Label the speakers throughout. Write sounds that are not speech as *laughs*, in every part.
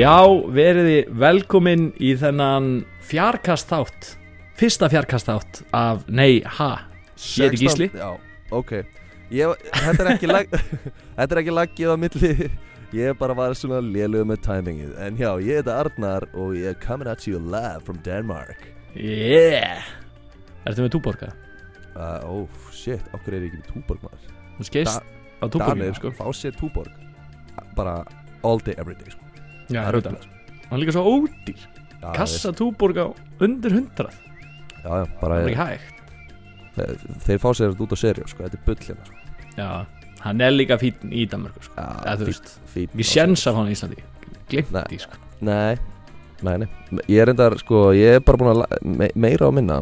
Speaker 1: Já, veriði velkomin í þennan fjarkast þátt Fyrsta fjarkast þátt af Nei, ha Ég heiti
Speaker 2: 16
Speaker 1: Gísli
Speaker 2: Já, ok ég, þetta, er ekki lag, *laughs* þetta er ekki laggið á milli Ég bara var svona léluð með timingið En já, ég heiti Arnar og ég er coming at you live from Denmark
Speaker 1: Yeah Ertu með túborga?
Speaker 2: uh, Oh shit, okkur er ég ekki með túborg maður
Speaker 1: Þú skeist á túborginu,
Speaker 2: Danir
Speaker 1: sko
Speaker 2: fá sér túborg Bara all day, every day sko.
Speaker 1: Já,
Speaker 2: Það er
Speaker 1: rúta
Speaker 2: ruglað, sko.
Speaker 1: Hann er líka svo ódýr
Speaker 2: Já,
Speaker 1: Kassa túborga undir hundrað
Speaker 2: veist. Já, já,
Speaker 1: Það
Speaker 2: bara
Speaker 1: er
Speaker 2: ég,
Speaker 1: ekki hægt
Speaker 2: þeir, þeir fá sér þetta út á serjó sko. Þetta er bull hérna sko.
Speaker 1: Já, hann er líka fín í Danmarku, sko
Speaker 2: Já,
Speaker 1: Eða þú
Speaker 2: fínn-
Speaker 1: veist
Speaker 2: fínn á
Speaker 1: Við
Speaker 2: servíu.
Speaker 1: sjens af hann í Íslandi Glimt
Speaker 2: Nei.
Speaker 1: því, sko
Speaker 2: Nei, nei, nei Ég er endar, sko, ég er bara búin að la- me meira á minna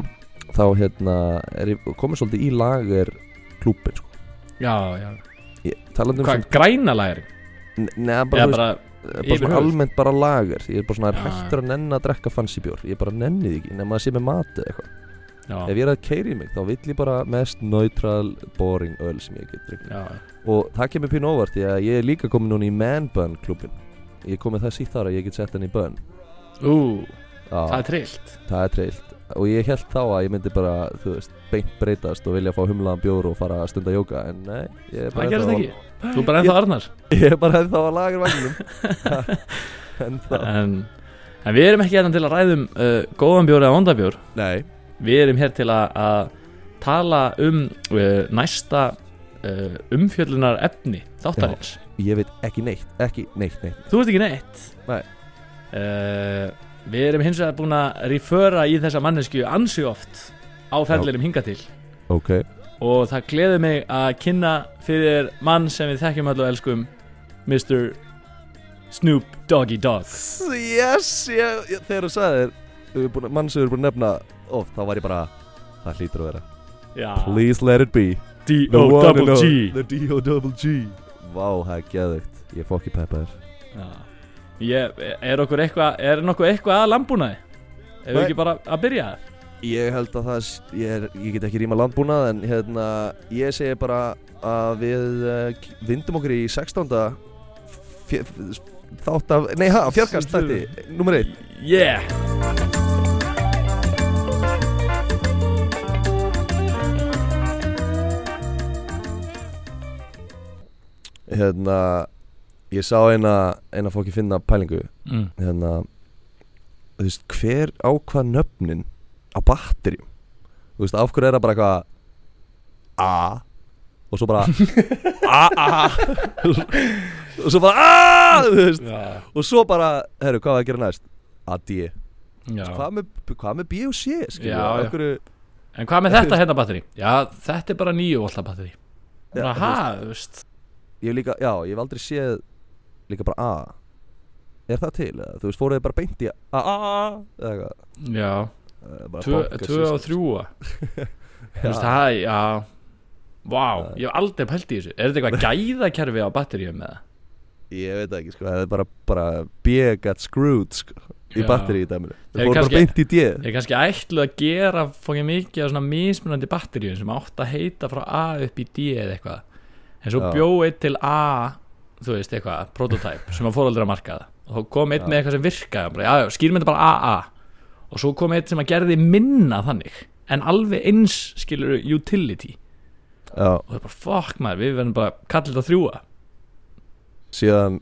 Speaker 2: Þá, hérna, er ég komið svolítið í lager klúbin, sko
Speaker 1: Já, já
Speaker 2: ég, Talandi um
Speaker 1: Hvað, græna lagari?
Speaker 2: svona Nei,
Speaker 1: Eða
Speaker 2: bara, þú veist,
Speaker 1: bara,
Speaker 2: bara,
Speaker 1: yfir
Speaker 2: svona
Speaker 1: höfuð?
Speaker 2: almennt bara lager Ég er bara svona, er
Speaker 1: Já,
Speaker 2: hættur að nenni að drekka fancy bjór Ég bara nenni því ekki, nema að sé með mat eða eitthvað
Speaker 1: já,
Speaker 2: Ef ég er að keiri mig, þá vill ég bara mest neutral, boring öl sem ég get drikkt
Speaker 1: já
Speaker 2: Og það kemur pínu óvart, því að ég er líka komin núna í man bun klúbin Ég er komið það sítt þar að ég get sett henni í bun
Speaker 1: Ú,
Speaker 2: Já.
Speaker 1: það er trillt
Speaker 2: Það er trillt og ég held þá að ég myndi bara, þú veist, beint breytast og vilja fá humlaðan bjór og fara að stunda jóka en nei, ég er bara
Speaker 1: Það gerðist
Speaker 2: ennþá
Speaker 1: ekki Þú er bara ennþá Arnar
Speaker 2: Á, *laughs* ég er bara ennþá að lagar
Speaker 1: *laughs*
Speaker 2: vagnum En það
Speaker 1: en, en við erum ekki hérna til að ræðum uh, góðan bjór eða vondan bjór
Speaker 2: Nei
Speaker 1: Við erum hér til að, að tala um uh, næsta uh, umfjöllunar efni þáttarins
Speaker 2: Ég veit ekki neitt, ekki neitt, neitt
Speaker 1: Þú veist ekki neitt
Speaker 2: Nei.
Speaker 1: Eh, Við erum hins vegar búin að riföra í þessa mannesku ansi oft á ferðlinum hinga til
Speaker 2: Ok
Speaker 1: og það gleður mig að kynna fyrir mann sem við þekkjum allu elskum Mr. Snoop Doggy Dogg
Speaker 2: Yes, ég, ég, þegar þú sagðir þú er búin- mann sem við erum búin að nefna oft, þá var ég bara Það hlýtur að vera
Speaker 1: Já,
Speaker 2: Please let it be The
Speaker 1: Oh,
Speaker 2: one and
Speaker 1: D-O-G-G
Speaker 2: only, The D-O-double-G Vá, það er geðugt Ég fokk í peppaður
Speaker 1: Já. Ég, er okkur eitthvað er nokkuð eitthvað að lambúnaði? Ef við
Speaker 2: Nei.
Speaker 1: ekki bara að byrja það?
Speaker 2: Ég held að það, s- ég, er, ég get ekki rýma landbúnað en hérna, ég segi bara að við uh, k- vindum okkur í 16. fjö- þátt af, nei ha, fjarkast þætti, nummer 1.
Speaker 1: Yeah
Speaker 2: Hérna, ég sá eina, eina fólki finna pælingu,
Speaker 1: mm.
Speaker 2: hérna, þú veist, hver ákvað nöfnin á batterjum? Þú veist, af hverju er það bara eitthvað A og svo bara A, A, og svo bara A, þú veist.
Speaker 1: Já,
Speaker 2: Og svo bara, herru, hvað var að gera næst? Að D
Speaker 1: já.
Speaker 2: Sko, hvað með, hvað með B og C, skilju?
Speaker 1: Já, já.
Speaker 2: Okkur,
Speaker 1: En hvað með þetta hérna batteri? Já, þetta er bara nýju volta batteri
Speaker 2: Já,
Speaker 1: Bara ha, þú veist
Speaker 2: Ég hef líka, já, ég hef aldrei séð líka bara A Er það til? Eða? Þú veist, fóruð þið bara beint í A A A Eða eitthvað
Speaker 1: Já,
Speaker 2: eh, bara
Speaker 1: tvö
Speaker 2: banka
Speaker 1: tvö
Speaker 2: sig,
Speaker 1: og þrjúa
Speaker 2: *laughs*
Speaker 1: Þú
Speaker 2: Já.
Speaker 1: veist, það, já Vá,
Speaker 2: Já.
Speaker 1: ég hef aldrei pælt í þessu Er
Speaker 2: *laughs*
Speaker 1: þetta eitthvað gæðakerfi á batteríum með það?
Speaker 2: Ég veit það ekki, sko, það er bara, bara B got screwed, sko Í
Speaker 1: Já.
Speaker 2: batteri í dæminu
Speaker 1: Ég
Speaker 2: Þið fóruð
Speaker 1: kannski-
Speaker 2: bara beint í D
Speaker 1: Er kannski ætluð að gera fókið mikið af svona mismunandi batteríum sem átt að heita frá A upp í D eða eitthvað en svo
Speaker 2: Já.
Speaker 1: bjó eitt til A þú veist eitthvað, prototype sem að fóröldra markaða og þá kom eitt
Speaker 2: Já.
Speaker 1: með eitthvað sem virkaði bara, já, já, skýrum þetta bara AA og svo kom eitt sem að gerði minna þannig en alveg eins skilur utility
Speaker 2: Já,
Speaker 1: og það er bara fuck maður, við verðum bara kallið þetta þrjúa
Speaker 2: síðan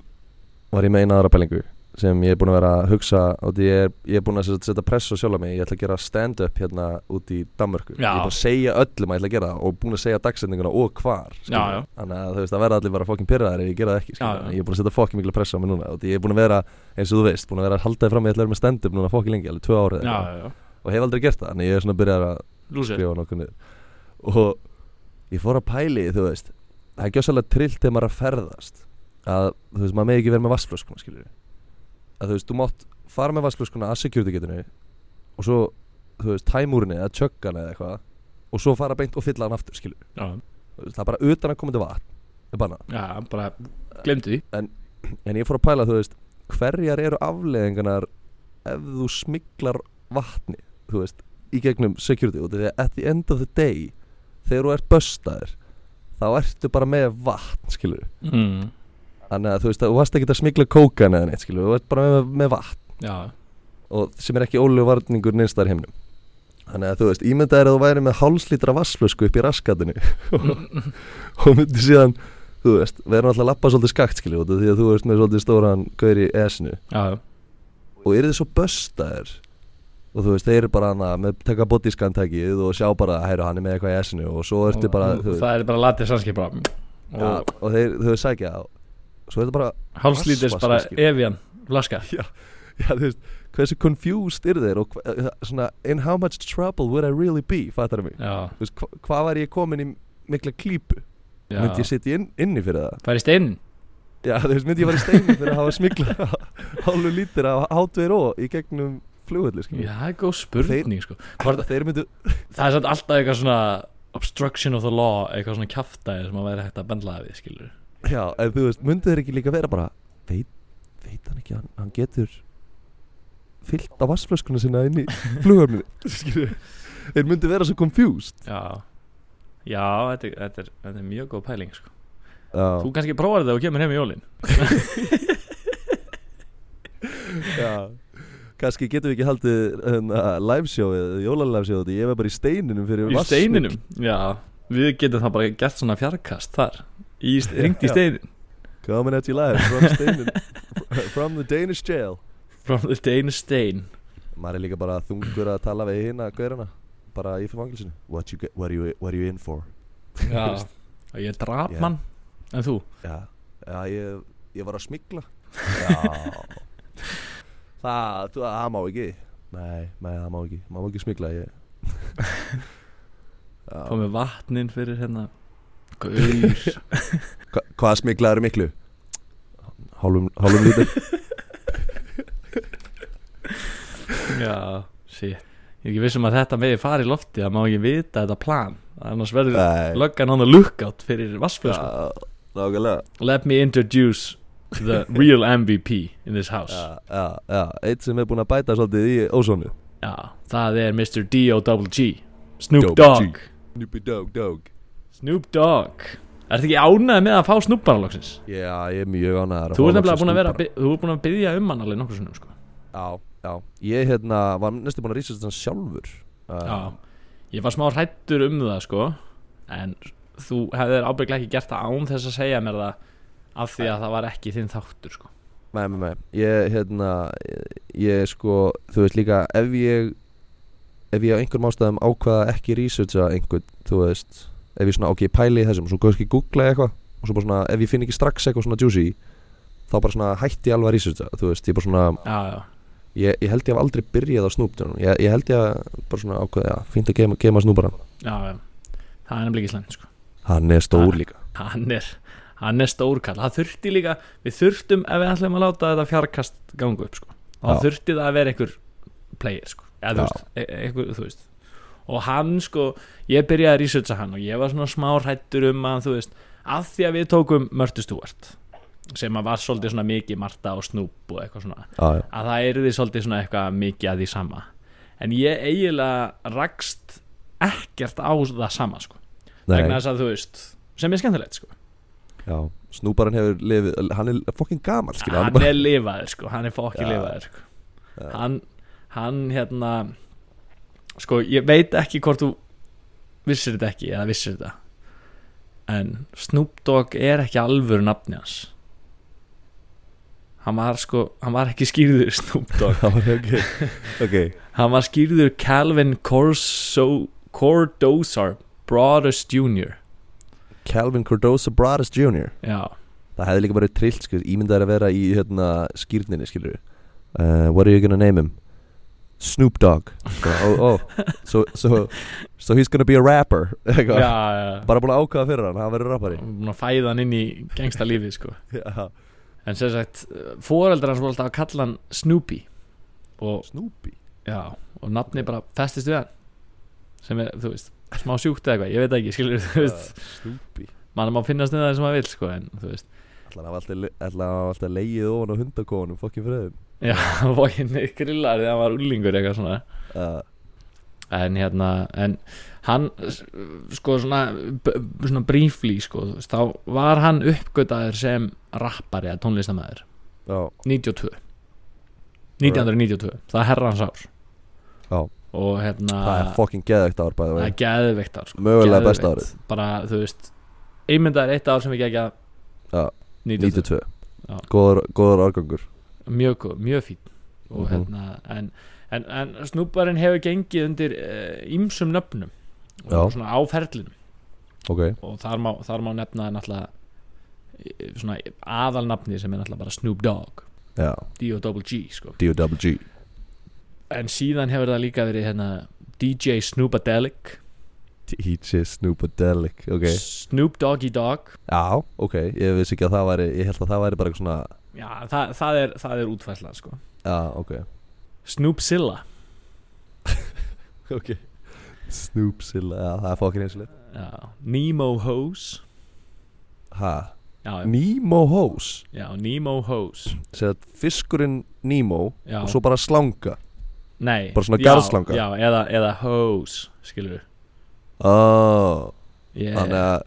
Speaker 2: var ég með eina aðra pælingu sem ég er búin að vera að hugsa og því ég er, ég er búin að setja- setja press á sjálf mig ég ætla að gera stand-up hérna út í Danmörku ég
Speaker 1: Já.
Speaker 2: er búin að segja öllum að ég ætla að gera það og búin að segja dagsendinguna og hvar skilur
Speaker 1: Já, já.
Speaker 2: við. þannig að þú veist það verða allir bara fokkin pyrraðar ef ég gera það ekki skilur
Speaker 1: Já, já.
Speaker 2: við. ég er búin að setja fokkin mikla press á mig núna og því ég er búin að vera eins og þú veist búin að vera að halda þér fram ég ætla að vera með stand-up núna fokkin lengi alveg tvö árið
Speaker 1: já, já, já,
Speaker 2: og hef aldrei gert það þannig ég er svona að byrja að
Speaker 1: lúsir
Speaker 2: skrifa nokkuð niður og ég fór að pæli þú veist það er gjössalega trillt þegar maður er að ferðast að þú veist maður megi ekki vera með vassflöskuna skilur að þú veist þú mátt fara með vassflöskuna að security getinu og svo þú veist tæmúrinni eða tjöggana eða eitthvað og svo fara beint og fylla hann aftur skilur
Speaker 1: já,
Speaker 2: veist, það er bara utan að koma til vatn er bannað.
Speaker 1: já, bara glemdu því
Speaker 2: en ég fór að pæla þú veist hverjar eru afleðingarnar ef þú smiklar vatni þú veist, í gegnum security og því að at the end of the day þegar þú ert böstaður þá ertu bara með vatn, skilur
Speaker 1: mm.
Speaker 2: Þannig að þú veist að þú varst ekki að smikla kókan eða neitt skilur, þú varst bara með, með vatn
Speaker 1: Já,
Speaker 2: og sem er ekki ólegu varningur neinstar himnum. Þannig að þú veist, ímyndað er að þú væri með hálslítra vassflösku upp í raskatinu *laughs* og, og myndi síðan, þú veist, verður náttúrulega að lappa svolítið skakt skilur út af því að þú veist með svolítið stóran gaur í esinu
Speaker 1: já,
Speaker 2: og eru þið svo böstaðir og þú veist, þeir eru bara hana með taka bodyscan-tækið og sjá bara, hæru, hann er með eitthvað í esinu og svo ertu bara,
Speaker 1: og,
Speaker 2: þú veist,
Speaker 1: Það er bara latið sannskip bara
Speaker 2: ja,
Speaker 1: Og
Speaker 2: og þeir, þú veist, sækja á svo er þetta bara *laughs*
Speaker 1: hálslítis
Speaker 2: Vass-
Speaker 1: bara
Speaker 2: vatnsvaskir.
Speaker 1: Evian flaska
Speaker 2: já, þú veist, hversu confused eru þeir og hva- eh, svona, in how much trouble would I really be, fattar mig
Speaker 1: Já,
Speaker 2: þú veist, hva, hvað var ég komin í mikla klípu
Speaker 1: já
Speaker 2: myndi ég sitja inn, inni fyrir það
Speaker 1: Færi stein
Speaker 2: já, þú veist, myndi ég fara í steinu fyrir að hafa *laughs* smikla hálfu lítir af H2O í gegnum flugulli,
Speaker 1: Já,
Speaker 2: skiljum
Speaker 1: það er góð spurning sko Var,
Speaker 2: þeir myndu,
Speaker 1: Það er satt alltaf eitthvað svona Obstruction of the law Eitthvað svona kjaftaði sem að væri hægt að bendla við skilur
Speaker 2: já, en þú veist, myndu þeir ekki líka vera bara, veit, veit hann ekki hann, hann getur fyllt á vassflöskuna sinna
Speaker 1: *laughs*
Speaker 2: inn í flugöfninu, skiljum þeir myndu vera svo confused
Speaker 1: Já Já, þetta er, þetta, er, þetta er mjög góð pæling sko.
Speaker 2: já,
Speaker 1: Þú kannski prófar þetta og kemur heim í jólin
Speaker 2: Já Kanski getum við ekki haldið hérna, liveshowið, jólaliveshowið Ég var bara í steininum fyrir
Speaker 1: Í
Speaker 2: vatnsmikl.
Speaker 1: steininum Já, við getum það bara gert svona fjarkast þar Í,
Speaker 2: *laughs*
Speaker 1: Ringt í
Speaker 2: Já.
Speaker 1: steinin
Speaker 2: Coming at you live
Speaker 1: *laughs*
Speaker 2: from steinin From the Danish jail
Speaker 1: From the Danish stain
Speaker 2: Maður er líka bara þungur að tala við hina Gaurana, bara í fangilsinu what, you get- what, are you- what are you in for?
Speaker 1: Já, og ég draf
Speaker 2: Já.
Speaker 1: mann En þú?
Speaker 2: Já, já ég, ég var að smikla Já *laughs* Það, þú, það má ekki Nei, nei, það má ekki Má ekki smikla
Speaker 1: *laughs*
Speaker 2: ég Já.
Speaker 1: Fá með vatnin fyrir hérna Gaur
Speaker 2: Hva, hvað smiklaður miklu? Hálfum, hálfum
Speaker 1: *laughs*
Speaker 2: lítur
Speaker 1: *laughs* Já, shit Ég er ekki vissum að þetta megi fara í lofti Það má ekki vita þetta plan Annars verður
Speaker 2: Nei
Speaker 1: löggan hann að lookout fyrir vassflösku
Speaker 2: Já, Nákvæmlega
Speaker 1: Let me introduce the real MVP in this house Já,
Speaker 2: Já, já, já Eitt sem er búin að bæta svolítið í ósónu
Speaker 1: það er Mr. D.O.G Snoop
Speaker 2: Double
Speaker 1: Dogg
Speaker 2: Snoopy Dogg Dogg
Speaker 1: Snoop Dogg Ertu ekki ánægð með að fá Snoop bara loksins?
Speaker 2: Já, ég er mjög ánæður
Speaker 1: Þú ert nefnilega búin að vera Þú ert búin að byggja um hann alveg nokkur sinnum sko
Speaker 2: Já, já Ég hérna var næstu búin að rísa þetta sjálfur uh,
Speaker 1: Já, ég var smá hrættur um það sko En þú hefðir ábygglega ekki gert það án þess að segja mér það Af því að það var ekki þinn þáttur sko
Speaker 2: Nei, nei, nei Ég hérna Ég, ég sko Þú veist líka Ef ég Ef ég á einhverjum ástæðum ákvaða ekki researcha einhvern Þú veist Ef ég svona Ok, ég pæli í þessum Svo kannski googla ég eitthvað Og svo bara svona Ef ég finn ekki strax eitthvað svona juicy Þá bara svona hætti ég alveg að researcha Þú veist Ég bara svona
Speaker 1: Já, já,
Speaker 2: Ég, ég held ég hef aldrei byrjað á snúptunum ég, ég held ég að bara svona ákveða já, fínt að geima, geima snúparan
Speaker 1: já, já Það er nefnilega ekki slæmt sko
Speaker 2: Hann er stór
Speaker 1: Ha.
Speaker 2: líka
Speaker 1: Hann er, hann er stórkall Það þurfti líka, við þurftum ef við ætlum að láta þetta fjarkast gangu upp sko Það
Speaker 2: Já.
Speaker 1: þurfti það að vera einhver player sko Eða þú
Speaker 2: Já.
Speaker 1: veist, e- einhver, þú veist Og hann sko, ég byrjaði að researcha hann Og ég var svona smá hrættur um að þú veist Af því að við tókum Mörtu Stúart Sem að var svolítið svona mikið Marta og Snoop og eitthvað svona
Speaker 2: já, já.
Speaker 1: að það er því svolítið svona eitthvað mikið að því sama en ég eiginlega rakst ekkert á það sama sko vegna
Speaker 2: Nei,
Speaker 1: þess að þú veist sem er skemmtilegt sko
Speaker 2: já, snúparan hefur lifið Hann er fokkin gamal skil
Speaker 1: hann
Speaker 2: bara,
Speaker 1: er lifaður sko hann er fokki
Speaker 2: Já.
Speaker 1: lifaður sko.
Speaker 2: Já.
Speaker 1: hann, hann hérna sko ég veit ekki hvort þú vissir þetta ekki eða vissir þetta en Snoop Dogg er ekki alvöru nafni hans hann var sko hann var ekki skýrður Snoop Dogg
Speaker 2: *laughs* Já, ok, ok
Speaker 1: Hann var skýrður Calvin Corso, Cordozar Broadus Jr.
Speaker 2: Calvin Cardoso Broadus Jr.
Speaker 1: Já,
Speaker 2: Það hefði líka bara trillt skil Ímyndaður að vera í hérna skýrninni skilur uh, What are you gonna name him? Snoop Dogg Bara, Oh, oh so, so, so he's gonna be a rapper *laughs*
Speaker 1: já,
Speaker 2: Eitthvað.
Speaker 1: já
Speaker 2: Bara búin að ákvaða fyrir hann, hann verður rappari
Speaker 1: Búin að fæða hann inn í gengsta lífið sko
Speaker 2: Já.
Speaker 1: En sem sagt, foreldrar hans voru alltaf að kalla hann Snoopy Og,
Speaker 2: Snoopy
Speaker 1: já, og nafni bara festist við hann Sem er, þú veist, smá sjúkt eða eitthvað Ég veit það ekki, skilur, þú veist
Speaker 2: Snoopy
Speaker 1: Mann má finnast niður það sem maður vill sko En, þú veist,
Speaker 2: Ætla hann hafa alltaf- ætli hann hafa alltaf leigið ofan á hundakónum fokkin fröðum
Speaker 1: *laughs* já, hann var ekki grillar Þegar hann var úlingur eitthvað svona
Speaker 2: uh,
Speaker 1: en hérna en hann s- sko svona, b- b- svona briefly sko þú veist, þá var hann uppgötaður sem rappari eða tónlistamæður
Speaker 2: já,
Speaker 1: 92 1992, það er herrans ár
Speaker 2: Já.
Speaker 1: og hérna
Speaker 2: það er fucking geðveikt ár bæði
Speaker 1: það er geðveikt ár sko,
Speaker 2: Mögulega besta
Speaker 1: geðveikt. bara þú veist einmyndaður eitt ár sem við gegja
Speaker 2: Já.
Speaker 1: 92
Speaker 2: 92
Speaker 1: Já.
Speaker 2: góður, góður árgangur
Speaker 1: mjög, góð, mjög fín og
Speaker 2: Mhm.
Speaker 1: hérna en, en, en snúparinn hefur gengið undir ímsum uh, nöfnum
Speaker 2: Já.
Speaker 1: og svona á ferlinum
Speaker 2: ok,
Speaker 1: og þar má, þar má nefna náttúrulega eh, svona aðalnafni sem er náttúrulega bara Snoop Dogg
Speaker 2: já,
Speaker 1: D-O-G-G sko.
Speaker 2: D.O.W.G
Speaker 1: en síðan hefur það líka verið hérna, DJ Snoopadelic
Speaker 2: DJ Snoopadelic, ok
Speaker 1: Snoop Doggy Dogg
Speaker 2: Já, ok, ég vissi ekki að það væri Ég held að það væri bara eitthvað svona
Speaker 1: Já, það, það, er, það er útfæsla sko.
Speaker 2: Já, ok
Speaker 1: Snoopzilla
Speaker 2: Ok Snoopzilla, já, það er fokkin einslega
Speaker 1: já. Nemo Hose
Speaker 2: Ha,
Speaker 1: já, já,
Speaker 2: Nemo Hose
Speaker 1: já, Nemo Hose
Speaker 2: Segð að fiskurinn Nemo
Speaker 1: já.
Speaker 2: og svo bara slanga
Speaker 1: Nei,
Speaker 2: Bara svona
Speaker 1: já,
Speaker 2: garðslanga.
Speaker 1: Já, eða, eða hose, skilur
Speaker 2: Ó,
Speaker 1: við
Speaker 2: Þannig að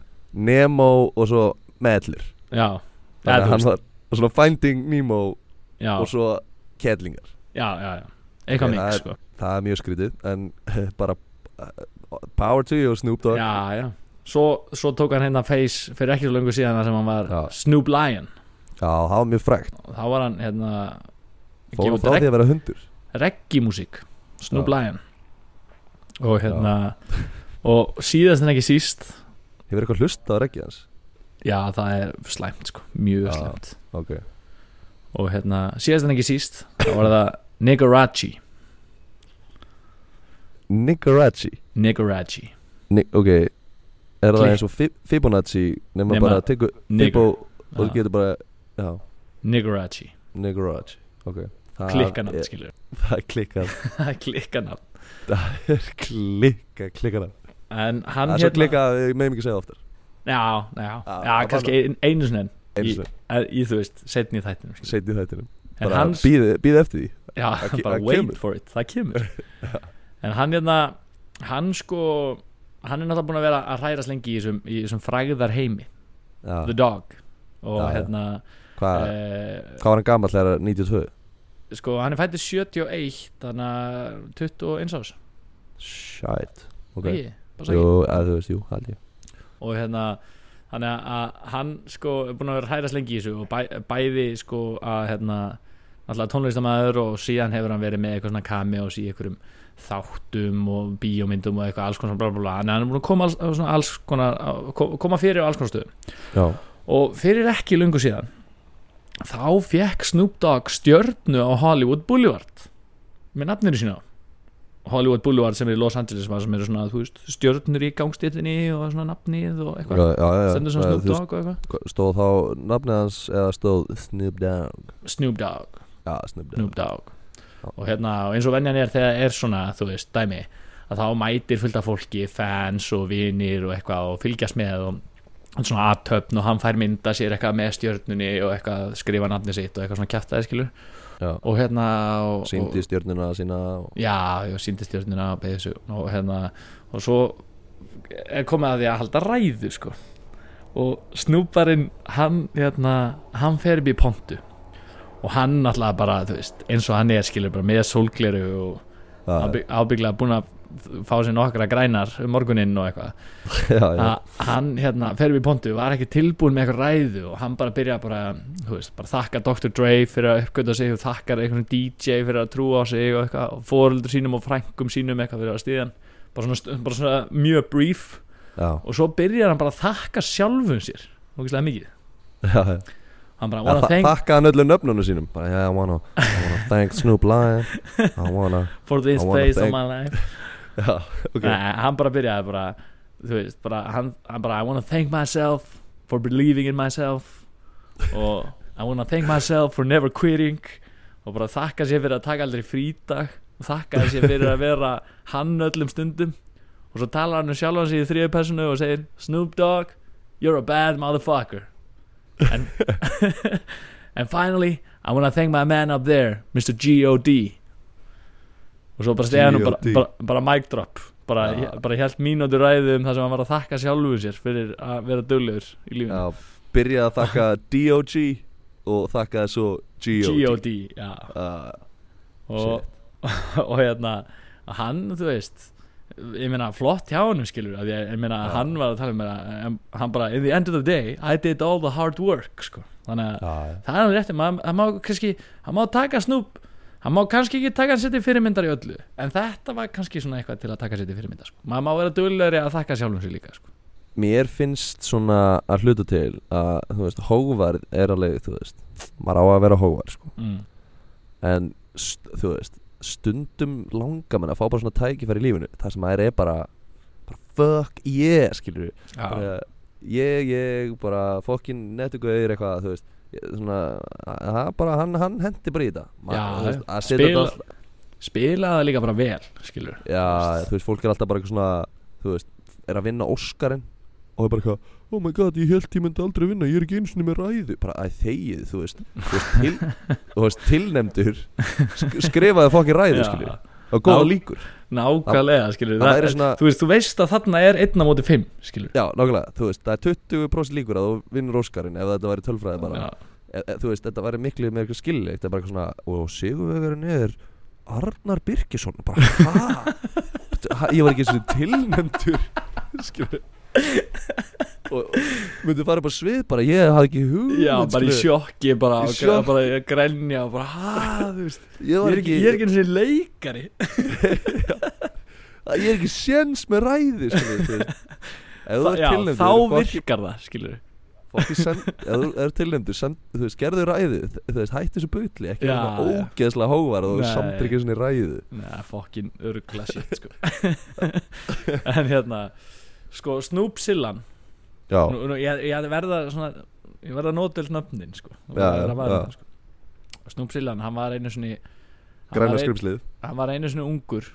Speaker 2: Nemo og svo Medlir
Speaker 1: Eh. Já,
Speaker 2: Þannig
Speaker 1: þú
Speaker 2: að hann
Speaker 1: veist,
Speaker 2: var og svona Finding Nemo
Speaker 1: já,
Speaker 2: og svo Kettlingar
Speaker 1: já, já, já Eitthvað
Speaker 2: Ok, það
Speaker 1: mikið,
Speaker 2: er-
Speaker 1: sko
Speaker 2: Það er mjög skrítið En *laughs* bara uh, Power to you Snoop Dogg
Speaker 1: Já, já Svo, svo tók hann hérna face fyrir ekki svo löngu síðan þar sem hann var
Speaker 2: Já.
Speaker 1: Snoop Lion
Speaker 2: Já, það var mjög frægt
Speaker 1: og þá var hann hérna að gefa
Speaker 2: Fórum
Speaker 1: út
Speaker 2: frá því
Speaker 1: reg,
Speaker 2: að vera hundur
Speaker 1: reggimúsík Snoop
Speaker 2: Já.
Speaker 1: Lion og hérna og síðast en ekki síst
Speaker 2: Hefur eitthvað hlusta á reggið hans?
Speaker 1: já það er slæmt sko mjög
Speaker 2: Já.
Speaker 1: slæmt
Speaker 2: Ok
Speaker 1: og hérna síðast en ekki síst þá var það Nigarachi
Speaker 2: Nigarachi
Speaker 1: Nigarachi
Speaker 2: Ni Ok Er það
Speaker 1: Kli-
Speaker 2: eins og Fi- Fibonacci Nefna
Speaker 1: Nema
Speaker 2: bara tekur Fibo
Speaker 1: Nigger
Speaker 2: Og þú
Speaker 1: Já.
Speaker 2: getur bara Já
Speaker 1: Nigarachi
Speaker 2: Nigarachi Ok Það
Speaker 1: klikkanafn
Speaker 2: er-
Speaker 1: *laughs* skilur
Speaker 2: Það er klikkan
Speaker 1: það er klikkanafn
Speaker 2: Klikka Klikkan
Speaker 1: en hann hérna-
Speaker 2: Það er svo klikka að Við meðum ekki segja það oftar
Speaker 1: já, já,
Speaker 2: Já,
Speaker 1: já,
Speaker 2: það
Speaker 1: kannski
Speaker 2: bara-
Speaker 1: ein, einu sinni en
Speaker 2: Eins
Speaker 1: Í- að- í þú veist, setni í þættinum
Speaker 2: og
Speaker 1: skilur.
Speaker 2: Seinni þættinum
Speaker 1: en
Speaker 2: Bara
Speaker 1: hans,
Speaker 2: býði býði eftir því
Speaker 1: já,
Speaker 2: það ke-
Speaker 1: bara
Speaker 2: það
Speaker 1: wait
Speaker 2: kemur.
Speaker 1: for it það kemur
Speaker 2: *laughs*
Speaker 1: en hann hérna, hann sko hann er náttúrulega búin að vera að hræðast lengi í þessum, í þessum fræðar heimi The
Speaker 2: Já
Speaker 1: Dog og
Speaker 2: Ah. Já, Ah. já.
Speaker 1: hérna
Speaker 2: Hvað
Speaker 1: eh,
Speaker 2: Hvað var hann gammal þegar 92?
Speaker 1: sko, hann er fættið 71 þannig að 21 árs
Speaker 2: Shit Ok
Speaker 1: ekki, bara
Speaker 2: Jú,
Speaker 1: sagði
Speaker 2: að þú veist, jú, held ég
Speaker 1: og hérna þannig að hann sko er búin að vera að hræðast lengi í þessu og bæ, bæði sko að hérna alltaf tónlistamæður og síðan hefur hann verið með eitthvað svona cameos í einhverjum þáttum og bíómyndum og eitthvað alls konar bla bla bla en hann er búin að koma, alls, á svona alls konar, á- ko- koma fyrir á alls konar stöðum
Speaker 2: Já
Speaker 1: og fyrir ekki lungu síðan þá fekk Snoop Dogg stjörnu á Hollywood Boulevard með nafninu sína á. Hollywood Boulevard sem er í Los Angeles var sem eru svona þú veist, stjörnur í gangstéttinni og svona nafnið og
Speaker 2: Já,
Speaker 1: eitthvað
Speaker 2: já, já
Speaker 1: stendur sem
Speaker 2: Já,
Speaker 1: Snoop
Speaker 2: þú veist,
Speaker 1: Dogg og eitthvað
Speaker 2: hva- Stóð þá nafnið hans eða stóð Snoop Dogg
Speaker 1: Snoop Dogg,
Speaker 2: Já, Snoop Dogg
Speaker 1: Snoop Dogg og hérna, og eins og venjan er þegar er svona þú veist, dæmi, að þá mætir fullt af fólki, fans og vinir og eitthvað og fylgjast með og og svona aðtöfn og hann fær mynda sér eitthvað með stjörnunni og eitthvað skrifa nafni sitt og eitthvað svona kjæftaði skilur
Speaker 2: Já.
Speaker 1: og hérna og,
Speaker 2: Sýndi stjörnuna sína og...
Speaker 1: og, já, og síndi stjörnuna og, beðið sig og hérna og svo er komið að því að halda ræðu sko og snúparinn hann, hérna, hann fer upp í pontu og hann alltaf bara, þú veist, eins og hann er skilur bara með sólgleru og
Speaker 2: Já,
Speaker 1: ábygg- ábyggilega búin að fá sér nokkra grænar um morguninn og eitthvað
Speaker 2: *laughs* já, já,
Speaker 1: að hann hérna fer við pontu var ekki tilbúin með eitthvað ræðu og hann bara byrja bara, þú veist, bara þakka Dr. Dre fyrir að uppgöta sig og þakkar einhvern DJ fyrir að trúa á sig og eitthvað og fóröldur sínum og frængum sínum eitthvað fyrir að stíðan bara svona, st- bara svona mjög brief
Speaker 2: já,
Speaker 1: og svo byrjar hann bara að þakka sjálfum sér ógeðslega mikið
Speaker 2: já, já.
Speaker 1: hann bara, I
Speaker 2: Já,
Speaker 1: wanna
Speaker 2: þa-
Speaker 1: thank
Speaker 2: Þakka hann öllu nöfnunum sínum Bara, yeah, I wanna, I wanna thank Snoop Lion I wanna
Speaker 1: for this
Speaker 2: I wanna
Speaker 1: place of
Speaker 2: thank-
Speaker 1: my life
Speaker 2: *laughs* Já, ok
Speaker 1: Nei, hann bara byrjaði bara þú veist, bara, hann, hann bara I wanna thank myself for believing in myself og I wanna thank myself for never quitting og bara þakka sér fyrir að taka aldrei frídag og þakka sér fyrir að vera hann öllum stundum og svo talar hann um sjálfan sig í þriðu personu og segir Snoop Dogg, you're a bad motherfucker *laughs* and, and finally I wanna thank my man up there Mr. G.O.D og svo bara stegið hann og bara,
Speaker 2: G.O.D..
Speaker 1: bara, bara mic drop bara,
Speaker 2: Ja.
Speaker 1: bara hjælt mínútu ræðu um það sem hann var að þakka sjálfu sér fyrir að vera duglegur í lífinu
Speaker 2: Já, byrjaði að þakka D.O.G. og þakkaði svo G.O.D.
Speaker 1: G.O.D. já
Speaker 2: Uh,
Speaker 1: og, *laughs* og hérna hann, þú veist ég meina flott hjá honum skilur að ég, ég meina
Speaker 2: Já.
Speaker 1: hann var að tala um meira, em, hann bara in the end of the day I did all the hard work sko. þannig að
Speaker 2: já,
Speaker 1: það er hann rétti maður- hann má kannski, hann má taka snúb hann má kannski ekki taka hann sér til fyrirmyndar í öllu en þetta var kannski svona eitthvað til að taka sér til fyrirmyndar sko. maður má vera duglegri að þakka sjálfum sér líka sko.
Speaker 2: Mér finnst svona að hluta til að, þú veist, hóvarð er alveg, þú veist, maður á að vera hóvarð, sko
Speaker 1: mm.
Speaker 2: En, st þú veist, stundum langar mann að fá bara svona tækifæri í lífinu Það sem maður er bara, bara fuck yeah, skilur við
Speaker 1: já,
Speaker 2: Ég, ég, bara fokkin nettugauður eitthvað, þú veist Ég- Svona, að, bara, hann, hann hendi bara í þetta
Speaker 1: Já,
Speaker 2: þú veist, að setja
Speaker 1: spila-
Speaker 2: þetta all-
Speaker 1: spila það líka bara vel skilur
Speaker 2: Já, þú veist, fólk er alltaf bara eitthvað svona Þú veist, er að vinna Óskarinn Og er bara eitthvað, oh my god, ég held ég myndi aldrei vinna Ég er ekki einu sinni með ræðu Bara að þegið, þú veist Þú veist, til,
Speaker 1: *laughs*
Speaker 2: þú veist tilnefndur sk Skrifaði fokkin ræðu,
Speaker 1: Já.
Speaker 2: skilju Og góða
Speaker 1: Ná-
Speaker 2: líkur
Speaker 1: nákvæmlega skilur
Speaker 2: það væri svona-
Speaker 1: þú veist, þú veist að þarna er einn á móti fimm skilur
Speaker 2: Já, nákvæmlega, þú veist, það er 20% líkur að þú vinnur Óskarinn Ef þetta væri tölfræði bara
Speaker 1: Já.
Speaker 2: e, e, Þú veist, þetta væri miklu með eitthvað skilleikt Það er bara eitthvað svona, og Sigurvegarinn er Arnar Birgisson Bara, hæ? Ég var ekki eins og tilnefndur
Speaker 1: skilur
Speaker 2: og myndi fara upp á svið bara ég hafði ekki hugmynd
Speaker 1: Já, bara í
Speaker 2: skilur.
Speaker 1: sjokki bara,
Speaker 2: Í
Speaker 1: og
Speaker 2: sjokki.
Speaker 1: bara að grænja og bara, hæ, þú veist
Speaker 2: ég,
Speaker 1: Ég
Speaker 2: var
Speaker 1: er ekki, ég er ekki eins og leikari
Speaker 2: ég er ekki séns með ræði skilur, þú veist. ef þú
Speaker 1: Þa,
Speaker 2: ert
Speaker 1: Já,
Speaker 2: tilnefndur
Speaker 1: þá
Speaker 2: fólk-
Speaker 1: virkar það, skilur
Speaker 2: fólk í
Speaker 1: *laughs*
Speaker 2: send- ef þú ert tilnefndur send- þú veist, gerðu ræði þú veist, hættu þessu bulli ekki
Speaker 1: Já,
Speaker 2: svona
Speaker 1: já.
Speaker 2: ógeðslega hóvar og þú
Speaker 1: Nei.
Speaker 2: samt ekki svona ræði
Speaker 1: Nei, fokkin örgla shit, sko
Speaker 2: *laughs*
Speaker 1: En hérna, sko, Snoop Sillan
Speaker 2: já,
Speaker 1: nú, nú, Ég, ég verða svona, ég verða nótil nöfnin, sko Ég
Speaker 2: Já,
Speaker 1: verð að
Speaker 2: já.
Speaker 1: vara þetta, sko. Snoop Sillan, hann var einu sinni hann var
Speaker 2: græna
Speaker 1: ein-
Speaker 2: skrifslið
Speaker 1: Hann var einu sinni ungur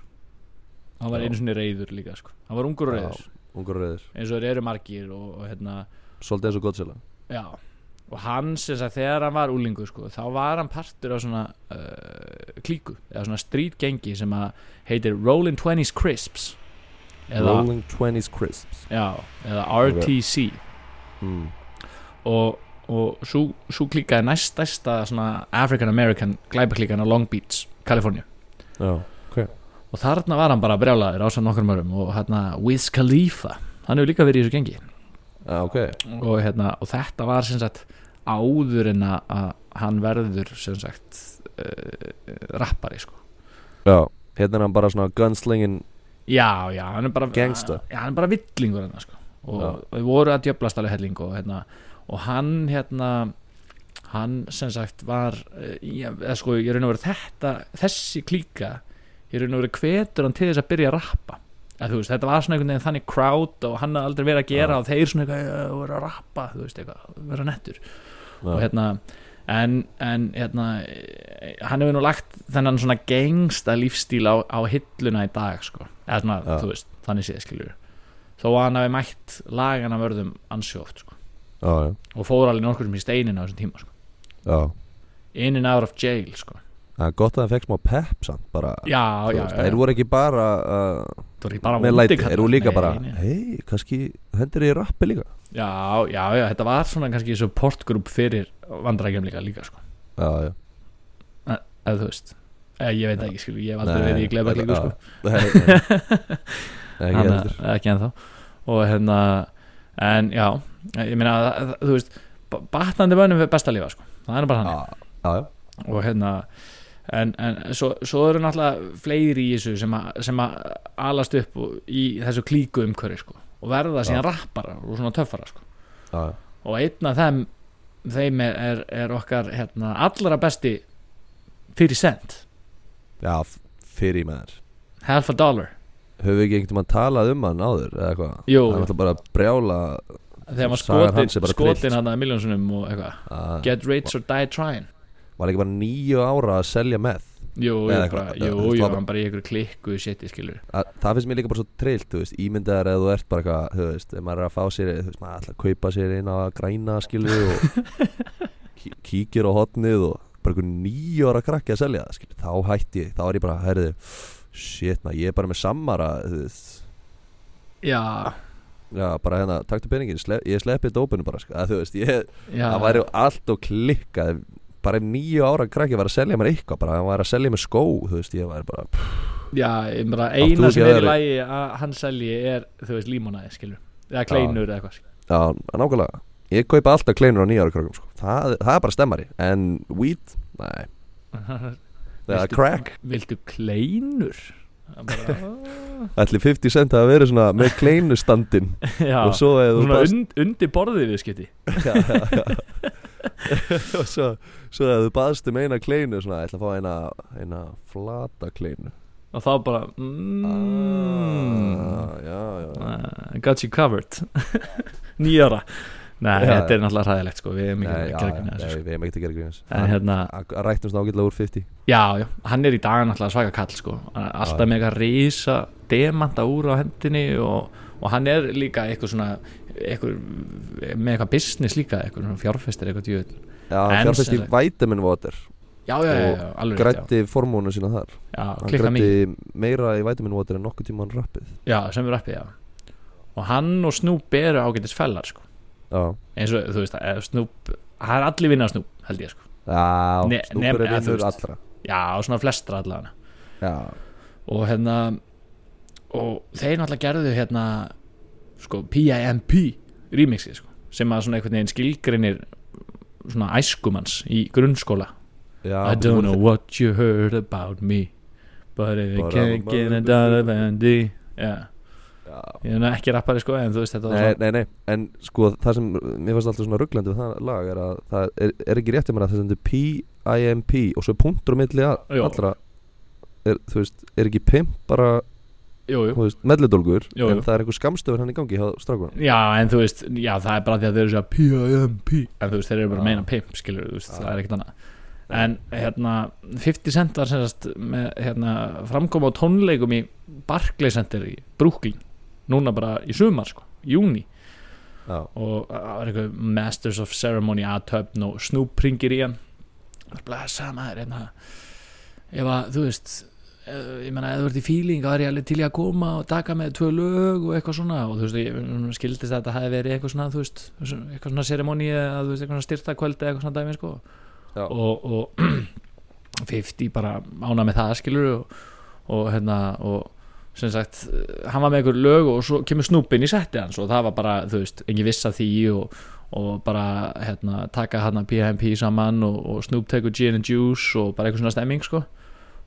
Speaker 1: Hann var
Speaker 2: Já.
Speaker 1: einu sinni reyður líka, sko Hann var ungur og
Speaker 2: Já.
Speaker 1: reyður,
Speaker 2: ungar reyðir,
Speaker 1: eins og þeir eru margir og, og hérna,
Speaker 2: svolítið eins og Godzilla
Speaker 1: Já og hans þess að þegar hann var úlingu sko, þá var hann partur á svona uh, klíku, eða svona strítgengi sem að heitir Rollin' Twenties Crisps eða,
Speaker 2: Rolling 20s Crisps
Speaker 1: já, eða RTC
Speaker 2: mm.
Speaker 1: og, og svo, svo klíka er næstæsta svona African American glæpaklíkan á Long Beach, Kaliforníu
Speaker 2: já,
Speaker 1: og þarna var hann bara brjálaður á svo nokkrum örum og hérna Wiz Khalifa, hann hefur líka verið í þessu gengi
Speaker 2: já, ok
Speaker 1: og, hérna, og þetta var sem sagt áður en að að hann verður sem sagt uh, rappari sko
Speaker 2: já, hérna er hann bara svona gunslingin
Speaker 1: já, já, hann er bara
Speaker 2: Gangster.
Speaker 1: já, hann er bara villingur hérna sko og
Speaker 2: Já.
Speaker 1: og þau voru að djöflast alveg helling og, hérna, og hann hérna hann sem sagt var eh, já, eða sko, ég raun og verið þetta þessi klíka, ég raun og verið hvetur hann til þess að byrja að rappa Eða, þú veist, þetta var svona einhvern veginn þannig crowd og hann hafði aldrei verið að gera
Speaker 2: Já.
Speaker 1: og þeir svona eitthvað "Eh, voru að rappa, þú veist eitthvað, vera nettur
Speaker 2: já,
Speaker 1: og hérna en, en hérna eh, hann hefur nú lagt þennan svona gengsta lífstíl á, á hilluna í dag sko. eða svona,
Speaker 2: Já.
Speaker 1: þú veist, þannig séð skiljur þó að hann hafi mætt lagan af örðum ansjóft sko.
Speaker 2: já, já,
Speaker 1: og fór alveg nokkur sem í steinin á þessum tíma sko.
Speaker 2: já.
Speaker 1: in and out of jail sko.
Speaker 2: Það er gott að það fekk smá pep samt bara
Speaker 1: já,
Speaker 2: Þú
Speaker 1: já,
Speaker 2: veist,
Speaker 1: já,
Speaker 2: Þeir voru ekki bara uh,
Speaker 1: Þú voru bara
Speaker 2: með
Speaker 1: vondir
Speaker 2: læti,
Speaker 1: kallar.
Speaker 2: þeir voru líka
Speaker 1: Nei,
Speaker 2: bara
Speaker 1: nei.
Speaker 2: Hei, kannski hendur ég rappi líka
Speaker 1: já, já, já, þetta var svona kannski supportgrúp fyrir vandrækjumleika líka sko.
Speaker 2: Já, já
Speaker 1: eða þú veist, eða, ég veit ekki skilju ég hef aldrei verið í gleypa klíku sko. *laughs*
Speaker 2: Nei, nei, ekki
Speaker 1: Hanna,
Speaker 2: heldur
Speaker 1: ekki ennþá og hérna en já, ég meina að- þú veist, ba- batnandi mönnum er best að lifa sko. það er nú bara
Speaker 2: Já,
Speaker 1: hann
Speaker 2: já, já.
Speaker 1: og hérna en, en svo, svo eru náttúrulega fleiri í þessu sem, að- sem að alast upp og- í þessu klíku umhverfi sko. og verða síðan rappara og svona töffara sko.
Speaker 2: já, já.
Speaker 1: og einn af þeim þeim er, er, er okkar hérna, allra besti fyrir cent
Speaker 2: já f- fyrir maður
Speaker 1: half a dollar
Speaker 2: Höfum við ekki einhvern veginn talað um hann áður eða hvað?
Speaker 1: Jú.
Speaker 2: Það er náttúrulega bara að brjála
Speaker 1: þegar maður
Speaker 2: Sagan hans er
Speaker 1: skotin,
Speaker 2: bara
Speaker 1: skotin
Speaker 2: trillt.
Speaker 1: hann að miljónsunum og eitthvað
Speaker 2: að
Speaker 1: get rich or die trying
Speaker 2: Var ekki bara níu ára að selja með
Speaker 1: Jú,
Speaker 2: Eða
Speaker 1: jú,
Speaker 2: eitthvað,
Speaker 1: bara,
Speaker 2: eða
Speaker 1: jú,
Speaker 2: þú
Speaker 1: jú,
Speaker 2: slappa-
Speaker 1: hann bara í einhverju klikku shiti, skilur
Speaker 2: að, Það finnst mér líka bara svo trillt, þú veist Ímyndaðar eða þú ert bara eitthvað, þú veist Ef maður er að fá sér, þú veist, maður ætla að kaupa sér inn á að græna skilu og
Speaker 1: *laughs*
Speaker 2: kí- kíkir á hotnið og bara einhver níu ára krakki að selja það skilu Þá hætti ég, þá er ég bara, herðu shit maður, ég er bara með sammara þú veist Ah,
Speaker 1: já,
Speaker 2: Já, bara hérna, taktu peningin, slef, ég sleppi dópinu bara, sko, að þú veist, ég,
Speaker 1: já
Speaker 2: það væri allt og klikkað, bara ef nýju ára krakki var að selja mér eitthvað, bara hann var að selja mér skó, þú veist, ég væri bara, pff,
Speaker 1: já, ég bara
Speaker 2: Átt þú
Speaker 1: eina sem
Speaker 2: ekki
Speaker 1: er í
Speaker 2: aðra?
Speaker 1: lagi að hann selji er, þú veist, límonaði, skilur eða kleinur eða eitthvað skilur.
Speaker 2: já, nákvæmlega, ég kaupa alltaf kleinur á nýju ára krakkum, sko, það, það er bara stemmari, en weed, nei, það
Speaker 1: Viltu-
Speaker 2: er crack,
Speaker 1: *laughs* viltu kleinur? Það er
Speaker 2: *laughs*
Speaker 1: bara,
Speaker 2: ætli 50 cent að vera svona með kleinustandin
Speaker 1: já,
Speaker 2: og svo eða þú
Speaker 1: svona
Speaker 2: baðst,
Speaker 1: und, undir borðið viðskipti
Speaker 2: *laughs* já, já, já, *laughs* og svo, svo eða þú baðst um eina kleinu, svona, ætla að fá eina, eina flata kleinu,
Speaker 1: og þá bara mm,
Speaker 2: ah, já, já, já.
Speaker 1: uh, got you covered *laughs* nýjara Nei,
Speaker 2: Já,
Speaker 1: þetta er náttúrulega hræðilegt sko, við erum ekki
Speaker 2: Nei,
Speaker 1: að
Speaker 2: já,
Speaker 1: gera grín
Speaker 2: já,
Speaker 1: að
Speaker 2: nei,
Speaker 1: þessu sko.
Speaker 2: við hefum ekkert að gera grínast
Speaker 1: En hérna,
Speaker 2: að rættum svona ágætlega úr 50
Speaker 1: já, já, hann er í dag náttúrulega svaka kall sko Hann er
Speaker 2: Já, já.
Speaker 1: Alltaf með eitthvað risa demanta úr á hendinni og, og hann er líka eitthvað svona eitthvað, með eitthvað business líka eitthvað svona fjárfestir eitthvað djöð
Speaker 2: já,
Speaker 1: En
Speaker 2: fjárfæst í
Speaker 1: sem sagt-
Speaker 2: vitamin water
Speaker 1: Já, já, já,
Speaker 2: Og
Speaker 1: já, alveg rétt,
Speaker 2: grætti formónu sína þar
Speaker 1: já, já
Speaker 2: hann
Speaker 1: klikka mikið
Speaker 2: grætti meira í vitamin water en nokkuð tíma hann rappið
Speaker 1: Já, sem við rappið, já Og hann og Snoop eru ágætis fellar sko
Speaker 2: já,
Speaker 1: eins og þú veist að Snoop það er allir vinna Snoop held ég sko Ne-
Speaker 2: já,
Speaker 1: nefn-
Speaker 2: snúpur er
Speaker 1: eða þú
Speaker 2: vinnur
Speaker 1: veist.
Speaker 2: allra
Speaker 1: já og svona flestra allavega
Speaker 2: já,
Speaker 1: og hérna og þeir náttúrulega gerðu hérna sko P.I.M.P. remixi sko sem að svona einhvern veginn skilgrinir svona æskumans í grunnskóla
Speaker 2: já
Speaker 1: I don't know what you heard about me but if you
Speaker 2: But I'm
Speaker 1: can't
Speaker 2: a
Speaker 1: get a
Speaker 2: motherfucker.
Speaker 1: dollar bandy já
Speaker 2: já.
Speaker 1: ég er nú ekki rappari sko en þú veist þetta var
Speaker 2: Nei,
Speaker 1: svona-
Speaker 2: nei, nei, en sko það sem mér fannst alltaf svona rugglandi við það lag er að það er, er ekki rétt um að það sendur P-I-M-P og svo er punktur á milli a-
Speaker 1: Jú.
Speaker 2: allra er, þú veist, er ekki pimp bara
Speaker 1: jú, jú.
Speaker 2: þú veist, melludólgur
Speaker 1: Jú, jú.
Speaker 2: en það er einhver skamstöfur hann í gangi hjá strákunum
Speaker 1: já en þú veist já það er bara því að þeir eru svo P.I.M.P. en þú veist þeir eru bara að
Speaker 2: Já.
Speaker 1: meina pimp skilur þú veist
Speaker 2: Já.
Speaker 1: það er ekkert annað en hérna 50 Cent var semast með hérna, framkoma á tónleikum í Barclay Center í Brooklyn núna bara í sumar sko, júni
Speaker 2: já,
Speaker 1: og það var eitthvað Masters of Ceremony aðtöfn og Snoop ringir í hann bara blessa maður hérna. ef að þú veist eh, ég meina ef þú ert í feeling þá er ég alveg til í að koma og taka með tvö lög og eitthvað svona og þú veist ég mm, skildist að þetta hafi verið eitthvað svona þú veist eitthvað svona ceremony eða þú veist eitthvað svona styrtakvöld eða eitthvað svona dæmi sko
Speaker 2: já.
Speaker 1: og, *clears throat* og 50 bara ána með það skilur og, og hérna og sem sagt, eh, hann var með einhver lög og svo kemur snúpin í setti hans og það var bara, þú veist, engin viss að því og, og bara, hérna, taka hérna PMP saman og, og snúp tekur gin and juice og bara eitthvað svona stemming sko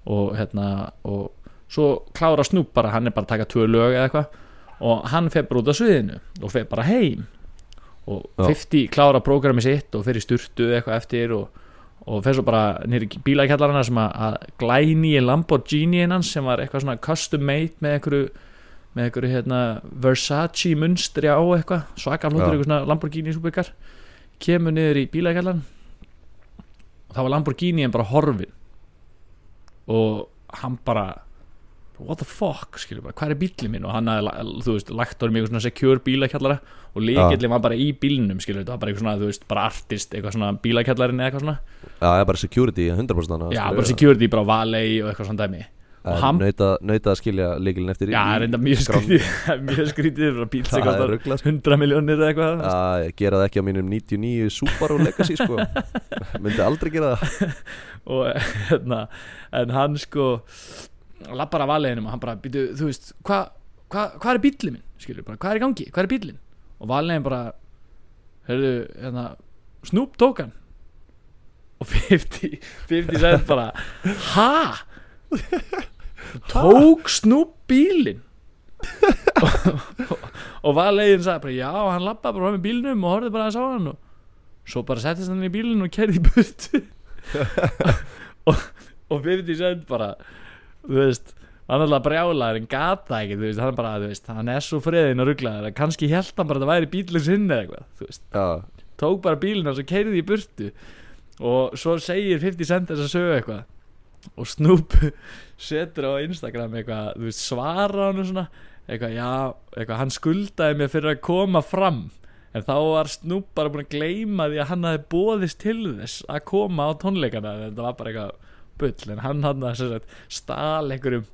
Speaker 1: og hérna, og svo klára snúp bara, hann er bara að taka tvö lög eða eitthvað og hann fer bara út á sviðinu og fer bara heim og
Speaker 2: Já.
Speaker 1: 50 klára prógrami sitt og fer í sturtu eitthvað eftir og, og fer svo bara nýri bílakjallarana sem að, að glæni í Lamborghini hans sem var eitthvað svona custom made með einhverju með einhverju hérna Versace munstri á eitthvað svaka flottur
Speaker 2: Já.
Speaker 1: eitthvað svona Lamborghini súbyggar kemur niður í bílakjallan og það var Lamborghini en bara horfin og hann bara what the fuck, skilur bara, hvað er bílinn minn og hann hafði, la- þú veist, lagt orðum í eitthvað svona secure bílakjallara og líkillin var bara í bílnum, skilur, það var bara eitthvað svona, þú veist, bara artist, eitthvað svona bílakjallarin eða eitthvað svona
Speaker 2: Já, það er bara security 100% annars,
Speaker 1: Já, bara security, bara valei og eitthvað svona dæmi og
Speaker 2: En
Speaker 1: hann-
Speaker 2: nauta, nauta að skilja leikilin eftir
Speaker 1: Já, það er enda mjög skrítið *laughs* Mjög skrítið frá bíl sem
Speaker 2: Það er
Speaker 1: kostar
Speaker 2: ruggla sko
Speaker 1: 100 miljónir eða eitthvað
Speaker 2: að gera það ekki á mínum 99 Subaru Legacy
Speaker 1: *laughs*
Speaker 2: sko myndi aldrei gera það
Speaker 1: og *laughs* hérna en hann sko lappar af valeginum og hann bara býtu, þú veist, hvað hva, hva er bíllinn minn, skilur bara, hvað er í gangi, hvað er bíllinn og valegin bara heyrðu, hérna, Snoop tók hann og *laughs* 50 50 sagði bara ha tók Snoop bílinn *laughs* og, og valegin sagði bara, já, hann lappaði bara fram í bílnum og horfði bara að sá hann og svo bara settist hann í bílinn og kerði í burtu og 50 Cent bara þú veist, hann er alltaf brjálaður en gata ekki, þú veist, hann bara þú veist, hann er svo freðin og rugglaður að kannski held hann bara að það væri bílinn sinni eða eitthvað þú veist,
Speaker 2: Já,
Speaker 1: tók bara bílinn og svo keiriði í burtu og svo segir 50 Cent þess að sögu eitthvað og Snoop *laughs* setur á Instagram eitthvað, þú veist, svara hann og svona eitthvað, já, eitthvað, hann skuldaði mér fyrir að koma fram en þá var Snoop bara búin að gleyma því að hann hafði bóðist til þess að koma á tónleikana þetta var bara eitthvað bull en hann hann að sem sagt, stal einhverjum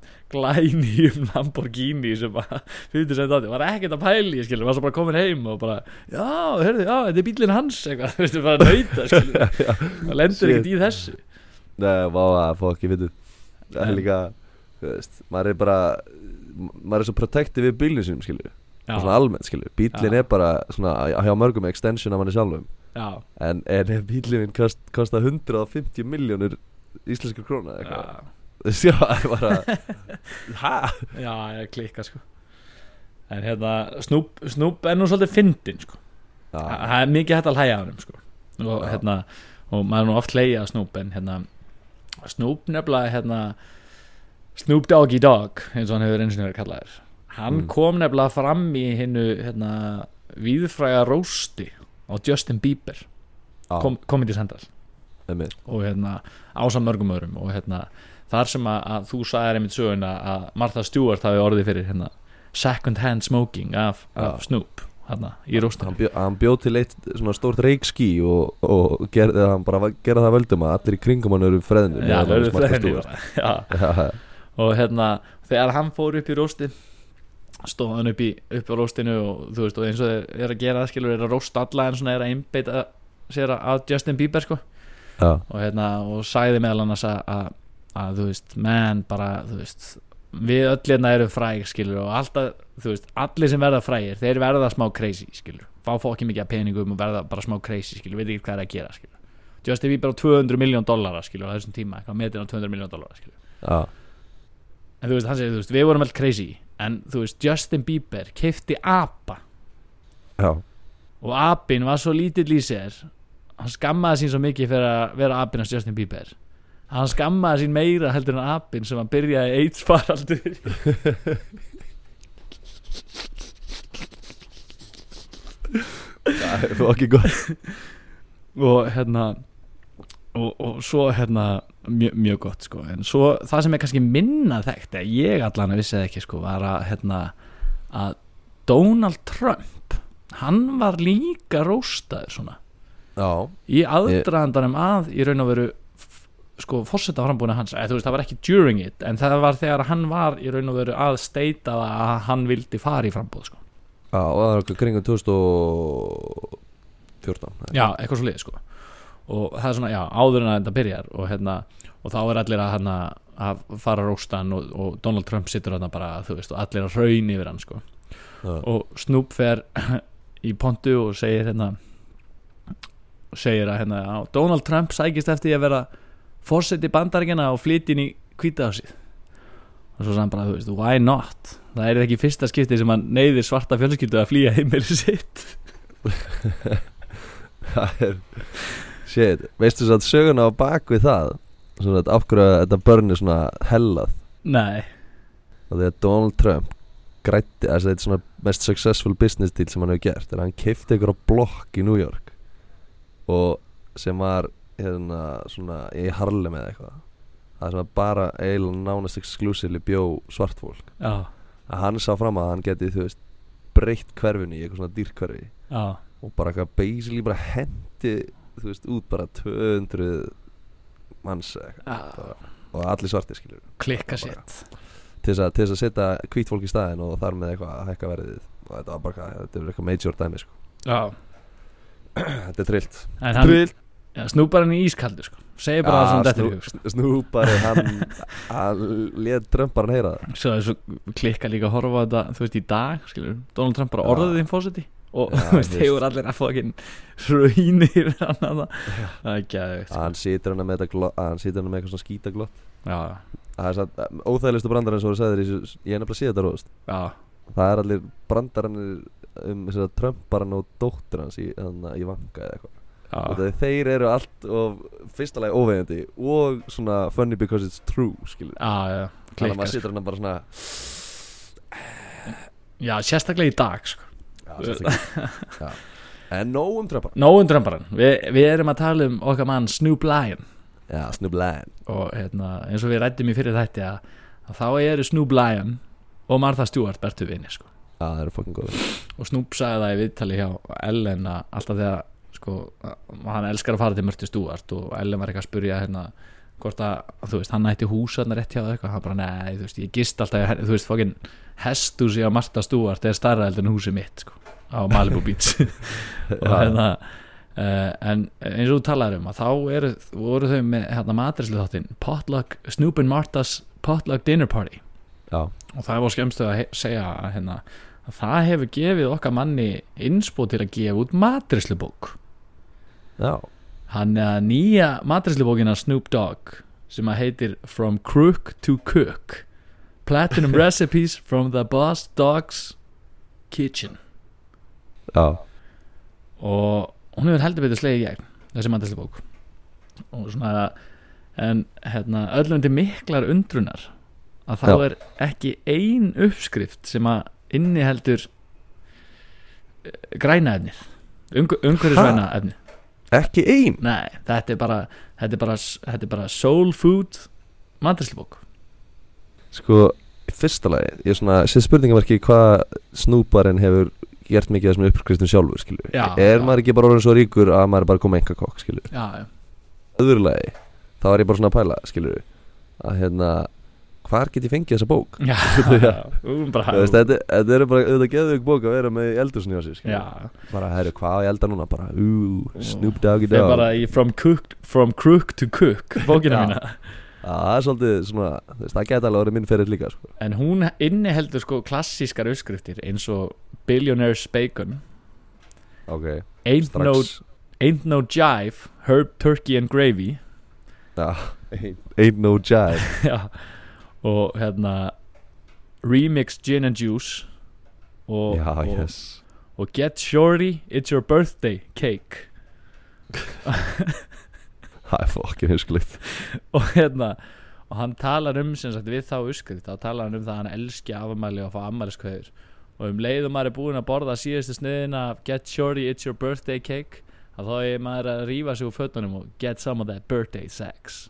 Speaker 1: glænýjum Lamborghini sem bara, fyrir sem þetta var ekkert að pæli skilur, var svo bara komin heim og bara já, hörðu, já, þetta er bílinn hans eitthvað, *laughs* þú veistu, bara nöyta
Speaker 2: *laughs*
Speaker 1: skilur það lendir ekkert í þessu
Speaker 2: Nei, vá að fá ekki vitið Það
Speaker 1: Nei.
Speaker 2: er líka, þú veist, maður er bara maður er svo protective við bílinn sínum, skilju og svona
Speaker 1: já,
Speaker 2: almennt, skilju, bílinn
Speaker 1: Já.
Speaker 2: er bara svona, hjá mörgum extension af manni sjálfum
Speaker 1: já,
Speaker 2: en, en ef bílinn kost, kostar 150 miljónir íslenskar króna eða
Speaker 1: já,
Speaker 2: eitthvað, þú veist, *laughs* já, það er bara hæ?
Speaker 1: já, ég klikka sko en hérna, Snoop, Snoop er nú svolítið fyndin sko Þa-
Speaker 2: Já,
Speaker 1: það er mikið hægt að hlæja að honum sko. og,
Speaker 2: Já.
Speaker 1: hérna, og maður er nú oft hlæja að Snoop en hérna, Snoop nefnilega hérna, Snoop Doggy Dog eins og hann hefur eins og verið kallaðir hann
Speaker 2: Mm.
Speaker 1: kom nefnilega fram í hinnu hérna, víðfræga rósti á Justin Bieber
Speaker 2: já,
Speaker 1: kom, komið til sendal
Speaker 2: einmitt.
Speaker 1: og hérna ásam mörgum öðrum og hérna þar sem að, að þú sagðir einmitt söguna að Martha Stewart hafi orðið fyrir hérna second hand smoking af, af
Speaker 2: Já.
Speaker 1: Snoop hérna í róstum
Speaker 2: hann, bjó, hann bjó til eitt svona stórt reikskí og, og gerði, hann bara var- gerði það völdum að allir í kringum hann eru freðnir
Speaker 1: Já, það eru fleiri bara. Já,
Speaker 2: já,
Speaker 1: og hérna þegar hann fór upp í róstin stóð hann upp, í, upp á róstinu og þú veist og eins og þeir eru að gera það skilur eru að rósta alla en svona eru að einbeita sér að- að Justin Bieber sko
Speaker 2: já,
Speaker 1: og hérna og sagði meðal annars að, að, að þú veist menn bara þú veist við öll hérna eru fræg skilur og alltaf þú veist allir sem verða frægir þeir verða smá crazy skilur fá fóki mikið af peningum og verða bara smá crazy skilur veit ekki hvað er að gera skilur Justin Bieber á 200 miljón dollara skilur á þessum tíma eitthvað metin á 200 miljón dollara skilur
Speaker 2: já,
Speaker 1: en þú veist, hann segir, þú veist, við vorum alltaf crazy en þú veist, Justin Bieber keipti apa
Speaker 2: já.
Speaker 1: og apinn var svo lítill í sér hann skammaði sín svo mikið fyrir að vera apinn hans Justin Bieber hann skammaði sín meira heldur en apinn sem hann byrjaði AIDS faraldur
Speaker 2: Það er ekki gott
Speaker 1: *laughs* og hérna og, og svo hérna mjög, mjög gott sko en svo það sem er kannski minna þekkt eða ég allan að vissi það ekki sko var að hérna að Donald Trump hann var líka róstaður svona
Speaker 2: Já,
Speaker 1: í aðdraðandanum að í raun og veru f- sko fórseta frambúinu hans eða, þú veist það var ekki during it en það var þegar hann var í raun og veru að steita það að hann vildi fara í frambúð sko.
Speaker 2: já, og það var okkur kringum 2014
Speaker 1: já eitthvað svo liði sko og það er svona já áður en að þetta byrjar og hérna og þá er allir að hann að fara róstan og, og Donald Trump situr hann bara þú veist og allir að raun yfir hann sko
Speaker 2: Já.
Speaker 1: og Snoop fer *clears throat* í pontu og segir hérna segir að hérna "Já, Donald Trump sækist eftir því að vera fórseti bandaríkjana og flytja inn í kvítahásið og svo sagði hann bara, þú veist, why not það er ekki fyrsta skipti sem hann neyðir svarta fjölskyldu að flýja heimili sitt *laughs*
Speaker 2: Það er Shit, veistu svo að söguna á bak við það Svona að af hverju að þetta börn er svona hellað
Speaker 1: nei,
Speaker 2: Og því að Donald Trump grætti, þess að þetta er svona mest successful business deal sem hann hefur gert Er að hann keipti ykkur á blokk í New York Og sem var hérna svona í Harlem eða eitthvað Það sem var bara eiginlega nánast exclusively bjó svart fólk
Speaker 1: já,
Speaker 2: að hann sá fram að hann geti þú veist breytt hverfinu í eitthvað svona dýrkverfi
Speaker 1: já
Speaker 2: og bara eitthvað basically bara hendi þú veist út bara 200 manns eða eitthvað.
Speaker 1: Já,
Speaker 2: og allir svartir skilur
Speaker 1: klikka sitt
Speaker 2: til þess að, til þess að setja hvít fólk í staðin og þar með eitthvað að hækka verðið og þetta var bara eitthvað, þetta er eitthvað major dæmi sko. *clears throat*
Speaker 1: já.
Speaker 2: þetta er trillt
Speaker 1: en hann, já, snúparinn er ískaldur sko. segir bara
Speaker 2: Já,
Speaker 1: það sem þetta er
Speaker 2: Snoop-
Speaker 1: hug sko.
Speaker 2: snúpari hann hann lét drömbaran heyra það
Speaker 1: svo, svo klikka líka að horfa á þetta þú veist í dag, skilur, Donald Trump bara
Speaker 2: Já.
Speaker 1: orðið þín fósiti og
Speaker 2: Já,
Speaker 1: *laughs* þú veist,
Speaker 2: þú
Speaker 1: hefur allir að fá ekki hraunir *laughs* yfir hann að það það er geðveikt, sko.
Speaker 2: hann situr hann með, þetta glott- að hann situr hann með eitthvað svona skítaglott
Speaker 1: já,
Speaker 2: það er satt óþægilegustu brandarinn sem voru sagðir í þessu- ég hef nefnilega séð þetta róðust
Speaker 1: já,
Speaker 2: Það er allir brandarannir um þess að Trump bara nú dóttur hans í, hana, í vanga eða eitthvað
Speaker 1: já,
Speaker 2: og þeir, þeir eru allt og fyrsta lagi óvegandi og svona funny because it's true skilur
Speaker 1: já, já
Speaker 2: þannig að
Speaker 1: klikkar,
Speaker 2: maður situr hann bara svona
Speaker 1: sko. já, sérstaklega í dag sko.
Speaker 2: já, sérstaklega.
Speaker 1: *laughs*
Speaker 2: já. en nóg um Trump
Speaker 1: nógum drömbarinn, Vi, við erum að tala um okkar mann Snoop Lion
Speaker 2: já, Snoop Lion
Speaker 1: og hérna, eins og við rættum í fyrir þætti að, að þá eru Snoop Lion og Martha Stewart bertu vinni sko.
Speaker 2: já, það eru fucking góð
Speaker 1: og Snoop sagði það í viðtali hjá Ellen að alltaf þegar sko, að- hann elskar að fara til Mörti Stúart og Ellen var eitthvað að spurja hérna hvort að, þú veist, hann ætti húsarna rétt hjá það eitthvað, hann bara, nei, þú veist, ég gist alltaf, í her- þú veist, fokkin hesthúsi á Marta Stúart er starra heldur en húsi mitt, sko, á Malibu Beach og hérna uh, en eins og þú talaður um að þá eru, voru þau með hérna matrislu þáttinn potluck, Snoop and Martha's potluck dinner party
Speaker 2: Já,
Speaker 1: og það var skemmstu að he- segja að, hérna, að það hefur gefið okkar manni innspó til að gefa út matrislubók
Speaker 2: já,
Speaker 1: hann er að nýja matrislubókina Snoop Dogg sem að heitir From Crook to Cook Platinum Recipes from the Boss Dog's Kitchen
Speaker 2: já
Speaker 1: og hún hefur heldur betur slegið í gegn þessi mandalibók og svona en hérna, öllum til miklar undrunar að þá
Speaker 2: Já.
Speaker 1: er ekki ein uppskrift sem að inniheldur eh, græna efnið umhverfisvæna efnið
Speaker 2: Ekki ein
Speaker 1: nei, þetta er bara, þetta er bara, þetta er bara soul food mandalibók
Speaker 2: Sko, í fyrsta lagi, ég er svona, sér spurningamarki hvað snúparinn hefur gert mikið af þessum uppskristum sjálfur, skilur
Speaker 1: Já,
Speaker 2: Er
Speaker 1: já.
Speaker 2: maður ekki bara orðin svo ríkur að maður er bara komið enga kokk, skilur
Speaker 1: já, já,
Speaker 2: Öðru lagi, þá er ég bara svona að pæla, skilur Að hérna, hvar get ég fengið þessa bók?
Speaker 1: já,
Speaker 2: *laughs* Já.
Speaker 1: já, um bara,
Speaker 2: Þú veist, Þetta þetta eru bara, þetta geðu ekki bók að vera með í eldursinu hjá sér, skilur
Speaker 1: já,
Speaker 2: Bara, herru, hvað á ég elda núna? Bara, ú, Snoop Doggy
Speaker 1: þeir
Speaker 2: Dogg
Speaker 1: bara í from cook, from crook to cook bókina
Speaker 2: Já.
Speaker 1: mína
Speaker 2: Já, það er svolítið svona, þú veist, það geta alveg orðið minn fyrir líka, sko
Speaker 1: En hún inniheldur sko klassískar uppskriftir eins og Billionaire's Bacon
Speaker 2: Ok,
Speaker 1: Ain't, no,
Speaker 2: strax
Speaker 1: ain't no Jive Herb Turkey and Gravy *laughs*
Speaker 2: Ain't, ain't no jive
Speaker 1: Já. og hérna Remix Gin and Juice og,
Speaker 2: Já,
Speaker 1: og,
Speaker 2: yes
Speaker 1: og Get Shorty It's Your Birthday Cake
Speaker 2: Það er fokkin huskulegt
Speaker 1: og hérna og hann talar um sem sagt við þá uppskrift þá talar hann um það að hann elski afmæli og fá afmæliskveður og um leið og maður er búinn að borða síðustu sniðina af get shorty it's your birthday cake að þá er maður að rífa sig úr fötunum og get some of that birthday sex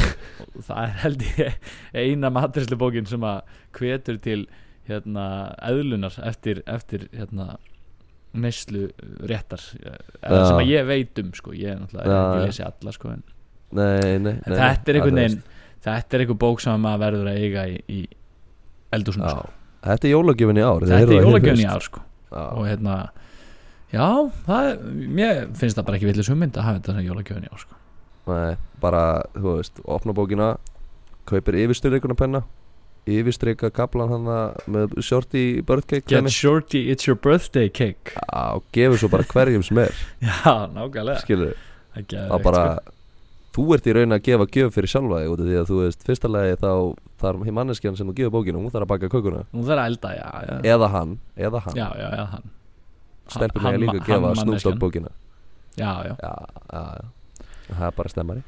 Speaker 1: og það er held ég eina matrislu bókin sem að hvetur til hérna eðlunar eftir, eftir hérna neyslu réttar eða
Speaker 2: Já.
Speaker 1: sem að ég veit um sko ég er náttúrulega
Speaker 2: Já, já.
Speaker 1: ekki lesi alla sko en
Speaker 2: Nei, nei, nei
Speaker 1: En þetta er einhvern
Speaker 2: það
Speaker 1: veginn Þetta er einhver bók sem maður verður að eiga í, í eldúsinu
Speaker 2: Já,
Speaker 1: sko.
Speaker 2: þetta er jólagjöfin í ár þið
Speaker 1: Þetta
Speaker 2: heyrðu
Speaker 1: er
Speaker 2: það hér
Speaker 1: jólagjöfn í
Speaker 2: fyrst.
Speaker 1: ár sko. og
Speaker 2: Já,
Speaker 1: hérna Já, það, er- mér finnst það bara ekki villis hugmynd að hafa þetta sem jólagjöfn í ár sko.
Speaker 2: nei, bara, þú veist, opna bókina Kaupir yfirstyrreikuna penna Yfirstreika kaplan hana með shorty birthcake
Speaker 1: Get
Speaker 2: dæmi.
Speaker 1: shorty, it's your birthday cake
Speaker 2: Já, og gefur svo bara hverjum sem er
Speaker 1: *laughs* Já, nákvæmlega
Speaker 2: Skilur
Speaker 1: Það er geðveikt,
Speaker 2: að bara
Speaker 1: sko.
Speaker 2: þú ert í raun að gefa gjöf fyrir sjálfa þig út af því að þú veist, fyrsta lagi þá þarf hinn manneskjan sem þú gefur bókinu, hún þarf að baka kökuna
Speaker 1: Nú þarf að elda, já Já,
Speaker 2: eða hann, eða hann,
Speaker 1: já, já, já hann
Speaker 2: stelpun
Speaker 1: hann-
Speaker 2: er líka að
Speaker 1: hann
Speaker 2: gefa Snoop
Speaker 1: manneskjan.
Speaker 2: Dogg bókina
Speaker 1: Já, já
Speaker 2: já, já, já, það er bara stemmari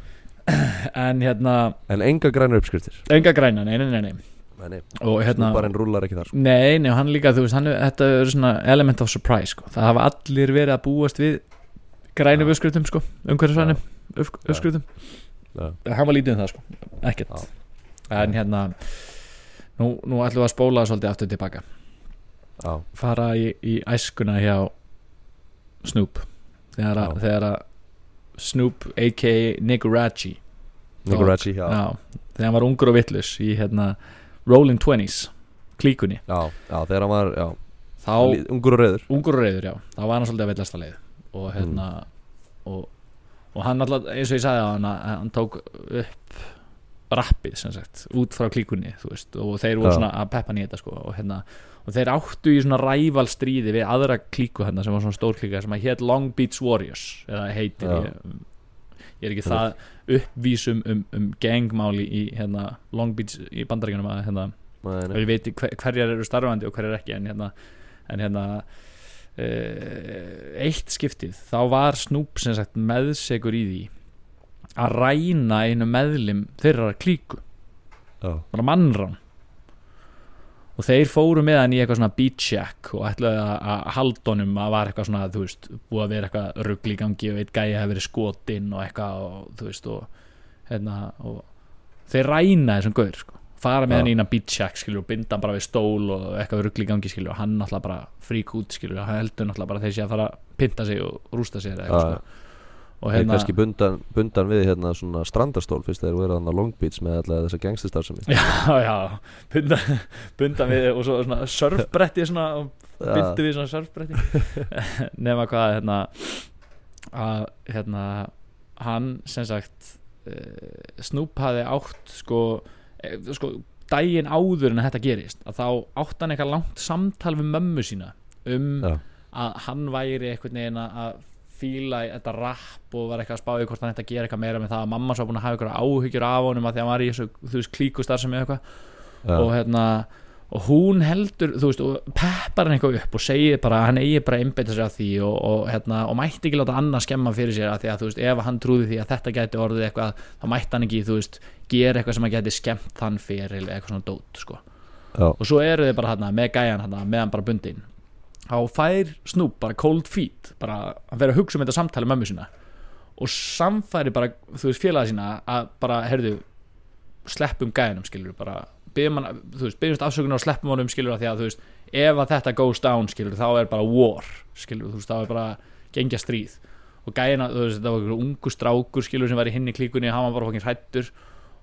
Speaker 1: En hérna,
Speaker 2: en enga grænar uppskriftir
Speaker 1: enga græna, nei, nei, nei, nei
Speaker 2: Nei, nei,
Speaker 1: Og hérna
Speaker 2: Snúparinn rúlar ekki þar sko.
Speaker 1: Nei, nei, og hann líka, þú veist, hann, þetta er svona element of surprise, sko. Það hafa allir verið að búast við grænum
Speaker 2: Já.
Speaker 1: uppskrutum, sko, umhverfisvænum uppskrutum.
Speaker 2: Já.
Speaker 1: En Hann var lítið um það, sko, ekkert. En hérna, nú, nú ætlum við að spóla svolítið aftur tilbaka.
Speaker 2: já,
Speaker 1: Fara í, í æskuna hjá Snoop. Þegar að,
Speaker 2: Já.
Speaker 1: þegar að Snoop a.k.a. Nicaraggi,
Speaker 2: Nico Raggi, já,
Speaker 1: já.
Speaker 2: já,
Speaker 1: þegar hann var ungur og vittlus í, hérna, Rolling Twenties, klíkunni.
Speaker 2: já, þegar hann var, já,
Speaker 1: Þá...
Speaker 2: lí- ungur og rauður
Speaker 1: ungur og reyður, já, þá var hann svolítið að villast að leið og hérna og, og hann alltaf, eins og ég sagði á hann að hann tók upp rappið sem sagt, út frá klíkunni þú veist, og þeir voru
Speaker 2: Já.
Speaker 1: svona að peppa hann í þetta sko, og hérna, og þeir áttu í svona ræval stríði við aðra klíku hérna sem var svona stór klíka sem að hétt Long Beach Warriors eða heitir
Speaker 2: Já.
Speaker 1: ég, ég er ekki það uppvísum um, um gangmáli í hérna Long Beach í bandaríkanum að hérna
Speaker 2: Nei,
Speaker 1: og
Speaker 2: nei.
Speaker 1: ég veit hver, hverjar eru starfandi og hverjar ekki en hérna, en hérna uh, eitt skiptið þá var Snoop sem sagt meðsegur í því að ræna einu meðlim þeirra klíku
Speaker 2: já,
Speaker 1: bara mannrán og þeir fóru með hann í eitthvað svona beat shack og ætlaði að, að haldunum að var eitthvað svona, þú veist, búið að vera eitthvað rugl í gangi og eitt gæi hafi verið skotinn og eitthvað og þú veist og, hérna, og þeir ræna þessum gaur sko, fara með
Speaker 2: Já.
Speaker 1: hann í eina beat shack skilur og binda hann bara við stól og eitthvað rugl í gangi skilur og hann náttúrulega bara frík út skilur og hann heldur náttúrulega bara að þeir sé að fara að pinta sig og rústa sér eða
Speaker 2: já,
Speaker 1: eitthvað svona
Speaker 2: já,
Speaker 1: og
Speaker 2: er
Speaker 1: hérna
Speaker 2: kannski bundan, bundan við hérna svona strandastól fyrst þegar verið hann á Long Beach með alla þessa gangstistarfsemi
Speaker 1: já, já, bunda, bunda við og svo svona surfbretti svona, og byldu við svona surfbretti *laughs* nema hvað hérna að hérna hann sem sagt uh, Snoop hafði átt sko, eh, sko daginn áður en að þetta gerist að þá átt hann eitthvað langt samtal við mömmu sína um
Speaker 2: Já.
Speaker 1: að hann væri einhvern veginn að- að fíla í þetta rapp og var eitthvað að spáði hvort hann ætti að gera eitthvað meira með það að mamma svo búin að hafa eitthvað áhyggjur af honum að því að hann var í þessu, þú veist, klíkustar sem eitthvað og hérna og hún heldur, þú veist, og peppar hann eitthvað upp og segir bara, að hann eigi bara að einbeita sér að því og, og, hérna, og mætti ekki láta annað skemma fyrir sér að því að, þú veist, ef hann trúði því að þetta gæti orðið eitthvað, þá mætti hann ekki, þú veist gera eitthvað sem að gæti skemmt þann fyrir eitthvað svona dót, sko
Speaker 2: já,
Speaker 1: og svo eru þið bara hérna með gæjan hérna með hann bara bundin þá fær Snoop bara cold feet bara að vera að hugsa um þetta samtali mömmu sína og samfæri bara þú veist félaga sína að bara herðu sleppum gæjanum skilur bara byggjum hann þú veist byggjumst afsökunar og sleppum honum skilur af því að þú veist ef að þetta goes down skilur þá er bara war skilur þú veist þá er bara gengja stríð og gæjina þú veist þetta var einhver ungu strákur skilur sem var í hinni klíkunni hann var bara fokkin hrættur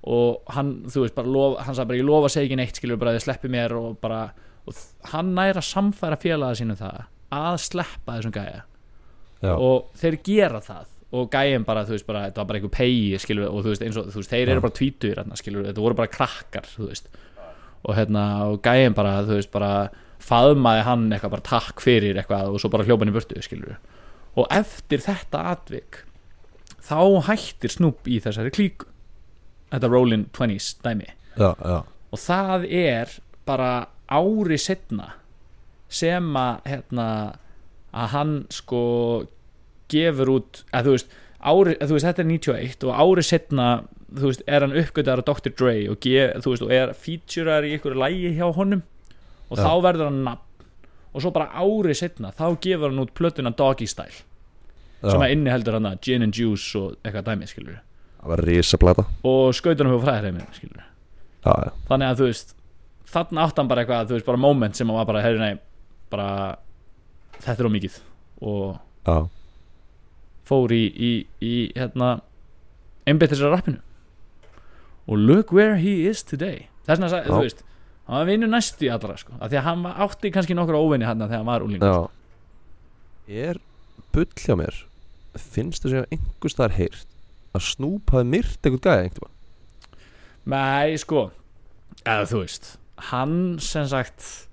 Speaker 1: og hann, þú veist, bara lof, hann sagði bara ég lofa að segja ekki neitt, skilur bara þið sleppi mér og bara, og þ- hann næra samfæra félaga sínum það að sleppa þessum gæja
Speaker 2: já,
Speaker 1: og þeir gera það og gæjum bara, þú veist, bara, þetta var bara einhver pegi skilur, og þú veist, eins og, þú veist, þeir
Speaker 2: Já.
Speaker 1: eru bara tvítur, skilur, þetta voru bara krakkar, þú veist og hérna, og gæjum bara, þú veist, bara faðmaði hann eitthvað bara takk fyrir eitthvað og svo bara hljópan í burtu, skilur og eftir þetta atvik þá hættir Snoop í þessari klíku þetta Rollin 20s dæmi
Speaker 2: já, já,
Speaker 1: og það er bara ári setna sem að hérna, að hann sko gefur út að þú veist, ári, að þú veist þetta er 91 og ári setna þú veist, er hann uppgötar að Dr. Dre og, gef, þú veist, og er featurar í ykkur lægi hjá honum og
Speaker 2: Já.
Speaker 1: þá verður hann nafn og svo bara ári setna þá gefur hann út plötuna Doggy Style
Speaker 2: já.
Speaker 1: sem að inniheldur hann að gin and juice og eitthvað dæmi skilur
Speaker 2: það var risaplata
Speaker 1: og skautunum hjá fræðarheimin skilur
Speaker 2: já, já,
Speaker 1: þannig að þú veist þarna átt hann bara eitthvað, þú veist, bara moment sem hann var bara, herri nei, bara þetta er ómikið og
Speaker 2: já,
Speaker 1: fór í, í, í hérna einbyttir sér að rappinu og look where he is today þess vegna, sagði-
Speaker 2: Já.
Speaker 1: þú veist, hann var vinnu næstu í allra sko, af því að hann var- átti kannski nokkra óvinni hann þegar hann var úlínu
Speaker 2: já er bull hjá mér finnst þess að einhvers þar heyrt að Snoop hafi myrt einhvern gæja einhvern veginn
Speaker 1: nei, sko, eða þú veist hann sem sagt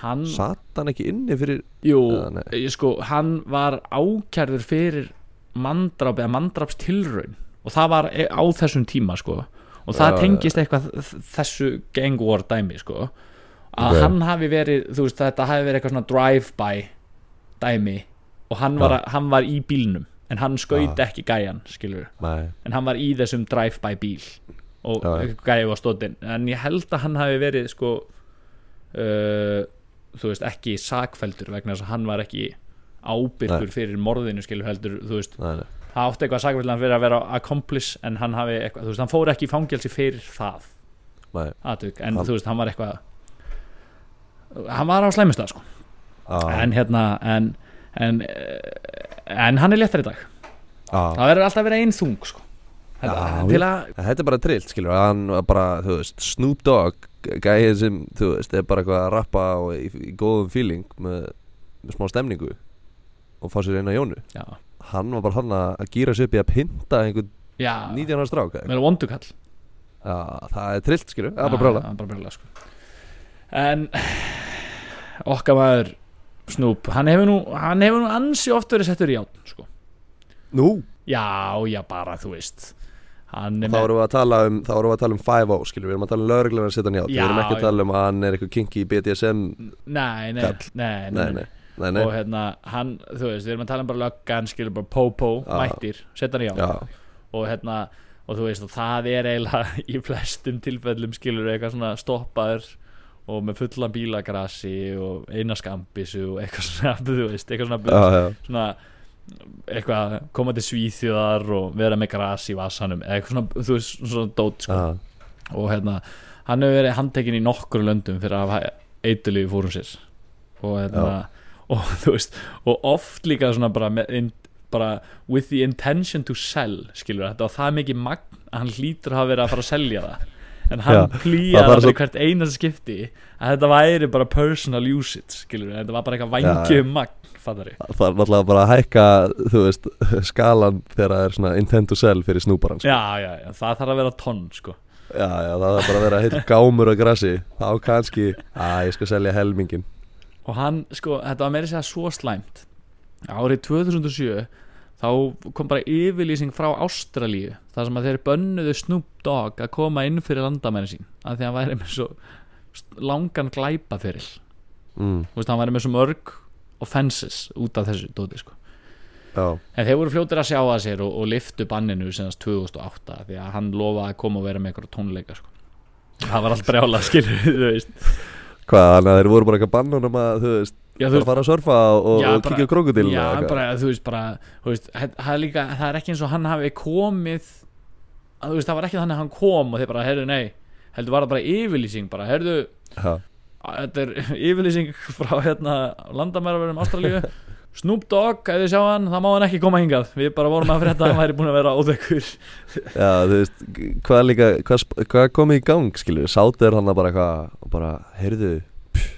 Speaker 1: hann
Speaker 2: satt hann ekki inni fyrir
Speaker 1: Jú,
Speaker 2: Eða nei?
Speaker 1: ég sko, hann var ákærður fyrir mandrap eða mandrapstilraun og það var e- á þessum tíma sko og það
Speaker 2: Já, já,
Speaker 1: tengist eitthvað þ- þessu gang war dæmi sko að
Speaker 2: Ok.
Speaker 1: hann hafi verið, þú veist, þetta hafi verið eitthvað svona drive-by dæmi og hann var,
Speaker 2: Já.
Speaker 1: að, hann var í bílnum en hann skaut
Speaker 2: Já.
Speaker 1: ekki gæjan, skilur
Speaker 2: nei,
Speaker 1: en hann var í þessum drive-by bíl og
Speaker 2: Já, já.
Speaker 1: gæði var stóttinn en ég held að hann hafi verið sko uh, þú veist ekki sakfældur vegna þess að hann var ekki ábyrgur fyrir morðinu skilur heldur þú veist,
Speaker 2: nei, nei.
Speaker 1: það átti eitthvað sakfældan fyrir að vera accomplice en hann hafi eitthvað, þú veist, hann fór ekki í fangelsi fyrir það
Speaker 2: nei.
Speaker 1: atvik, en
Speaker 2: Hann-
Speaker 1: þú veist, hann var eitthvað hann var á slæmistað sko
Speaker 2: Ah,
Speaker 1: en hérna, en en, eh, en hann er léttar í dag
Speaker 2: ah.
Speaker 1: það verður alltaf að vera einn þung sko Þetta,
Speaker 2: Já,
Speaker 1: til
Speaker 2: já.
Speaker 1: að
Speaker 2: En Þetta er bara trillt, skilur, að hann var bara, þú veist, Snoop Dogg, gæðið sem, þú veist, er bara eitthvað að rappa og í, í góðum feeling með, með smá stemningu og fá sér eina jónu.
Speaker 1: já.
Speaker 2: Hann var bara hann að að gýra sér upp í að pinta einhvern
Speaker 1: Já,
Speaker 2: 19 ára strák. eða eitthvað.
Speaker 1: með vondukall
Speaker 2: Já, það er trillt, skilur, það er bara brála.
Speaker 1: Já, bara brjála sko. En okkar maður Snoop, hann hefur nú, hann hefur nú ansi oft verið settur í játn sko.
Speaker 2: Nú,
Speaker 1: Já, já, bara þú veist Hann er
Speaker 2: þá erum við að tala um, þá erum við að tala um 5-0, skilur, við erum að tala um lögregluna að setja hann hjá. Við
Speaker 1: Já,
Speaker 2: erum ekki að
Speaker 1: já.
Speaker 2: tala um að hann er eitthvað kinky BDSM,
Speaker 1: Nei, nei,
Speaker 2: Kall.
Speaker 1: nei,
Speaker 2: nei, nei, nei, nei.
Speaker 1: Og hérna, hann, þú veist, við erum að tala um bara löggan skilur bara Popo,
Speaker 2: Já.
Speaker 1: mættir setja hann í játn
Speaker 2: Já,
Speaker 1: og hérna og þú veist og það er eiginlega *laughs* í flestum tilfellum skilur eitthvað svona stoppaður og með fullan bílagrasi og eina skambisu og eitthvað *laughs* svona þú veist, eitthvað svona,
Speaker 2: já, já,
Speaker 1: svona eitthvað koma til svíþjóðar og vera með gras í vasanum eða eitthvað svona, þú veist, svona dót sko.
Speaker 2: já,
Speaker 1: og hérna, hann hefur verið handtekinn í nokkru löndum fyrir að hafa eitulífi *laughs* fórum sér og hérna og þú veist, og oft líka svona bara með, inn, bara with the intention to sell skilur þetta og það er mikið magn að hann hlýtur að hafa verið að fara að selja það en hann
Speaker 2: Já, það
Speaker 1: plýjaði
Speaker 2: bara
Speaker 1: það
Speaker 2: svo-
Speaker 1: fyrir hvert einast skipti að þetta væri bara personal usage skilur þetta var bara eitthvað
Speaker 2: Já, já.
Speaker 1: vangið um magn fattari
Speaker 2: það er náttúrulega bara að hækka þú veist, *laughs* skalan þegar það er svona intent to sell fyrir snúparan sko.
Speaker 1: já, já, já, það þarf að vera tonn sko
Speaker 2: já, já, það er bara að vera heill gámur á grassi þá kannski,
Speaker 1: *laughs*
Speaker 2: að ég skal selja helmingin
Speaker 1: og hann sko, þetta var meira að segja svo slæmt árið 2007 þá kom bara yfirlýsing frá Ástralíu þar sem að þeir bönnuðu Snoop Dogg að koma inn fyrir landamæri sín af því að hann væri með svo st- langan glæpaferil þú
Speaker 2: mm,
Speaker 1: veist, hann væri með svo mörg offenses út af þessu dóti sko
Speaker 2: já,
Speaker 1: en þeir voru fljótir að sjá að sér og, og liftu banninu senast 2008 af því að hann lofaði að koma og vera með eitthvað tónleika sko það var allt brjála skilur þú veist
Speaker 2: hvað, þannig að þeir voru bara eitthvað bannunum að þú veist,
Speaker 1: Já, þú
Speaker 2: bara fara að surfa og,
Speaker 1: Já,
Speaker 2: og
Speaker 1: bara-
Speaker 2: kíkja á krokodilina
Speaker 1: Já,
Speaker 2: eða eitthvað.
Speaker 1: bara, þú veist, bara þú veist, hæ- það, er líka, það er ekki eins og hann hafi komið að, þú veist, það var ekki þannig að hann kom og þeir bara, herðu, nei, heldur var það bara yfirlýsing bara, herðu,
Speaker 2: Já.
Speaker 1: þetta er *laughs* yfirlýsing frá hérna landamæraverðum *laughs* Ástralíu Snoop Dogg, ef þið sjá hann, það má hann ekki koma hingað við bara vorum að frétta að hann væri búin að vera óþekkur
Speaker 2: Já, þú veist, hvað líka, hvað, sp- hvað komið í gang, skilur við, sátu er hann að bara eitthvað, og bara, heyrðu, pff,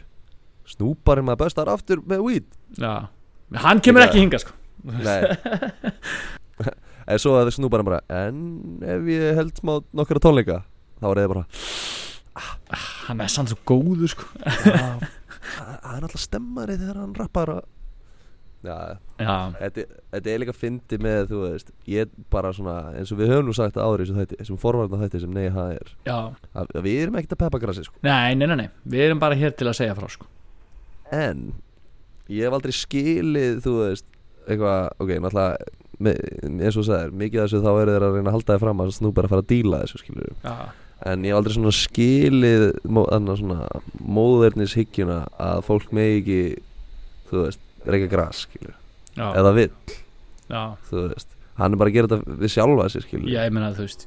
Speaker 2: snúparinn maður bestar aftur með weed.
Speaker 1: Já, hann kemur ekki hingað sko
Speaker 2: Nei. en svo að snúparinn bara, en ef ég held smá nokkra tónleika, þá er það bara,
Speaker 1: Ah, Hann er sann svo góður sko
Speaker 2: "Já, það það er alltaf stemmari þegar hann rappar og... Já,
Speaker 1: Já,
Speaker 2: þetta, þetta er líka fyndi með, þú veist, ég bara svona, eins og við höfum nú sagt árið sem þætti, sem forvarnar þætti sem nei, það er,
Speaker 1: já,
Speaker 2: að, að við erum ekkert að peppa grassi, sko.
Speaker 1: nei, nei, nei, nei við erum bara hér til að segja frá sko
Speaker 2: en ég hef aldrei skilið þú veist, eitthvað, ok, náttúrulega me- eins og þú sagðir, mikið af þessu þá eru þeir að reyna að halda þið fram að snú bara að fara að díla þessu skilur
Speaker 1: Já,
Speaker 2: en ég hef aldrei svona skilið mó- þarna svona móðernishyggjuna að fólk megi ekki þú veist, reyka gras skilur
Speaker 1: já,
Speaker 2: eða vill,
Speaker 1: já
Speaker 2: þú veist hann er bara að gera þetta við sjálfa sér skilur
Speaker 1: Já, ég meina þú veist,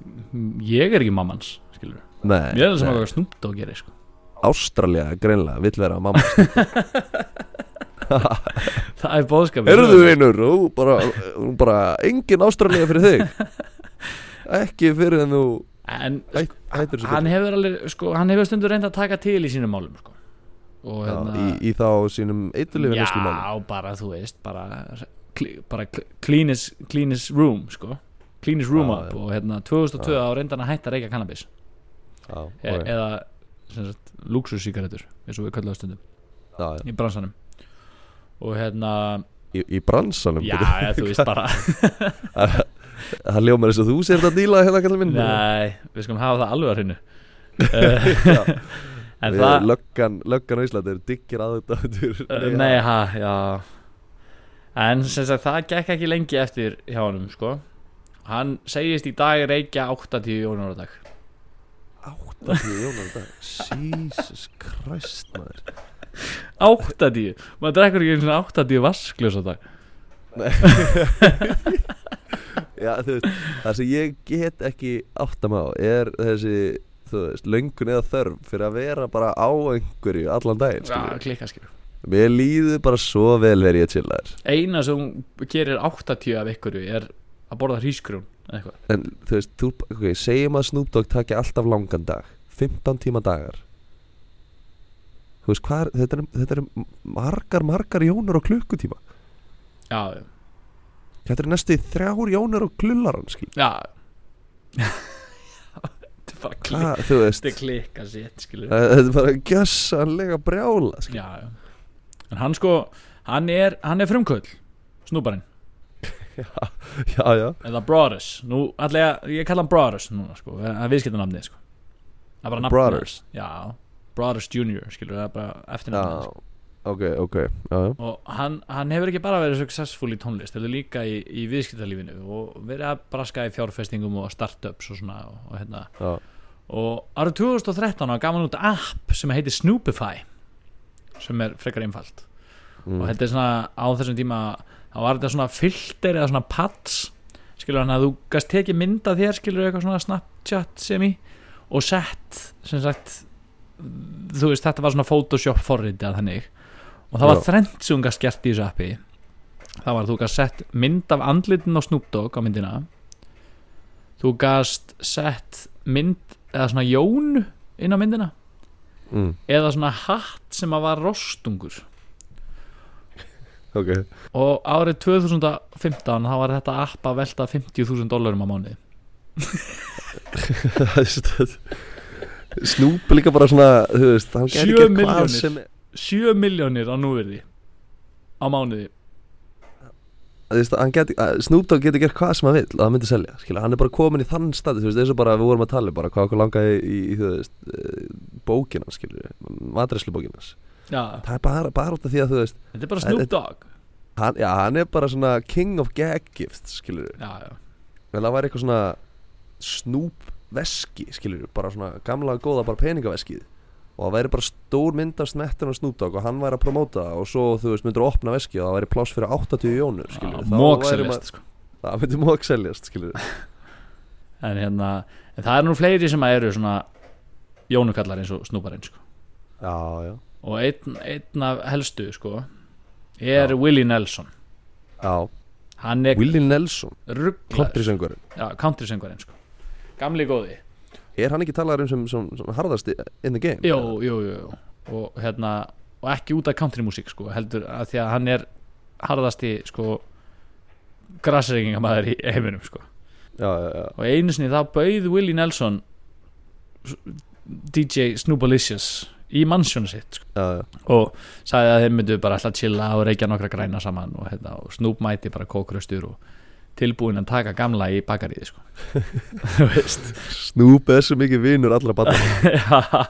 Speaker 1: ég er ekki mammans skilur,
Speaker 2: nei,
Speaker 1: ég er það sem
Speaker 2: nei.
Speaker 1: að Snoop Dogg gerir sko. *laughs*
Speaker 2: Ástralja greinlega vill vera mamma
Speaker 1: það er bóðskap
Speaker 2: Erðu vinur, þú
Speaker 1: *laughs*
Speaker 2: bara, hún bara engin ástralíða fyrir þig Ekki fyrir en þú
Speaker 1: en
Speaker 2: hætt, hættur þessu
Speaker 1: hann hefur alveg sko, hann hefur stundur reynd að taka til í sínum málum sko. og
Speaker 2: Já,
Speaker 1: hérna
Speaker 2: í, í þá sínum eitulífinu
Speaker 1: já,
Speaker 2: skilum málum
Speaker 1: bara þú veist bara, klí, bara kl- clean, his, clean his room sko. clean his room
Speaker 2: Já,
Speaker 1: up
Speaker 2: já.
Speaker 1: og hérna 2002 á reyndan að hætta að reyka cannabis
Speaker 2: Já,
Speaker 1: e
Speaker 2: ok.
Speaker 1: eða sem sagt, luxussíkaretur eins og við kallum það stundum
Speaker 2: já, já.
Speaker 1: í bransanum og hérna
Speaker 2: Í, í bransanum
Speaker 1: já,
Speaker 2: byrju.
Speaker 1: eða, þú veist
Speaker 2: *laughs*
Speaker 1: bara
Speaker 2: Það ljómar eins og þú sér þetta að díla hérna kallar minn
Speaker 1: Nei, við skulum hafa það alveg að hreinu Eh, *laughs* En
Speaker 2: Við-
Speaker 1: það
Speaker 2: Löggan, löggan á Íslandi er diggir aðdöndur
Speaker 1: eh, Nei, ha, já En sem sagt, það gekk ekki lengi eftir hjá honum, sko Hann segist í dag reykja 80 jónar á dag
Speaker 2: Áttatíu jónar þetta Jesus Christ maður
Speaker 1: 80? Maður drekkur ekki einu svona 80 vaskljós á dag
Speaker 2: Já, þú veist, það sem ég get ekki átta mig á er þessi, þú veist, löngun eða þörf fyrir að vera bara á einhverju allan daginn,
Speaker 1: Já,
Speaker 2: skilur.
Speaker 1: klikka skilur
Speaker 2: Mér líður bara svo vel verið ég til þær.
Speaker 1: Eina sem hún gerir 80 af ykkur er að borða hrísgrjón eða eitthvað
Speaker 2: En þú veist, þú, ok, segjum að Snoop Dogg taki alltaf langan dag, 15 tíma dagar. Þú veist, hvað er, þetta eru þetta er margar, margar jónur á klukkutíma.
Speaker 1: Já,
Speaker 2: Þetta eru næstu í þrjár jónur á klullaran, skilur.
Speaker 1: já
Speaker 2: *laughs*
Speaker 1: Þetta er bara klikka
Speaker 2: Hvað, þú veist,
Speaker 1: Þetta er klikka sétt, skilur
Speaker 2: þetta er bara gjössanlega brjála, skilur.
Speaker 1: já, já. en hann sko hann er, hann er frumköll snúbarinn,
Speaker 2: Já, já.
Speaker 1: eða Brothers nú allega, ég kalla hann Brothers núna sko, það er viðskiptanamnið sko það er bara nafnið
Speaker 2: Brothers?
Speaker 1: hans. já, Brothers Junior, skilur, það er bara eftirnafnið
Speaker 2: Já,
Speaker 1: hans.
Speaker 2: ok, ok já, já.
Speaker 1: og hann, hann hefur ekki bara verið successful í tónlist, heldur líka í, í viðskiptalífinu og verið að braska í fjárfestingum og startups og svona og, og hérna
Speaker 2: Já.
Speaker 1: og árið 2013 var gaman út app sem heitir Snoopify sem er frekar einfalt
Speaker 2: Mm.
Speaker 1: og heldur svona á þessum tíma þá var þetta svona filter eða svona pads skilur hann að þú gast tekið mynd af þér skilur eitthvað svona Snapchat sem í og sett sem sagt þú veist þetta var svona Photoshop forriti að þannig og það var
Speaker 2: Já.
Speaker 1: þrennt sem hún gast gert í þessu appi það var að þú gast sett mynd af andlitin á Snoop Dogg á myndina þú gast sett mynd eða svona jónu inn á myndina
Speaker 2: mm,
Speaker 1: eða svona hatt sem að var rostungur
Speaker 2: ok *laughs*
Speaker 1: og árið 2015 þá var þetta app að velta 50.000 dólarum á mánuði
Speaker 2: Það er stöð- Snoop líka bara svona þú veist, hann gæti
Speaker 1: Sjö
Speaker 2: gert hvað
Speaker 1: milljónir.
Speaker 2: sem er-
Speaker 1: 7 miljónir á núverði á mánuði
Speaker 2: þú veist, hann gæti- að Snoop Dogg getur gert hvað sem hann vil og það myndi selja, skilja, hann er bara komin í þann stað þú veist, eins og bara við vorum að tala um bara hvað okkur langaði í, í þú veist, eh, bókina skilja, matreslu bókinas
Speaker 1: já,
Speaker 2: það er bara, bara út af því að þú veist
Speaker 1: þetta er bara
Speaker 2: Það er-
Speaker 1: Snoop Dogg
Speaker 2: hann, já, hann er bara svona king of gag gifts skilja,
Speaker 1: já, já,
Speaker 2: vel það væri eitthvað svona Snoop veski skilja, bara svona gamla góða bara peningaveskið og það væri bara stór mynd af smettan og Snoop Dogg og hann væri að promóta það og svo þú veist, myndur að opna veskið og það væri pláss fyrir 80 jónur skilja,
Speaker 1: já mókselist sko.
Speaker 2: það myndi mókseljast skilja
Speaker 1: en hérna, en það er nú fleiri sem að eru svona jónukallar eins og snúparinn sko.
Speaker 2: Já, já
Speaker 1: og einn, einn af helstu sko, er
Speaker 2: Já.
Speaker 1: Willie Nelson
Speaker 2: Já,
Speaker 1: hann er
Speaker 2: Willie Nelson,
Speaker 1: rugglaður
Speaker 2: countrysöngurinn
Speaker 1: já, country söngvarinn sko. gamli góði
Speaker 2: Er hann ekki talaður um sem, sem, sem harðast in the game?
Speaker 1: jú, jú, jú, jú. Og, hérna, og ekki út af country músík sko, heldur að því að hann er harðasti sko, grassreikingamæður í heiminum sko.
Speaker 2: Já, já, já
Speaker 1: og einu sinni þá bauð Willie Nelson s- DJ Snoobalicious í mansjónu sitt sko.
Speaker 2: Já, já,
Speaker 1: og sagði að þeir myndu bara alltaf chilla og reykja nokkra græna saman og, hérna, og Snoop mæti bara kókröstur og tilbúin að taka gamla í bakaríði sko. þú veist
Speaker 2: Snoop er svo mikið vinur allra
Speaker 1: *laughs*
Speaker 2: batna
Speaker 1: já,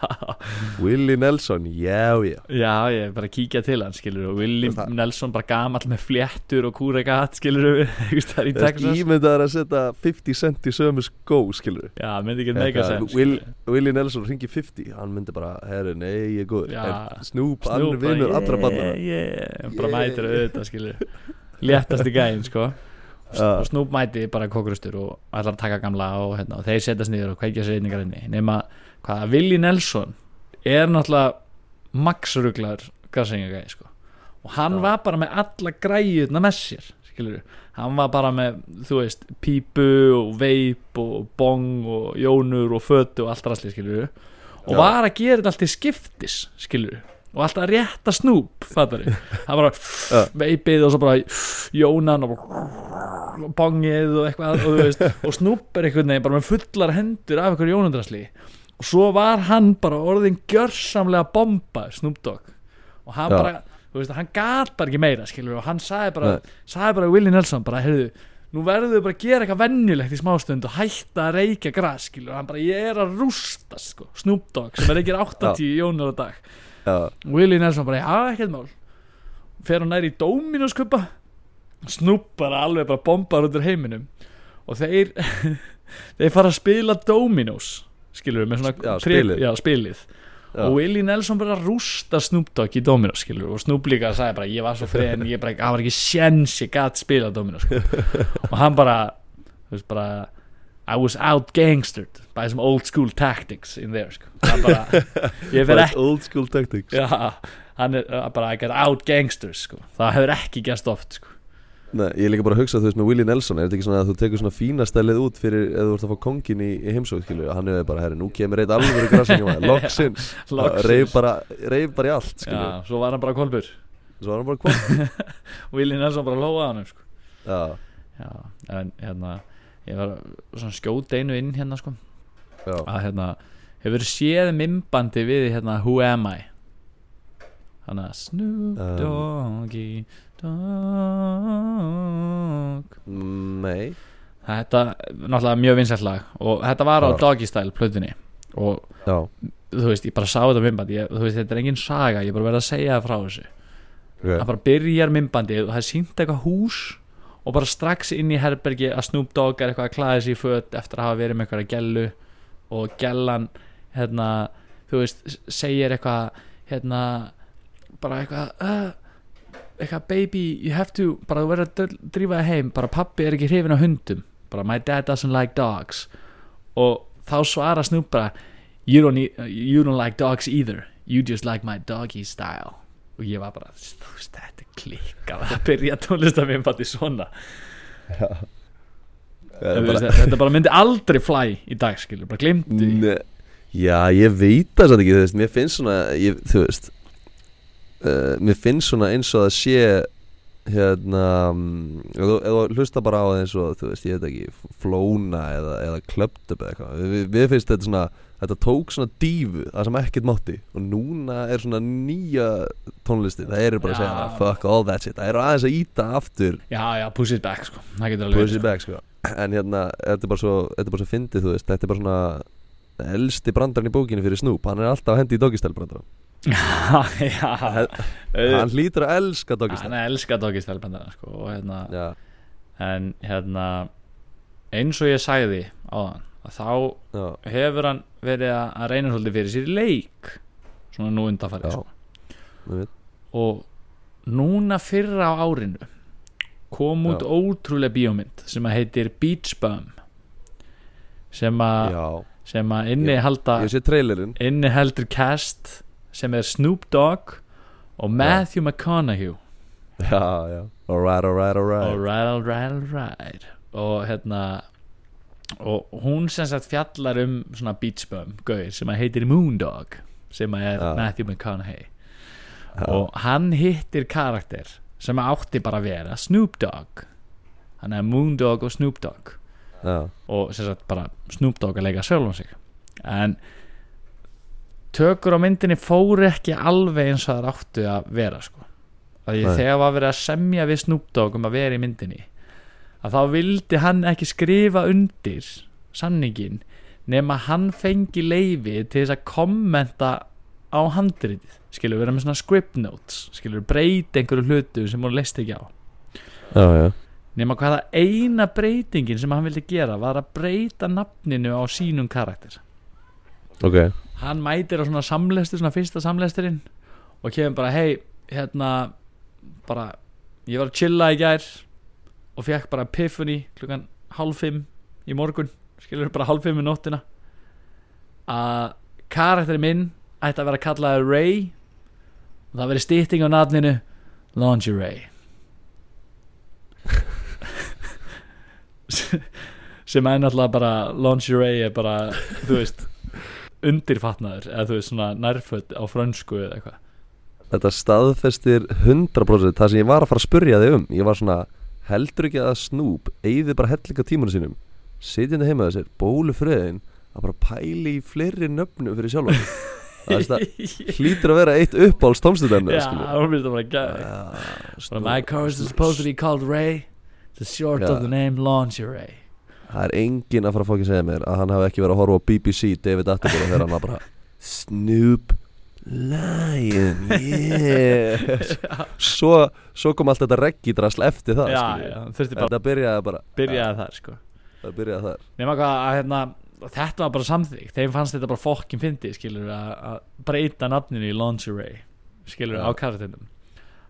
Speaker 2: Willie Nelson, já, já
Speaker 1: já, ég er bara að kíkja til hann skilur og Willie
Speaker 2: Það-
Speaker 1: Nelson bara gamall með fléttur og kúregat *laughs* skilur við í Texas
Speaker 2: Ímyndaður að setja 50 cent í sömu skó, skilur
Speaker 1: já, myndi ekki mega sens
Speaker 2: Will, Willie Nelson ringi 50 Hann myndi bara, herri, nei, ég er góður
Speaker 1: Já.
Speaker 2: En Snoop, hann er vinur allra batna
Speaker 1: yeah, yeah, bara
Speaker 2: Yeah.
Speaker 1: mætir auðvitað skilur léttast í gæðin sko
Speaker 2: *laughs* Já.
Speaker 1: og Snoop mæti bara kókrustur og allar taka gamla og, hérna, og þeir setjast niður og kveikja sér einningar inni nema hvað að Willi Nelson er náttúrulega maxruglar gasengagæði sko og hann
Speaker 2: Já.
Speaker 1: var bara með alla græjuna með sér skilur hann var bara með þú veist pípu og veip og bong og jónur og fötu og allt rastli skilur og
Speaker 2: Já.
Speaker 1: var að gera þetta allt í skiptis skilur og alltaf að rétta snúb fattar við, það bara veipið og svo bara jónan og bara bongið og eitthvað og, þú veist, og snúb er einhvern veginn bara með fullar hendur af einhverju jónundrasli og svo var hann bara orðin gjörsamlega bomba Snoop Dogg og hann
Speaker 2: Já.
Speaker 1: bara, þú veist, hann gat bara ekki meira skilur og hann sagði bara, sagði bara við Willie Nelson bara, heyrðu, nú verður þau bara að gera eitthvað venjulegt í smástund og hætta að reykja græs skilur, og hann bara, ég er að rústa sko, Snoop Dogg sem er
Speaker 2: *laughs*
Speaker 1: ekki 80 jónur á dag
Speaker 2: Já,
Speaker 1: Willie Nelson bara, já, ekkert mál fer hann nær í Dominos kuppa Snoop bara alveg bara bombar út úr heiminum og þeir *laughs* þeir fara að spila Dominos skilur við, með svona
Speaker 2: Já,
Speaker 1: tri-
Speaker 2: spilið.
Speaker 1: já, spilið.
Speaker 2: já,
Speaker 1: og Willie Nelson bara rústa Snoop Dogg í Dominos skilur við, og Snoop líka sagði bara, ég var svo fren ég bara, hann var ekki sjens, ég gat spila
Speaker 2: *laughs*
Speaker 1: Dominos sko. og hann bara þú veist bara I was out gangstered by some old school tactics in there sko. Það
Speaker 2: *laughs*
Speaker 1: bara, ég fer
Speaker 2: Bara
Speaker 1: ekki
Speaker 2: Old school tactics
Speaker 1: Já, hann er uh, bara að gera out gangsters sko. Það hefur ekki gerst oft sko.
Speaker 2: Nei, ég er líka bara að hugsa þú veist með Willie Nelson er þetta ekki svona að þú tekur svona fína stælið út fyrir eða þú ert að fá kongin í, í heimsók skilju hann er bara, herri, nú kemur eitt alvöru
Speaker 1: *laughs*
Speaker 2: grassingamaður loksins,
Speaker 1: loksins.
Speaker 2: reyf bara, reif bara í allt skilju,
Speaker 1: Já, svo var hann bara kolbur
Speaker 2: svo var hann bara kom
Speaker 1: *laughs* Willi Nelson bara lóaði hann sko.
Speaker 2: Já,
Speaker 1: Já, en hérna Ég var svona skjót einu inn hérna sko,
Speaker 2: já,
Speaker 1: að hérna Hefur séð mymbandi við hérna Who am I Hanna Snoop
Speaker 2: Um.
Speaker 1: Doggy Dogg
Speaker 2: Mm, nei
Speaker 1: Þetta er náttúrulega mjög vinsætt lag og þetta var á
Speaker 2: Já.
Speaker 1: Doggy Style plötunni og
Speaker 2: Já,
Speaker 1: þú veist, ég bara sá þetta mymbandi ég, þú veist, þetta er engin saga, ég er bara verið að segja það frá þessu hann
Speaker 2: ok,
Speaker 1: Ah, bara byrjar mymbandi og það er sínt eitthvað hús og bara strax inn í herbergi að Snoop Dogg er eitthvað að klæða sér í föt eftir að hafa verið með eitthvað gellu og gellan, hérna þú veist, segir eitthvað hérna, bara eitthvað uh, eitthvað baby you have to, bara þú verður að dr- drífa það heim bara pappi er ekki hrifin á hundum bara my dad doesn't like dogs og þá svara Snoop bara you don't, e- you don't like dogs either you just like my doggy style og ég var bara, þú veist, þetta er klikkað að byrja tónlistarmyndbandi svona bara...
Speaker 2: Það er bara- Mm.
Speaker 1: Veist, þetta bara myndi aldrei fly í dag skilur, bara glimti
Speaker 2: Nei. Já, ég veit það samt ekki, þú veist, mér finnst svona, ég, þú veist, uh, mér finnst svona eins og það sé, hérna, mm, ef þú- ef þú hlusta bara á það eins og, þú veist, ég veit ekki, flóna eða, eða klöptub eða eitthvað, við, við finnst þetta svona, þetta tók svona dífu, það sem ekkert mátti, og núna er svona nýja tónlisti, það eru bara að segja,
Speaker 1: Já.
Speaker 2: fuck all that shit, það eru aðeins að íta aftur
Speaker 1: já, já, push it back sko. það getur alveg
Speaker 2: Pussy back sko En hérna, þetta er bara svo, þetta er bara svo fyndið þú veist Þetta er bara svona elsti brandarinn í bókinni fyrir Snoop Hann er alltaf hendi í doggistæl brandarann
Speaker 1: verið. *laughs* já, já,
Speaker 2: Hann hlýtur að elska
Speaker 1: hann
Speaker 2: doggistæl
Speaker 1: elskar Doggystyle bandana sko, og hérna,
Speaker 2: Já,
Speaker 1: en hérna eins og ég sagði áðan að þá
Speaker 2: já,
Speaker 1: hefur hann verið að að reyna svolítið fyrir sér í leik svona nú
Speaker 2: Já.
Speaker 1: undanfarið sko.
Speaker 2: ég veit.
Speaker 1: og núna fyrra á árinu kom út
Speaker 2: Já.
Speaker 1: ótrúlega bíómynd sem að heitir Beach Bum sem að
Speaker 2: já
Speaker 1: sem að innihalda
Speaker 2: Ég sé trailerinn
Speaker 1: inniheldur cast sem er Snoop Dogg og Matthew McConaughey
Speaker 2: Já, já Alright, alright, alright
Speaker 1: alright, alright, alright og hérna og hún sem sagt fjallar um svona beach bum gauð sem að heitir Moondog sem að er
Speaker 2: Já.
Speaker 1: Matthew McConaughey
Speaker 2: Já.
Speaker 1: og hann hittir karakter sem að átti bara að vera Snoop Dogg hann er Moondog og Snoop Dogg
Speaker 2: Já,
Speaker 1: og sem sagt bara Snoop Dogg að leika sjálfan sig en tökur á myndinni fóru ekki alveg eins og það áttu að vera sko. að ég,
Speaker 2: Nei.
Speaker 1: þegar var verið að semja við Snoop Dogg um að vera í myndinni að þá vildi hann ekki skrifa undir sanningin nema hann fengi leifi til þess að kommenta á handritið skilur vera með svona script notes skilur breyta einhverju hlutu sem hún leist ekki á
Speaker 2: já, já
Speaker 1: nema hvaða eina breytingin sem hann vildi gera var að breyta nafninu á sínum karakter
Speaker 2: Ok
Speaker 1: hann mætir á svona samlestur, svona fyrsta samlesturinn og kemur bara, hei, hérna bara, ég var að chilla í gær og fekk bara epiphany klukkan hálf fimm í morgun skilur bara hálf fimm í nóttina að karakterinn minn ætti að vera kallaði Ray og það veri stýtting á nafninu Lingerie *laughs* sem er náttúrulega bara Lingerie er bara, þú veist undirfatnaður eða þú veist svona nærföld á frönsku eða eitthvað
Speaker 2: Þetta staðfestir 100% Það sem ég var að fara að spurja þig um Ég var svona Heldur ekki að Snoop Eyði bara hellinga tímanum sínum Sitjandi heima þessir Bólu fröðin Að bara pæli í fleiri nöfnum fyrir sjálfan sig. Það er
Speaker 1: *laughs*
Speaker 2: það Hlýtur að vera eitt uppáhalds tómstundarnu
Speaker 1: Já, hún finnst það bara gæði
Speaker 2: skilur
Speaker 1: My car is supposed to be called Ray The short
Speaker 2: Já.
Speaker 1: of the name Lingerie
Speaker 2: Það er enginn að fara að fókja segja mér að hann hafi ekki verið að horfa á BBC David Attenborough þegar hann var bara Snoop Lion yeah
Speaker 1: *laughs*
Speaker 2: svo, svo kom allt þetta reggidrasl eftir það
Speaker 1: Já,
Speaker 2: skilur.
Speaker 1: já, þurfti bara
Speaker 2: Þetta byrjaði bara
Speaker 1: að byrja þar sko
Speaker 2: Það byrjaði þar
Speaker 1: Nefna hvað að hérna Þetta var bara samþýgt, þeim fannst þetta bara fokkin fyndi skilur að að breyta nafninu í Lingerie skilur
Speaker 2: Já.
Speaker 1: á karakternum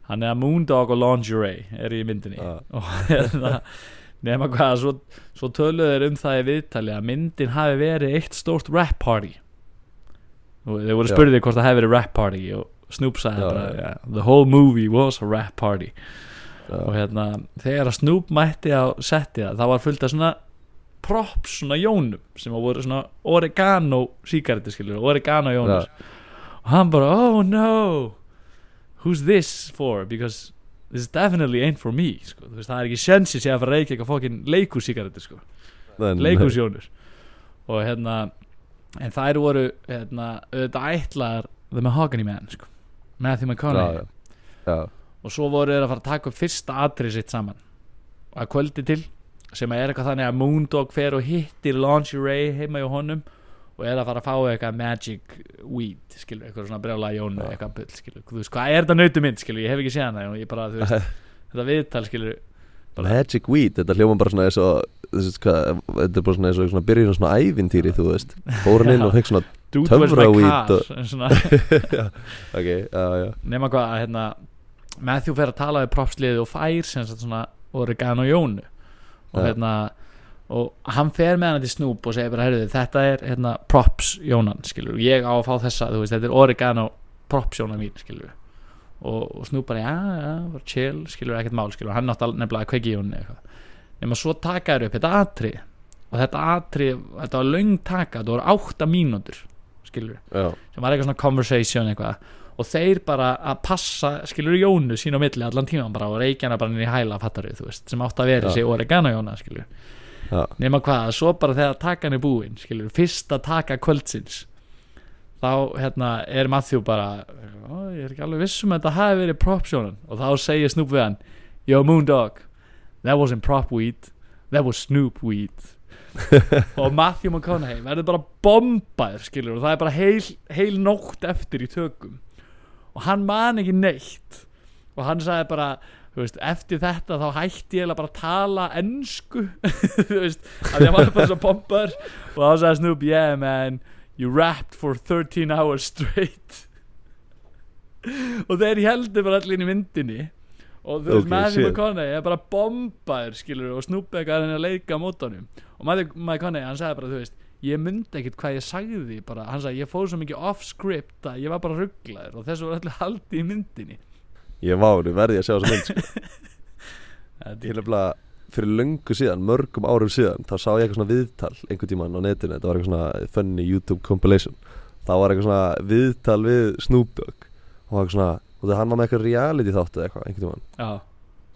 Speaker 1: Hann er að Moondog og Lingerie er í myndinni
Speaker 2: Já.
Speaker 1: og hérna nema hvað að svo, svo töluðu þeir um það í viðtali að myndin hafi verið eitt stórt rap party og þeir voru
Speaker 2: Já.
Speaker 1: spurðið hvort það hefði verið rap party og Snoop sagði
Speaker 2: Já,
Speaker 1: bara
Speaker 2: já, já.
Speaker 1: yeah, the whole movie was a rap party og
Speaker 2: Já,
Speaker 1: hérna þegar að Snoop mætti á setti það það var fullt af svona props svona jónum sem að voru svona oregano síkaretti skilur oregano jónur og hann bara oh no who's this for because this definitely ain't for me sko. Þú veist, það er ekki sensi sé að fara að reykja eitthvað fokkin leikúsíkaretti sko
Speaker 2: en-
Speaker 1: leikúsjónur og hérna en þær voru hérna auðvitað ætlaðar The Mahogany Man sko Matthew McConaughey
Speaker 2: Já, já, já,
Speaker 1: og svo voru þeir að fara að taka upp fyrsta atrið sitt saman að kvöldi til sem er eitthvað þannig að Moondog fer og hittir Lingerie heima hjá honum og er að fara að fá eitthvað magic weed skilur, eitthvað svona brjála jónu
Speaker 2: Já.
Speaker 1: eitthvað bull, skilur, þú veist, hvað er þetta nautu mynd skilur, ég hef ekki séð hana, og ég bara, þú
Speaker 2: *laughs*
Speaker 1: veist þetta viðtal, skilur, Bara-
Speaker 2: Magic Weed, þetta hljóma bara svona eins og þessi, hvað, þetta er bara svona eins og svona byrjun á svona ævintýri, þú veist Fór hann inn og fekk svona,
Speaker 1: dude was my
Speaker 2: Töfraweed
Speaker 1: car
Speaker 2: og-
Speaker 1: en svona,
Speaker 2: ok, já, já
Speaker 1: nema hvað að hérna, Matthew fer að tala við propsliði og fær sem sagt svona oregano jónu og
Speaker 2: Já.
Speaker 1: hérna og hann fer með hana til Snoop og segir bara heyrðu þetta er hérna props jónan skilur ég á að fá þessa þú veist þetta er oregano props jónan mín skilur og, og Snoop bara, já, já, bara chill skilur ekkert mál, skilur, hann átti al- nefnilega að kveiki í hún eitthvað, nema svo taka þér upp þetta atri, og þetta atri þetta var löng taka, þetta voru átta mínútur, skilur,
Speaker 2: já,
Speaker 1: sem var eitthvað svona conversation eitthvað og þeir bara að passa, skilur Jónu sín á milli allan tíman bara og reykjana bara inn í hæla fattari, þú veist, sem átt að vera
Speaker 2: Já.
Speaker 1: þessi oregano Jóna, skilur,
Speaker 2: já,
Speaker 1: nema hvað svo bara þegar takan er búin, skilur fyrsta taka kvöldsins þá, hérna, er Matthew bara "Ó, ég er ekki alveg viss um að þetta hafi verið prop sjónan og þá segir Snoop við hann Yo Moondog, that wasn't prop weed that was Snoop weed og Matthew McConaughey verður bara bombaður skilur og það er bara heil, heil nótt eftir í tökum og hann man ekki neitt og hann sagði bara þú veist, eftir þetta þá hætti ég eiginlega bara að tala ennsku *laughs* þú veist, af því að hann var bara svo bombaður og þá sagði Snoop, yeah man you rapped for 13 hours straight *laughs* og þeir heldur bara allir inn í myndinni og þú veist,
Speaker 2: Ok,
Speaker 1: Matthew
Speaker 2: shit.
Speaker 1: McConaughey er bara bombaður skilur og Snoop eitthvað er að reyna að leika á mótanum og Matthew McConaughey, hann sagði bara, þú veist ég myndi ekkit hvað ég sagði bara, hann sagði, ég fóð svo mikið off script að ég var bara rugglaður og þessu var allir haldið í myndinni
Speaker 2: ég má, nú verði ég að sjá þessa mynd sko.
Speaker 1: Þetta
Speaker 2: Ég er nefnilega fyrir löngu síðan, mörgum árum síðan þá sá ég eitthvað svona viðtal einhvern tímann á netinu, þetta var eitthvað svona funny YouTube compilation þá var eitthvað svona viðtal við Snoop Dogg og það var eitthvað svona, og það hann var með eitthvað reality þáttu eða eitthvað, einhvern tímann
Speaker 1: Já,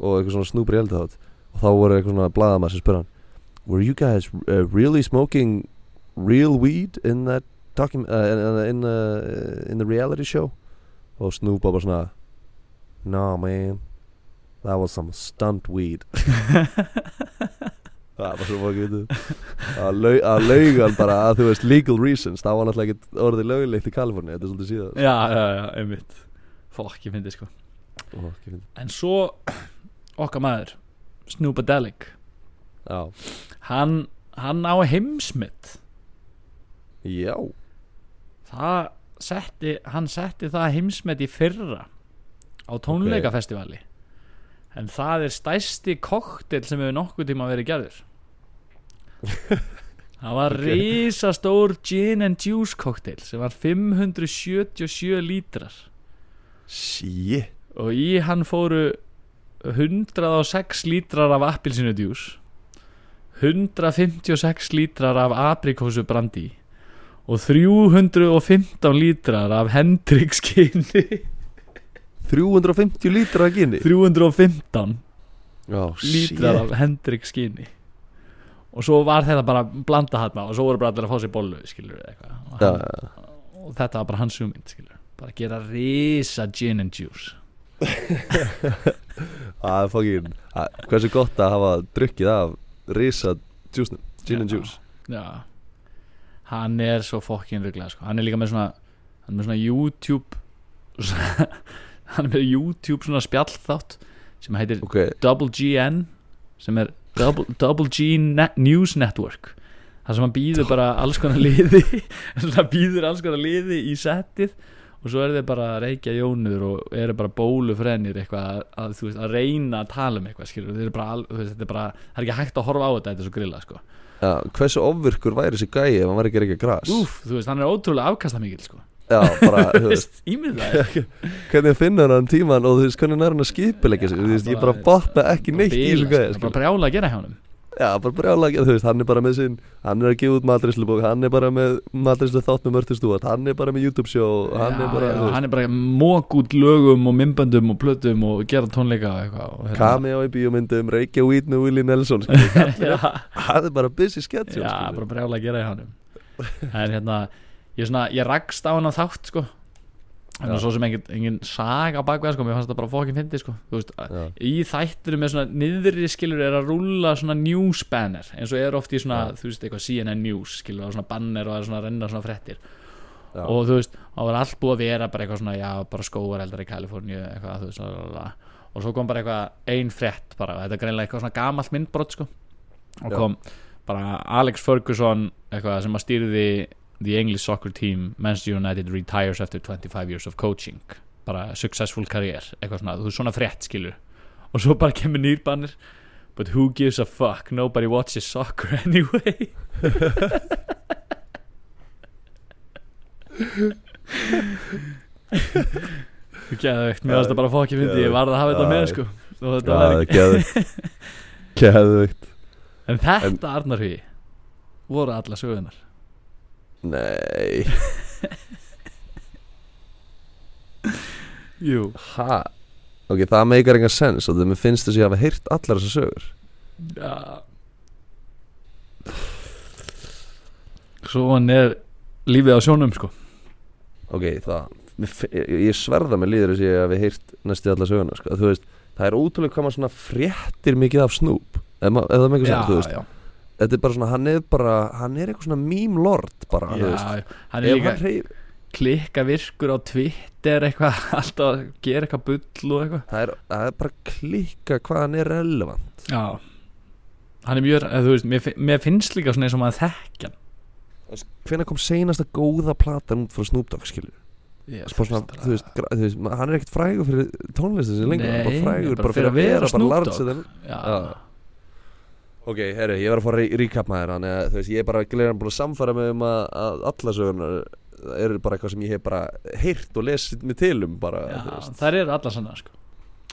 Speaker 2: og eitthvað svona Snoop reality þátt og þá voru eitthvað svona blaðamenn sem spurði hann Were you guys uh, really smoking real weed in that docu- uh, in, in, uh, in the reality show? og Snoop var bara svona No man that was some stunt weed það var svo fokk við að lau- að laugan bara að þú veist legal reasons það var náttúrulega ekki orðið lögilegt í Kaliforni þetta er svolítið síðan
Speaker 1: já, já, já, einmitt Fokk, ég fyndi sko
Speaker 2: Ó, ekki fyndið.
Speaker 1: En svo, *clears throat* okkar maður Snoopadelic
Speaker 2: já,
Speaker 1: Hann, hann á heimsmynd
Speaker 2: já,
Speaker 1: Það setti, hann setti það heimsmynd í fyrra Á tónleikafestivali En það er stæsti koktel sem hefur nokkuð tíma verið *laughs* gerður Það var
Speaker 2: Ok.
Speaker 1: risastór gin and juice koktel sem var 577 lítrar
Speaker 2: shit
Speaker 1: og í hann fóru 106 lítrar af appilsinudjús 156 lítrar af aprikósu brandi og 315 lítrar af Hendrix
Speaker 2: *laughs*
Speaker 1: kynni
Speaker 2: 350 lítra að gynni
Speaker 1: 315
Speaker 2: Já,
Speaker 1: lítrar
Speaker 2: Oh, shit.
Speaker 1: af Hendrix skinni og svo var þetta bara blanda hann og svo voru bara allir að fá sér bollu skilur við eitthvað og,
Speaker 2: Já,
Speaker 1: hann, og þetta var bara hans hugmynd skilur við. bara gera risa gin and juice
Speaker 2: það er fokkin að- Hversu gott að hafa drukkið af Risa djúsnum, gin and
Speaker 1: Já.
Speaker 2: juice
Speaker 1: Já Hann er svo fokkin rugglega sko. Hann er líka með svona Hann er með svona YouTube *laughs* svona, Hann er með YouTube svona spjallþátt Sem heitir
Speaker 2: Ok,
Speaker 1: Double GN Sem er Double, double G ne News Network Það sem hann býður bara alls
Speaker 2: *laughs*
Speaker 1: konar liði *laughs* Það býður alls konar liði í settið Og svo er þeir bara að reykja jónur og eru bara bólufrennir eitthvað að, að, þú veist, að reyna að tala um eitthvað skilur, þeir eru bara, al- þú veist, þetta er bara það er ekki hægt að horfa á þetta, þetta er svo grilla sko.
Speaker 2: já, hversu ofvirkur væri þessi gæi ef hann var ekki að reykja gras
Speaker 1: Úf, þú veist, hann er ótrúlega afkastamikil sko.
Speaker 2: Já,
Speaker 1: *laughs*
Speaker 2: bara,
Speaker 1: Þú
Speaker 2: þú veist,
Speaker 1: veist, ímyndaði
Speaker 2: hvernig finnur hann tíman og þú veist, hvernig nær hann að skipilegja sig *laughs* Þú veist, ég bara botna ekki neitt í þessu gæi
Speaker 1: Bara
Speaker 2: skilur.
Speaker 1: brjála að gera hjá honum
Speaker 2: Já, bara brjála, þú veist, hann er bara með sinn Hann er að gefa út matreislubók, hann er bara með matreislu þátt með Mörtu Stúart Hann er bara með YouTube show, hann er bara, þú veist
Speaker 1: Hann er bara mók út lögum og mymböndum og plötum og gera tónleika og eitthvað og *laughs* hérna-
Speaker 2: Cameo í bíómyndum, reykja weed með Willie
Speaker 1: *laughs*
Speaker 2: Nelson skilur.
Speaker 1: Já,
Speaker 2: Hann er bara busy schedule
Speaker 1: já,
Speaker 2: skilur.
Speaker 1: bara brjála að gera hjá honum En hérna, ég, svona, ég rakst á hann að þátt sko En
Speaker 2: Já.
Speaker 1: svo sem engin, engin saga bakveð sko, mér fannst þetta bara fókin fyndi sko Þú veist,
Speaker 2: Já.
Speaker 1: í þætturum með svona niðri skilur er að rúlla svona news banner eins og er oft í svona,
Speaker 2: Já.
Speaker 1: þú veist, eitthvað CNN news skilur, og svona banner og það er svona að renna svona frettir
Speaker 2: Já.
Speaker 1: og þú veist, það var allt búið að vera bara eitthvað svona, já, bara skóar eldar í Kaliforníu eitthvað, þú veist, lalala. og svo kom bara eitthvað ein frett bara, þetta er greinlega eitthvað svona gamalt myndbrot, sko og
Speaker 2: Já.
Speaker 1: kom bara Alex Ferguson eitthvað sem að stýrði The English Soccer Team Manchester United retires after 25 years of coaching bara successful career eitthvað svona, þú er svona frétt skilur og svo bara kemur nýrbannir but who gives a fuck, nobody watches soccer *laughs* anyway Geðveikt, mér varst það bara fokki fyndi Ég varð að hafa þetta
Speaker 2: Já,
Speaker 1: með
Speaker 2: já.
Speaker 1: sko Og þetta
Speaker 2: það
Speaker 1: var
Speaker 2: er geðvikt
Speaker 1: *laughs*
Speaker 2: Geðvikt
Speaker 1: ekki En þetta Arnarhugi Voru alla sögunar
Speaker 2: Nei
Speaker 1: Jú
Speaker 2: Ha Ok, það meikar engan sens og þeim finnst þess að ég hafa heyrt allar þessar sögur
Speaker 1: ja. Svo hann er Lífið á sjónum sko
Speaker 2: Ok, það mér fi- Ég, ég sverða með líður þess að ég hafi heyrt næstu allar söguna sko. Þú veist, það er ótrúlega hvað maður svona fréttir mikið af Snoop Ef, ma- ef það meikar sens, þú veist
Speaker 1: já,
Speaker 2: Þetta er bara svona, hann er bara Hann er eitthvað svona meme lord bara, þú veist
Speaker 1: já Hann er
Speaker 2: Ef
Speaker 1: líka
Speaker 2: hann hreyf-
Speaker 1: klikka virkur á Twitter eitthvað *laughs* Alltaf að gera eitthvað bull og eitthvað
Speaker 2: það, er, það er bara klikka hvað hann er relevant
Speaker 1: Já Hann er mjög, eða þú veist, mér, fi- mér finnst líka svona eins og maður þekkja
Speaker 2: Hvenær kom seinasta góða platan út frá Snoop Dogg, skilur
Speaker 1: hann Ég-
Speaker 2: Bara svona,
Speaker 1: bara-
Speaker 2: þú veist, gra- þú veist, ma- hann er ekkert frægur fyrir tónlistin sinni lengur, hann er
Speaker 1: Nei,
Speaker 2: bara frægur bara, fyrir að vera, bara
Speaker 1: Snoop
Speaker 2: large
Speaker 1: Dogg.
Speaker 2: than-
Speaker 1: Já,
Speaker 2: Já. Ok, herru, ég var að fá að recap maður hérna, þannig að þú veist, ég er bara gleðan búin að samfæra mig um að, að alla sögurnar eru bara eitthvað sem ég hef bara heyrt og lesið mig til um bara,
Speaker 1: já,
Speaker 2: þú veist
Speaker 1: þær eru alla sannar sko.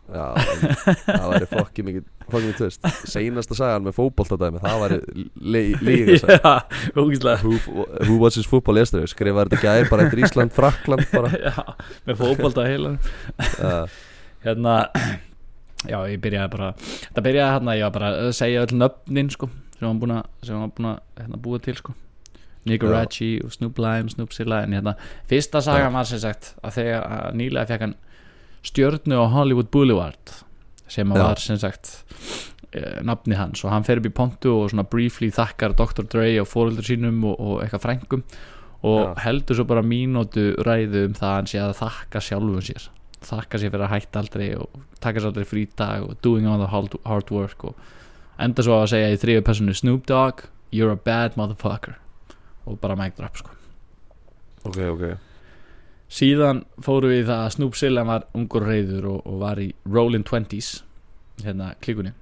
Speaker 2: Já, en það væri fokki mikið fokki mikið tvist, seinasta sagan með fótboltadæmi, það væri líka yeah.
Speaker 1: *laughs* Já, *laughs* ógíslega
Speaker 2: who, who watches football yesterday, skrifaði þetta gæði bara eftir Ísland, Frakland bara,
Speaker 1: *laughs* Já, með fótbolta heila
Speaker 2: uh,
Speaker 1: Hérna, *clears throat* já, ég byrjaði bara Það byrjaði hérna, ég var bara að segja öll nöfnin sko sem hann búin að, sem hann búin að hérna, búa til sko Nico
Speaker 2: Já.
Speaker 1: Raggi og Snoop Lime, Snoop Silla en hérna, fyrsta saga var sem sagt að þegar að nýlega fekk hann stjörnu á Hollywood Boulevard sem
Speaker 2: Já.
Speaker 1: var sem sagt eh, nafni hans og hann fer upp í pontu og svona briefly þakkar Dr. Dre og fóröldur sínum og, og eitthvað frængum og
Speaker 2: Já.
Speaker 1: heldur svo bara mínútu ræðu um það að hann sé að þakka sjálfum sér þakka sér fyrir að hætta aldrei og taka sér aldrei frítag og doing all the hard, hard work og enda svo að segja í þriðu personu Snoop Dogg, you're a bad motherfucker og bara mic drop sko
Speaker 2: ok, ok
Speaker 1: síðan fóru við í það að Snoop Sillan var ungur og reyður og, og var í Rollin' Twenties hérna klikunni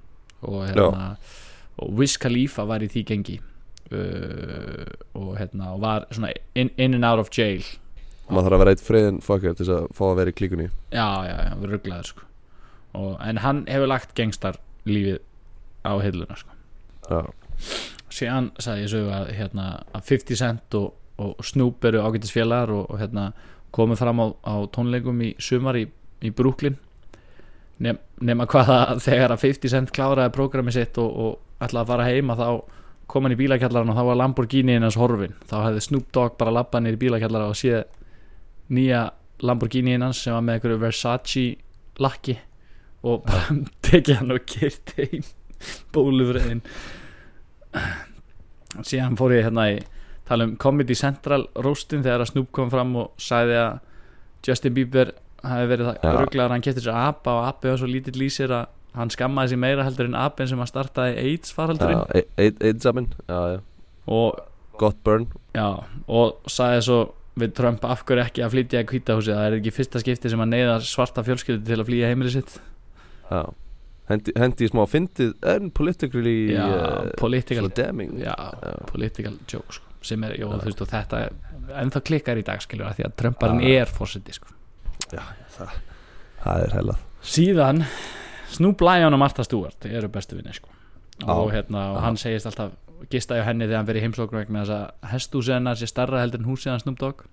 Speaker 1: og hérna og Wiz Khalifa var í því gengi uh, og hérna og var svona in, in and out of jail
Speaker 2: maður þarf að vera eitt friðin fokkar til þess að fá að vera í klíkunni
Speaker 1: já já já, við rugglaður sko og, en hann hefur lagt gengstar lífið á hilluna sko
Speaker 2: Já,
Speaker 1: síðan sagði ég sögu að, hérna, að 50 Cent og, og Snoop eru ágætisfélagar og, og hérna, komið fram á, á tónleikum í sumar í, í Brooklyn Nef, nema hvað að þegar að 50 Cent kláraði prógrami sitt og, og ætlaði að fara heima þá kom hann í bílakjallaran og þá var Lamborghini hans horfin þá hefði Snoop Dogg bara labbað niður í bílakjallara og séð nýja Lamborghini hans sem var með einhverju Versace lakki og bara *laughs* tekið hann og kert heim bólufriðin síðan fór ég hérna í tala um Comedy Central roastin þegar að Snoop kom fram og sagði að Justin Bieber hafi verið það
Speaker 2: Já.
Speaker 1: ja. rugglaður hann kefti sér apa og api var svo lítill í sér að hann skammaði sér meira heldur en apin sem að startaði AIDS faraldurinn
Speaker 2: já, e- e- einn saman já, já.
Speaker 1: og,
Speaker 2: Gott burn
Speaker 1: já, og sagði svo við Trump af hverju ekki að flytja í kvítahúsið það er ekki fyrsta skipti sem að neyða svarta fjölskyldu til að flýja heimilið sitt
Speaker 2: já. Hendi, hendi í smá fyndið en politically
Speaker 1: já,
Speaker 2: eh,
Speaker 1: political
Speaker 2: svona damning
Speaker 1: já,
Speaker 2: Já.
Speaker 1: political joke sko, sem er, jó, þú veist, og þetta ennþá klikkar í dag, skiljur, því að Trumparinn
Speaker 2: Já.
Speaker 1: er fórseti, sko
Speaker 2: það er hella
Speaker 1: síðan Snoop Lion og Martha Stewart eru bestu vinni sko. og,
Speaker 2: Já.
Speaker 1: hérna, og
Speaker 2: Já.
Speaker 1: hann segist alltaf gista hjá henni þegar hann verið heimsókn vegna þess að hestúsið hennar sé starra heldur en húsið hann Snoop Dogg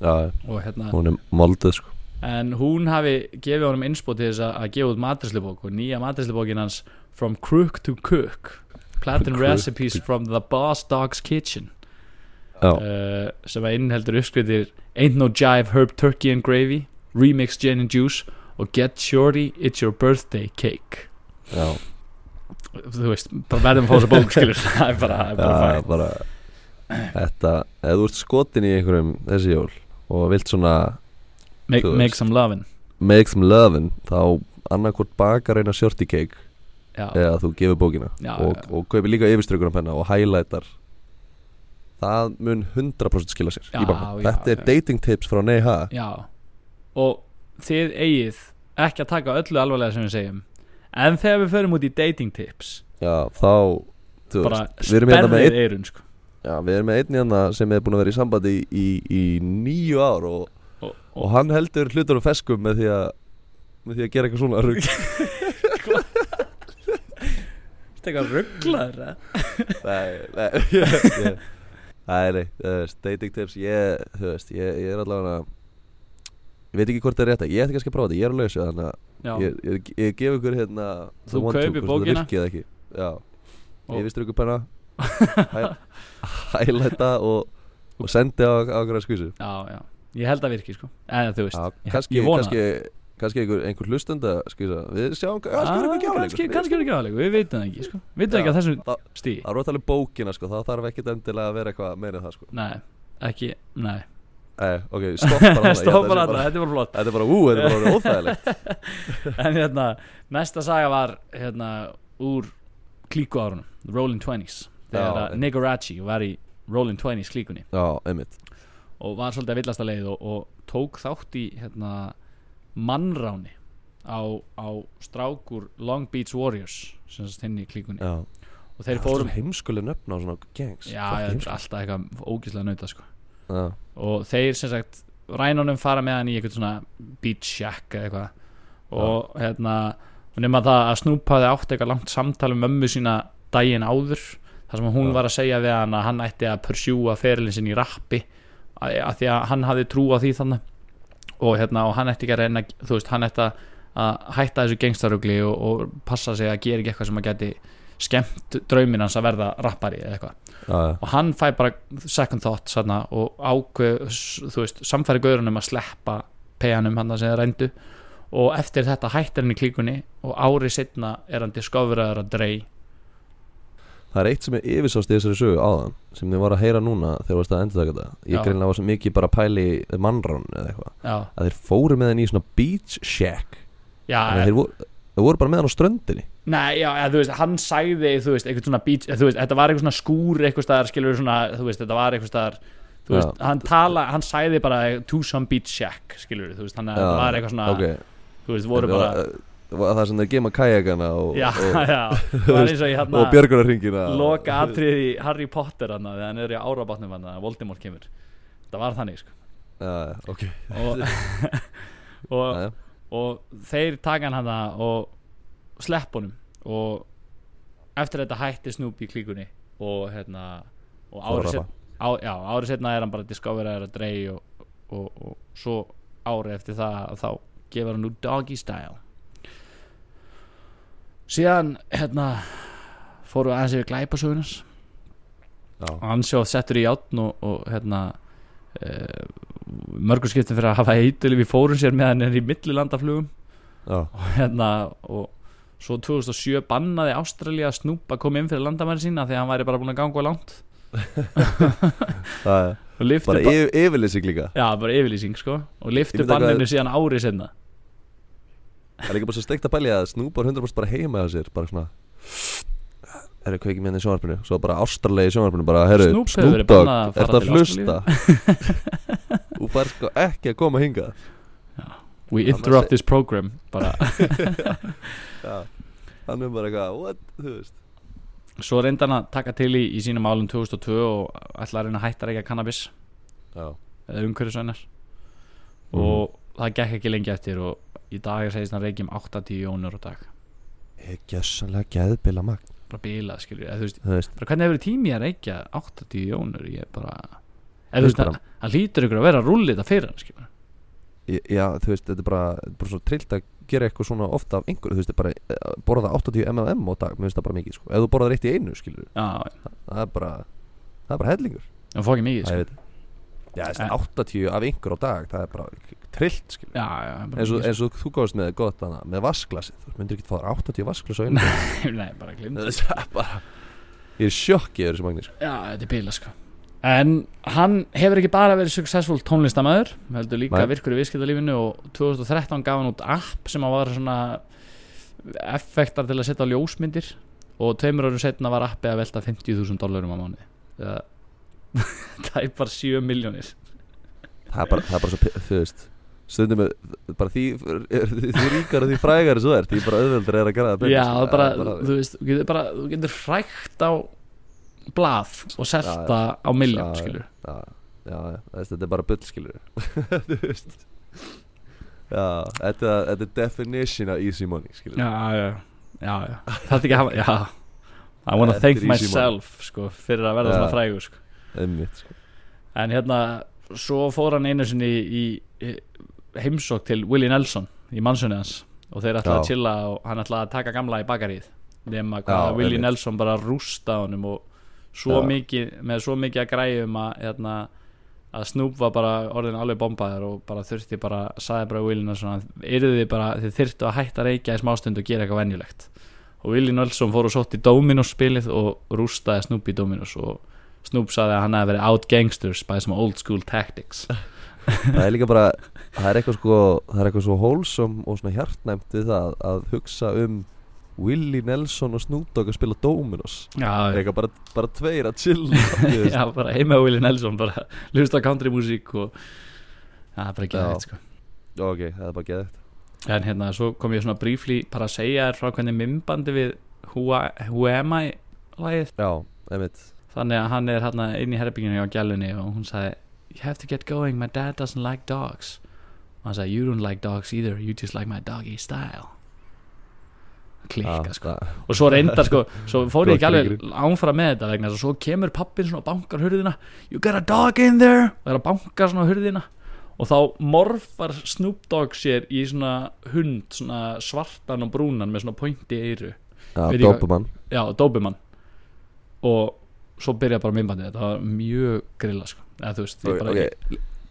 Speaker 2: já,
Speaker 1: og, hérna,
Speaker 2: hún er moldið sko.
Speaker 1: en hún hafi gefið honum innspót til þess að, að gefa út matræslubók og nýja matræslubókin hans From Crook to Cook Platinum
Speaker 2: Crook
Speaker 1: Recipes from the Boss Dog's Kitchen
Speaker 2: já,
Speaker 1: uh, sem að innheldur uppskritir Ain't No Jive Herb Turkey and Gravy Remix Gin and Juice og Get Shorty It's Your Birthday Cake
Speaker 2: já,
Speaker 1: þú veist, bara verðum að fá þess að bók skilur *laughs* það er bara, það er bara
Speaker 2: já
Speaker 1: fæn
Speaker 2: bara þetta, ef þú ert skotin í einhverjum þessi jól og vilt svona
Speaker 1: make,
Speaker 2: þú veist.
Speaker 1: make some lovin
Speaker 2: make some lovin' þá annarkvort bakar eina shorty cake
Speaker 1: já,
Speaker 2: eða þú gefur bókina
Speaker 1: Já,
Speaker 2: og,
Speaker 1: já.
Speaker 2: og kaupir líka yfirströkunum penna og highlightar það mun 100% skila sér
Speaker 1: Já,
Speaker 2: í bankann.
Speaker 1: já,
Speaker 2: þetta er
Speaker 1: já.
Speaker 2: dating tips frá Neha
Speaker 1: já og þið eigið ekki að taka öllu alvarlega sem við segjum en þegar við förum út í dating tips
Speaker 2: já, þá þú
Speaker 1: bara
Speaker 2: veist, við erum hérna með
Speaker 1: sperrið
Speaker 2: einn
Speaker 1: eirun sko.
Speaker 2: já, við erum með einn hérna sem er búin að vera í sambandi í, í, í níu ár og
Speaker 1: Og-
Speaker 2: og hann heldur hlutur og feskum með því að með því að gera eitthvað svona
Speaker 1: *laughs*
Speaker 2: rugg
Speaker 1: Þetta er eitthvað rugglaður
Speaker 2: nei, nei, *laughs* ég, ég, nei, nei þú veist, dating tips ég, þú veist, ég, ég er allavega ég veit ekki hvort það er rétt að- ég ætti kannski að prófa þetta, ég er að lausa þannig að
Speaker 1: Já,
Speaker 2: ég, ég, ég gef ykkur hérna
Speaker 1: Þú kaupir bókina?
Speaker 2: bókina virkið, eða ekki, já,
Speaker 1: Og-
Speaker 2: ég vistur ykkur penna
Speaker 1: *laughs*
Speaker 2: hæ- hælæta og, og sendi á, á okkur að skvísu
Speaker 1: *laughs* já, já Ég held að virki sko Eða þú veist
Speaker 2: Já,
Speaker 1: ég-
Speaker 2: kannski,
Speaker 1: ég vona
Speaker 2: kannski, kannski einhver, einhver hlustenda skýsa. við sjáum kannski er
Speaker 1: Ah,
Speaker 2: eitthvað gjáleikur
Speaker 1: kannski, kannski er ekki áleikur, við veitum það ekki sko. Við veitum
Speaker 2: Já.
Speaker 1: ekki að þessum
Speaker 2: Það-
Speaker 1: stíði
Speaker 2: það er að tala um bókina sko, þá þarf ekkert endilega að vera eitthvað meira en það
Speaker 1: *laughs*
Speaker 2: sko
Speaker 1: Nei, ekki, nei
Speaker 2: Æ, ok, stopp
Speaker 1: *laughs*
Speaker 2: bara þarna, ég held að
Speaker 1: Stoppar þetta,
Speaker 2: sé bara-
Speaker 1: þetta var flott
Speaker 2: þetta er bara ú, þetta er bara óþægilegt
Speaker 1: *laughs* En hérna, næsta saga var hérna, úr klíku árunum Rolling Twenties Þegar
Speaker 2: Já,
Speaker 1: að
Speaker 2: einmitt.
Speaker 1: Nigorachi var í Rolling Twenties klíkunni
Speaker 2: já, einmitt
Speaker 1: Og var svolítið að villasta leið og, og tók þátt í hérna, mannráni á, á strákur Long Beach Warriors sem sagt hinn í klíkunni
Speaker 2: já.
Speaker 1: Og þeir fórum
Speaker 2: heimskuleg nöfn á svona gangs
Speaker 1: Já,
Speaker 2: Fuck,
Speaker 1: já, þetta er
Speaker 2: heimskuleg.
Speaker 1: alltaf eitthvað ógislega nauta sko
Speaker 2: já,
Speaker 1: og þeir sem sagt rænunum fara með hann í eitthvað svona beach shack eða eitthvað og hérna og nema það að Snoop hafði átt eitthvað langt samtal um mömmu sína daginn áður þar sem hún
Speaker 2: Já.
Speaker 1: var að segja við hann að hann ætti að pursjúa ferilin sinni í rappi að, að því að hann hafði trú á því þannig og hérna og hann ætti ekki að reyna þú veist hann ætti að að hætta þessu gengstarugli og, og passa sig að gera ekki eitthvað sem að geti skemmt draumin hans að verða rappari eða eitthvað
Speaker 2: já, já,
Speaker 1: og hann fæ bara second thought sanna, og ákveð, s- þú veist, samfæri gaurunum að sleppa pejanum hann sem þeir reyndu og eftir þetta hættir hann í klíkunni og ári setna er hann discoveraður að drey
Speaker 2: það er eitt sem ég yfirsást í þessari sögu áðan sem þið var að heyra núna þegar þú varst að enda þetta
Speaker 1: Já.
Speaker 2: ég greinlega var svo mikið bara að pæli mannrán eða eitthvað,
Speaker 1: já,
Speaker 2: að þeir fóru með henni í svona beach shack Þannig að
Speaker 1: já,
Speaker 2: þeir voru, þeir voru bara með hann á ströndinni
Speaker 1: nei, já, eða, þú veist hann sagði, þú veist, eitthvað svona beach, eða, þú veist, þetta var eitthvað svona skúr eitthvað staðar, skilur svona, þú veist, þetta var eitthvað staðar þú
Speaker 2: Já.
Speaker 1: veist, hann tala, hann sagði bara to some beach shack, skilur þú veist, þannig að þetta var eitthvað svona,
Speaker 2: okay.
Speaker 1: þú veist, voru bara
Speaker 2: Það var það sem þeir geima kajakana og,
Speaker 1: já,
Speaker 2: og,
Speaker 1: *laughs* já, það var eins og ég hérna
Speaker 2: og björgunarringina
Speaker 1: loka atrið í Harry Potter hann þegar hann er í árabátnum hann að Voldemort kemur það var þannig sko
Speaker 2: Já, ok
Speaker 1: og, *laughs* og,
Speaker 2: Já, já.
Speaker 1: og þeir taka hann hann og slepp honum og eftir þetta hætti Snoop í klíkunni og hérna og
Speaker 2: Fór að
Speaker 1: árið
Speaker 2: rappa.
Speaker 1: set, á, já, ári setna er hann bara discoveraður að drey og, og, og svo árið eftir það þá gefur hann út doggy style síðan hérna fóru aðeins yfir glæpasögunars
Speaker 2: Já,
Speaker 1: og hann sjá settur í játn og, og hérna uh, mörgum skiptum fyrir að hafa eitilif í fórum sér meðan hann er í millilandaflugum
Speaker 2: já,
Speaker 1: og hérna og svo 2007 bannaði Ástralja að snúpa kom inn fyrir landamæri sína því að hann væri bara búin að ganga of langt
Speaker 2: það er
Speaker 1: og liftu
Speaker 2: bara
Speaker 1: ba
Speaker 2: yf, yfirlýsing líka
Speaker 1: já, bara yfirlýsing sko og liftu
Speaker 2: Ég veit að
Speaker 1: banninu
Speaker 2: hvað-
Speaker 1: síðan árið senna
Speaker 2: Það er líka bara svo steikt að pælja að Snoop var 100% bara heima á sér Bara svona Herru, kveiki mér hérna í sjónvarpinu Svo bara ástralegi í sjónvarpinu Bara, herru,
Speaker 1: Snoop hefur
Speaker 2: Snoop
Speaker 1: verið
Speaker 2: Dogg
Speaker 1: bannað að fara
Speaker 2: Ertu að
Speaker 1: til *laughs*
Speaker 2: hlusta? Þú fær sko ekki að koma hingað
Speaker 1: we
Speaker 2: Hann
Speaker 1: interrupt
Speaker 2: var
Speaker 1: this program bara *laughs*
Speaker 2: Já Hann er bara eitthvað, what, þú veist
Speaker 1: svo reyndi hann að taka til í, í sínum álum 2002 og ætlaði að reyna að hætta að reyka cannabis
Speaker 2: Já,
Speaker 1: eða umhverfisvænar
Speaker 2: Mhm.
Speaker 1: og það gekk ekki lengi eftir og í dag segist hann reykjum 80 jónur á dag
Speaker 2: ég er gjössanlega geðbila magn
Speaker 1: bara bilað skilur, eða þú veist
Speaker 2: Þú veist,
Speaker 1: bara hvernig hefur tími að reykja 80 jónur ég bara, eða
Speaker 2: Þú
Speaker 1: þú
Speaker 2: veist
Speaker 1: veist hann- hann lítur ykkur að vera rullið að fyrir hann skilur
Speaker 2: Ég- Já, þú veist, þetta er bara, þetta er bara svo trillt að gera eitthvað svona ofta af einhverju, þú veist, þetta er bara eh, borða 80 mm á dag, mér finnst það bara mikið, sko. Ef þú borðar eitt í einu, skilur,
Speaker 1: já,
Speaker 2: það er bara, það er bara hellingur.
Speaker 1: hann fá ekki mikið
Speaker 2: Það
Speaker 1: skilur.
Speaker 2: er þetta. Já, þessi 80 af einhverju á dag, það er bara trillt, skilur.
Speaker 1: já, já, bara
Speaker 2: Eins og,
Speaker 1: mikið,
Speaker 2: eins og þú góðast með gott hana, með vasklasið, þú myndir ekki fara 80 vasklas á einu.
Speaker 1: *laughs* skilur. nei, bara glimt
Speaker 2: Það er bara, ég er sjokkið yfir þessu magnir, sko.
Speaker 1: já, þetta er bilað sko en hann hefur ekki bara verið successful tónlistamæður heldur líka
Speaker 2: Nei.
Speaker 1: virkur í viðskiptalífinu og 2013 gaf hann út app sem að var svona effektar til að setja á ljósmyndir og tveimur árum setna var appið að velta 50.000 dólarum á mánuði *laughs* það það er bara 7 miljónir
Speaker 2: Það er bara, það er bara svo, pi- þú veist, stundum með, bara því, því, því ríkar og því frægar þú ert, því bara auðveldur er að gera það betur,
Speaker 1: já,
Speaker 2: sko.
Speaker 1: það er bara,
Speaker 2: Það er
Speaker 1: þú veist, þú getur bara þú getur hrækt á blað og
Speaker 2: Já,
Speaker 1: selta á miljón,
Speaker 2: Já,
Speaker 1: skilur
Speaker 2: já. já, já, þú veist, þetta er bara bull skilur *laughs* þú veist já, þetta, þetta er definition of easy money skilur
Speaker 1: já, já, já, já. það er ekki að hafa já. I wanna
Speaker 2: Þetta
Speaker 1: thank
Speaker 2: er easy
Speaker 1: myself sko, fyrir að verða
Speaker 2: Já.
Speaker 1: svona frægur sko.
Speaker 2: einmitt sko.
Speaker 1: en hérna, svo fór hann einu sinni í, í heimsók til Willie Nelson í mannsunni hans og þeir ætlaði að
Speaker 2: Já.
Speaker 1: chilla og hann ætlaði að taka gamla í bakaríð nema
Speaker 2: Já,
Speaker 1: hvað að Willie
Speaker 2: einmitt.
Speaker 1: Nelson bara rústa honum og svo
Speaker 2: Já.
Speaker 1: mikið með svo mikið að græjum að hérna, að Snoop var bara orðin alveg bombaður og bara þurfti bara, saði bara Willie Nelson að yrði bara, þið þurftu að hætta að reykja í smástund og gera eitthvað venjulegt og Willie Nelson fór og sótt í Dominos spilið og rústaði Snoop í Dominos og Snoop saði að hann hefði verið out gangsters by some old school tactics
Speaker 2: það er líka bara það er eitthvað sko það er eitthvað svo hólsom og svona hjartnæmt við það að hugsa um Willie Nelson og Snoop Dogg að spila Dominos það er
Speaker 1: já,
Speaker 2: eitthvað bara, bara tveir að chilla þú veist.
Speaker 1: já, bara heima Willie Nelson bara hlusta á country músík og það er bara ekki
Speaker 2: Já.
Speaker 1: það sko.
Speaker 2: ok, það er bara geðvægt
Speaker 1: en hérna, svo kom ég svona briefly bara að segja þér frá hvernig mimbandi við Who, I- Who Am I lagið
Speaker 2: já, einmitt
Speaker 1: Þannig að hann er hérna inn í herbygginu hjá gælunni og hún sagði You have to get going, my dad doesn't like dogs og hann sagði You don't like dogs either, you just like my doggy style Klikka
Speaker 2: Já,
Speaker 1: sko
Speaker 2: það-
Speaker 1: Og svo reyndar sko, svo fór ég ekki alveg
Speaker 2: Blóðkrikurinn.
Speaker 1: ánfara með þetta vegna þess að Svo kemur pappin svona og bankar hurðina You got a dog in there Og er að banka svona á hurðina Og þá morfar Snoop Dogg sér í svona hund, svona svartan og brúnan með svona pointi eyru
Speaker 2: já,
Speaker 1: Veit ég hvað-
Speaker 2: Doberman
Speaker 1: já, Doberman og svo byrja bara minnbandið þetta var mjög grilla sko. eða þú veist, ég
Speaker 2: Ok,
Speaker 1: bara
Speaker 2: ok.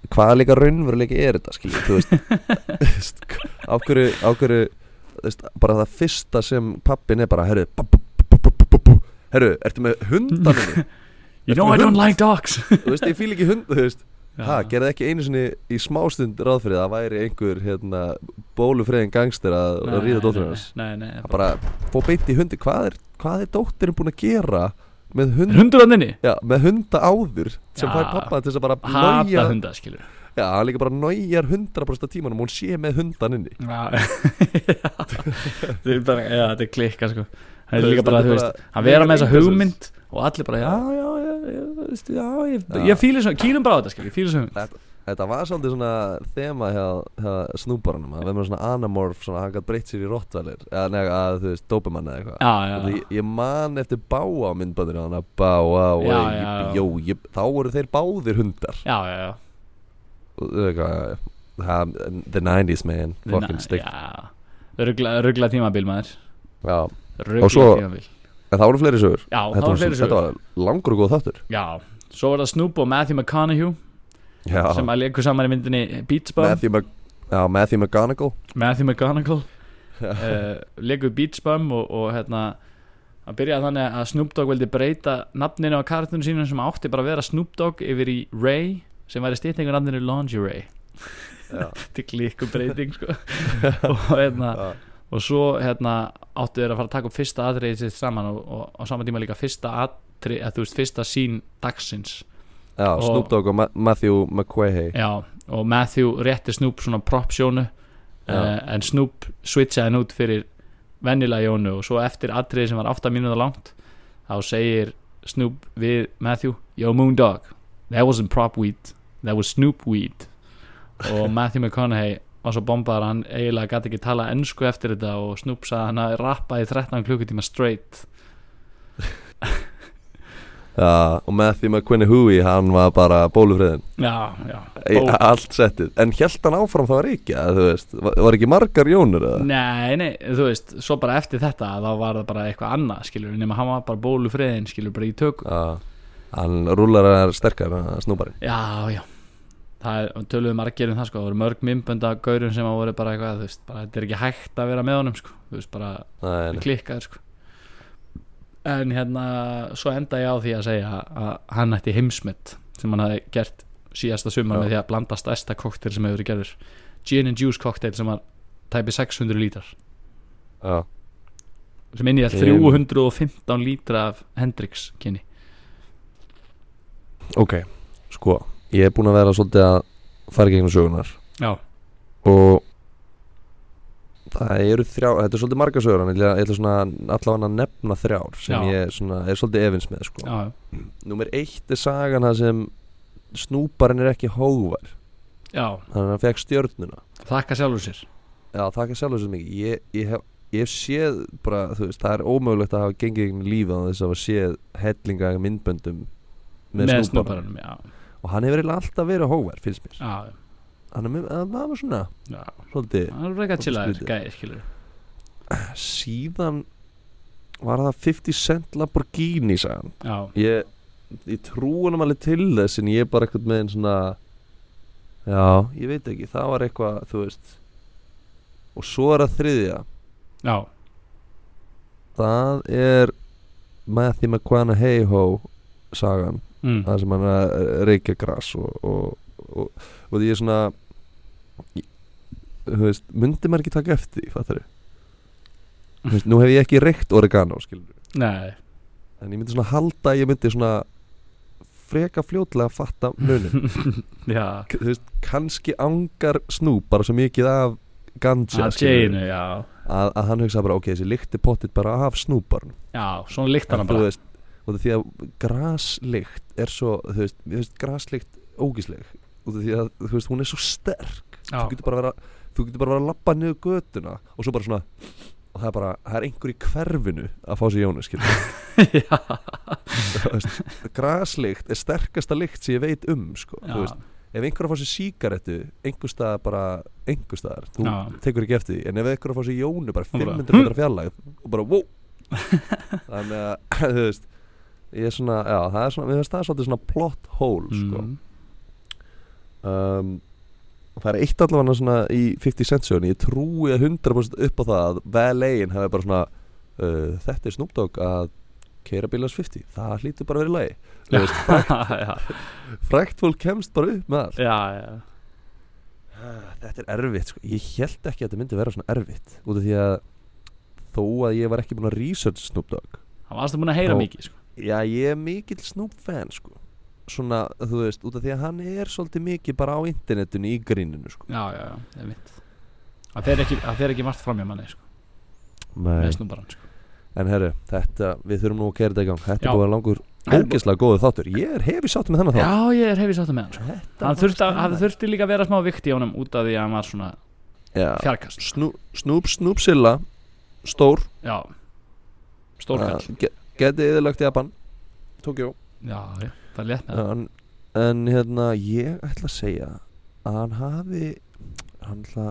Speaker 2: Hvaða líka raunveruleiki er þetta skilur þú veist Þú veist, á hverju, á hverju þú veist, bara það fyrsta sem pappin er bara herru bú, bú, bú, bú, bú, bú, bú. herru, ertu með hundaninu
Speaker 1: you know I don't like dogs
Speaker 2: þú veist, ég fíl ekki hund þú veist,
Speaker 1: *laughs* Já.
Speaker 2: ha, gerði ekki einu sinni í smástund ráð fyrir að það væri einhver hérna, bólufriðin gangstir að,
Speaker 1: Nei,
Speaker 2: að ríða dótturinn
Speaker 1: nei,
Speaker 2: hans
Speaker 1: nei, nei,
Speaker 2: Það
Speaker 1: nei,
Speaker 2: bara fór beint í hundi hvað er, hvað er dótturinn búin að gera með hund
Speaker 1: hundur hann inni
Speaker 2: Já, með hunda áður sem
Speaker 1: Já.
Speaker 2: fær pappa til þess að bara
Speaker 1: hata
Speaker 2: nája
Speaker 1: hunda skilur
Speaker 2: Já, hann líka bara nájar 100% af tímanum hún sé með hundan inni
Speaker 1: þetta er bara, já, þetta er klikka sko. það er
Speaker 2: Þú
Speaker 1: líka
Speaker 2: veist,
Speaker 1: bara,
Speaker 2: þetta er
Speaker 1: þú veist,
Speaker 2: bara-
Speaker 1: hann vera með þessa
Speaker 2: Engasus.
Speaker 1: hugmynd og allir bara, já, já, já, já, þú veist, já ég,
Speaker 2: Já.
Speaker 1: ég fíli svona, kýlum bara á þetta skilur, ég fíli svona hugmynd
Speaker 2: Þetta, þetta var svolítið svona þema hjá, hjá snúbaranum að við með svona anamorf, svona hann gætt breytt sér í rottvælir eða nega að þú veist, dopumann eða eitthvað
Speaker 1: já, já,
Speaker 2: Þetta Ég, ég man eftir báa myndbandir hann að báa og
Speaker 1: Já,
Speaker 2: ég,
Speaker 1: já, já.
Speaker 2: Jó, ég, þá voru þeir báðir hundar
Speaker 1: já, já, já
Speaker 2: og þú veist hvað ha, The 90s man, fucking stick
Speaker 1: já, ruggla, ruggla tímabil maður
Speaker 2: Já,
Speaker 1: ruggla
Speaker 2: svo-
Speaker 1: tímabil
Speaker 2: en það voru fleiri sögur
Speaker 1: já, það
Speaker 2: þetta,
Speaker 1: var
Speaker 2: var,
Speaker 1: fleiri
Speaker 2: svo-
Speaker 1: sögur
Speaker 2: þetta var langur og góð þáttur
Speaker 1: Já, svo var það Snoop og Matthew McConaughey
Speaker 2: Já,
Speaker 1: sem að leikur saman í myndinni Beach Bum
Speaker 2: Matthew, Mc, já, Matthew McGonagall
Speaker 1: Matthew McConaughey uh, leikur Beach Bum og, og hérna að byrja þannig að Snoop Dogg vildi breyta nafninu á kartunum sínum sem átti bara að vera Snoop Dogg yfir í Ray sem væri stýtningur nafninu Lingerie *laughs*
Speaker 2: Já,
Speaker 1: til líku breyting sko. *laughs* og hérna
Speaker 2: já,
Speaker 1: og svo hérna áttu þeir að fara að taka upp fyrsta atriðið sitt saman og, og, og á sama tíma líka fyrsta atrið, að þú veist, fyrsta sín dagsins
Speaker 2: já
Speaker 1: Og-
Speaker 2: Snoop Dogg og Ma Matthew McQuahay
Speaker 1: Já, og Matthew rétti Snoop svona propsjónu uh, en Snoop switchaði hann út fyrir venjulega Jónu og svo eftir atriði sem var 8 mínúta langt þá segir Snoop við Matthew Yo Moondog, that wasn't prop weed that was Snoop weed *laughs* og Matthew McConaughey var svo bombaðar hann eiginlega gæti ekki tala ennsku eftir þetta og Snoop sagði að hann að rappa í 13 klukkutíma straight
Speaker 2: Já, og Matthew McQuinnahui, hann var bara bólufriðin
Speaker 1: Já, já
Speaker 2: Í
Speaker 1: Bó-
Speaker 2: Allt settið En held hann áfram það var ekki, að, þú veist Var, var ekki margar jónur eða?
Speaker 1: Nei, nei, þú veist, svo bara eftir þetta þá var það bara eitthvað annað, skilur nema hann var bara bólufriðin, skilur, bara í tökum
Speaker 2: Já Hann rúlar að sterkar snúbarinn
Speaker 1: Já, já Það er, töluðu margir um það, sko, það voru mörg minnbönda gaurum sem að voru bara eitthvað, þú veist bara þetta er ekki hægt að vera með honum, sko þú veist, bara
Speaker 2: Nei, nei.
Speaker 1: klikkaður, sko En hérna, svo enda ég á því að segja að hann ætti heimsmynd sem hann hafði gert síðasta sumar
Speaker 2: Já.
Speaker 1: með því að blanda stærsta koktel sem hefur verið gerður Gin and Juice koktel sem var tæpi 600 lítrar
Speaker 2: Já,
Speaker 1: sem inn í allt
Speaker 2: Gin.
Speaker 1: 315 lítra af Hendrix kynni
Speaker 2: ok Sko, ég er búin að vera svolítið að fara í gegnum sögunar
Speaker 1: Já,
Speaker 2: Og Það eru þrjár, þetta er svolítið margar sögur En ég ætla- ég ætla svona allavega að nefna þrjár Sem
Speaker 1: Já.
Speaker 2: ég svona, er svolítið efins með sko
Speaker 1: já,
Speaker 2: Númer eitt er sagan það sem snúparinn er ekki hóvar
Speaker 1: já,
Speaker 2: þannig að hann fekk stjörnuna
Speaker 1: þakka sjálfur sér
Speaker 2: Já, þakka sjálfur svo mikið Ég, ég, hef, ég hef séð bara, þú veist, það er ómögulegt að hafa gengið gegn lífið á þess að hafa séð hellinga af myndböndum með,
Speaker 1: með
Speaker 2: með
Speaker 1: snúparanum já,
Speaker 2: Og hann hefur eiginlega alltaf verið hóver, finnst mér
Speaker 1: já,
Speaker 2: Hann er með, að maður svona,
Speaker 1: já
Speaker 2: svolítið
Speaker 1: það er reyka
Speaker 2: Svolítið
Speaker 1: chillaður
Speaker 2: skrítið.
Speaker 1: gæðir skilur
Speaker 2: Síðan var það 50 Cent Lamborghini, sagði hann
Speaker 1: já,
Speaker 2: Ég, ég trú hann alveg til þess en ég er bara eitthvað með einn svona Já, ég veit ekki, það var eitthvað, þú veist Og svo er það þriðja
Speaker 1: já,
Speaker 2: Það er Matthew McConaughey-ho sagan,
Speaker 1: mm.
Speaker 2: það sem hann er að reykja gras og, og, og, og því ég er svona ég- þú veist, myndi maður ekki taka eftir því, fattar þú veist, nú hef ég ekki reykt oregano, skilur
Speaker 1: nei
Speaker 2: en ég myndi svona halda, að ég myndi svona freka fljótlega að fatta munin,
Speaker 1: já,
Speaker 2: þú veist, kannski angar snúp bara svo mikið af ganja,
Speaker 1: að
Speaker 2: skilurðu,
Speaker 1: Jane já,
Speaker 2: að, að hann hugsa bara, ok, þessi lykti pottit bara af snúparn
Speaker 1: já, svona líkt
Speaker 2: en
Speaker 1: hana
Speaker 2: þú
Speaker 1: bara
Speaker 2: veist út af því að graslykt er svo, þú veist, þú veist graslykt ógísleg, út af því að þú veist, hún er svo sterk, þú
Speaker 1: já,
Speaker 2: getur bara að vera þú getur bara að vera að labba niður götuna og svo bara svona, og það er bara það er einhver í hverfinu að fá sér jónu skilur,
Speaker 1: já, *laughs*
Speaker 2: þú veist, graslykt er sterkasta lykt sem ég veit um, sko,
Speaker 1: já,
Speaker 2: þú veist ef einhver að fá sér sígarettu, einhverstaðar bara einhverstaðar, þú
Speaker 1: Já.
Speaker 2: tekur ekki eftir því en ef einhver að fá sér jónu, bara
Speaker 1: Og bara,
Speaker 2: 500 metra fjarlæg og bara,
Speaker 1: *laughs*
Speaker 2: wow þannig að, *clears throat* þú veist ég er svona, já, það er svona, mér finnst það svolítið svona plot hole, sko
Speaker 1: Mm.
Speaker 2: um, það er eitt allavega svona í 50 cent sögunni, ég trúi að 100% upp á það að valegin hafi bara svona uh, þetta er Snoop Dogg að keira bílans 50, það hlýtur bara að vera í lagi Þú veist,
Speaker 1: *laughs* já,
Speaker 2: frækt fólk kemst bara upp með allt
Speaker 1: já, já
Speaker 2: Ah, Þetta er erfitt sko. Ég held ekki að þetta myndi vera svona erfitt Út af því að Þó að ég var ekki búin að research Snoop Dogg
Speaker 1: hann var alltaf búin að heyra
Speaker 2: Ó.
Speaker 1: mikið sko.
Speaker 2: Já, ég er mikill Snoop fan sko. Svona, þú veist, út af því að hann er svolítið mikið bara á internetinu í gríninu sko.
Speaker 1: já, já, já, það er mitt það fer ekki, það fer ekki margt fram hjá manni sko, með snúbaran sko.
Speaker 2: En herru, þetta, við þurfum nú að gera þetta í gang Þetta
Speaker 1: Já.
Speaker 2: er búin að langur
Speaker 1: En-
Speaker 2: ógeðslega góðu þáttur Ég er hefið sáttur með þennan
Speaker 1: já,
Speaker 2: þátt
Speaker 1: ég er hefði sátt með hann sko.
Speaker 2: Þetta
Speaker 1: hann
Speaker 2: var
Speaker 1: þurfti, að- hann
Speaker 2: skemmtilegt.
Speaker 1: þurfti líka að vera smá vikt í honum út af því að hann var svona
Speaker 2: Já.
Speaker 1: fjarkast
Speaker 2: Snú- Snoop, Snoop Silla Stór
Speaker 1: já, stórkall
Speaker 2: Ah, ge- Getið yfirlagt Japan Tokjó
Speaker 1: já, já, það er létt með það
Speaker 2: en, en hérna ég ætla að segja að hann hafi hann ætla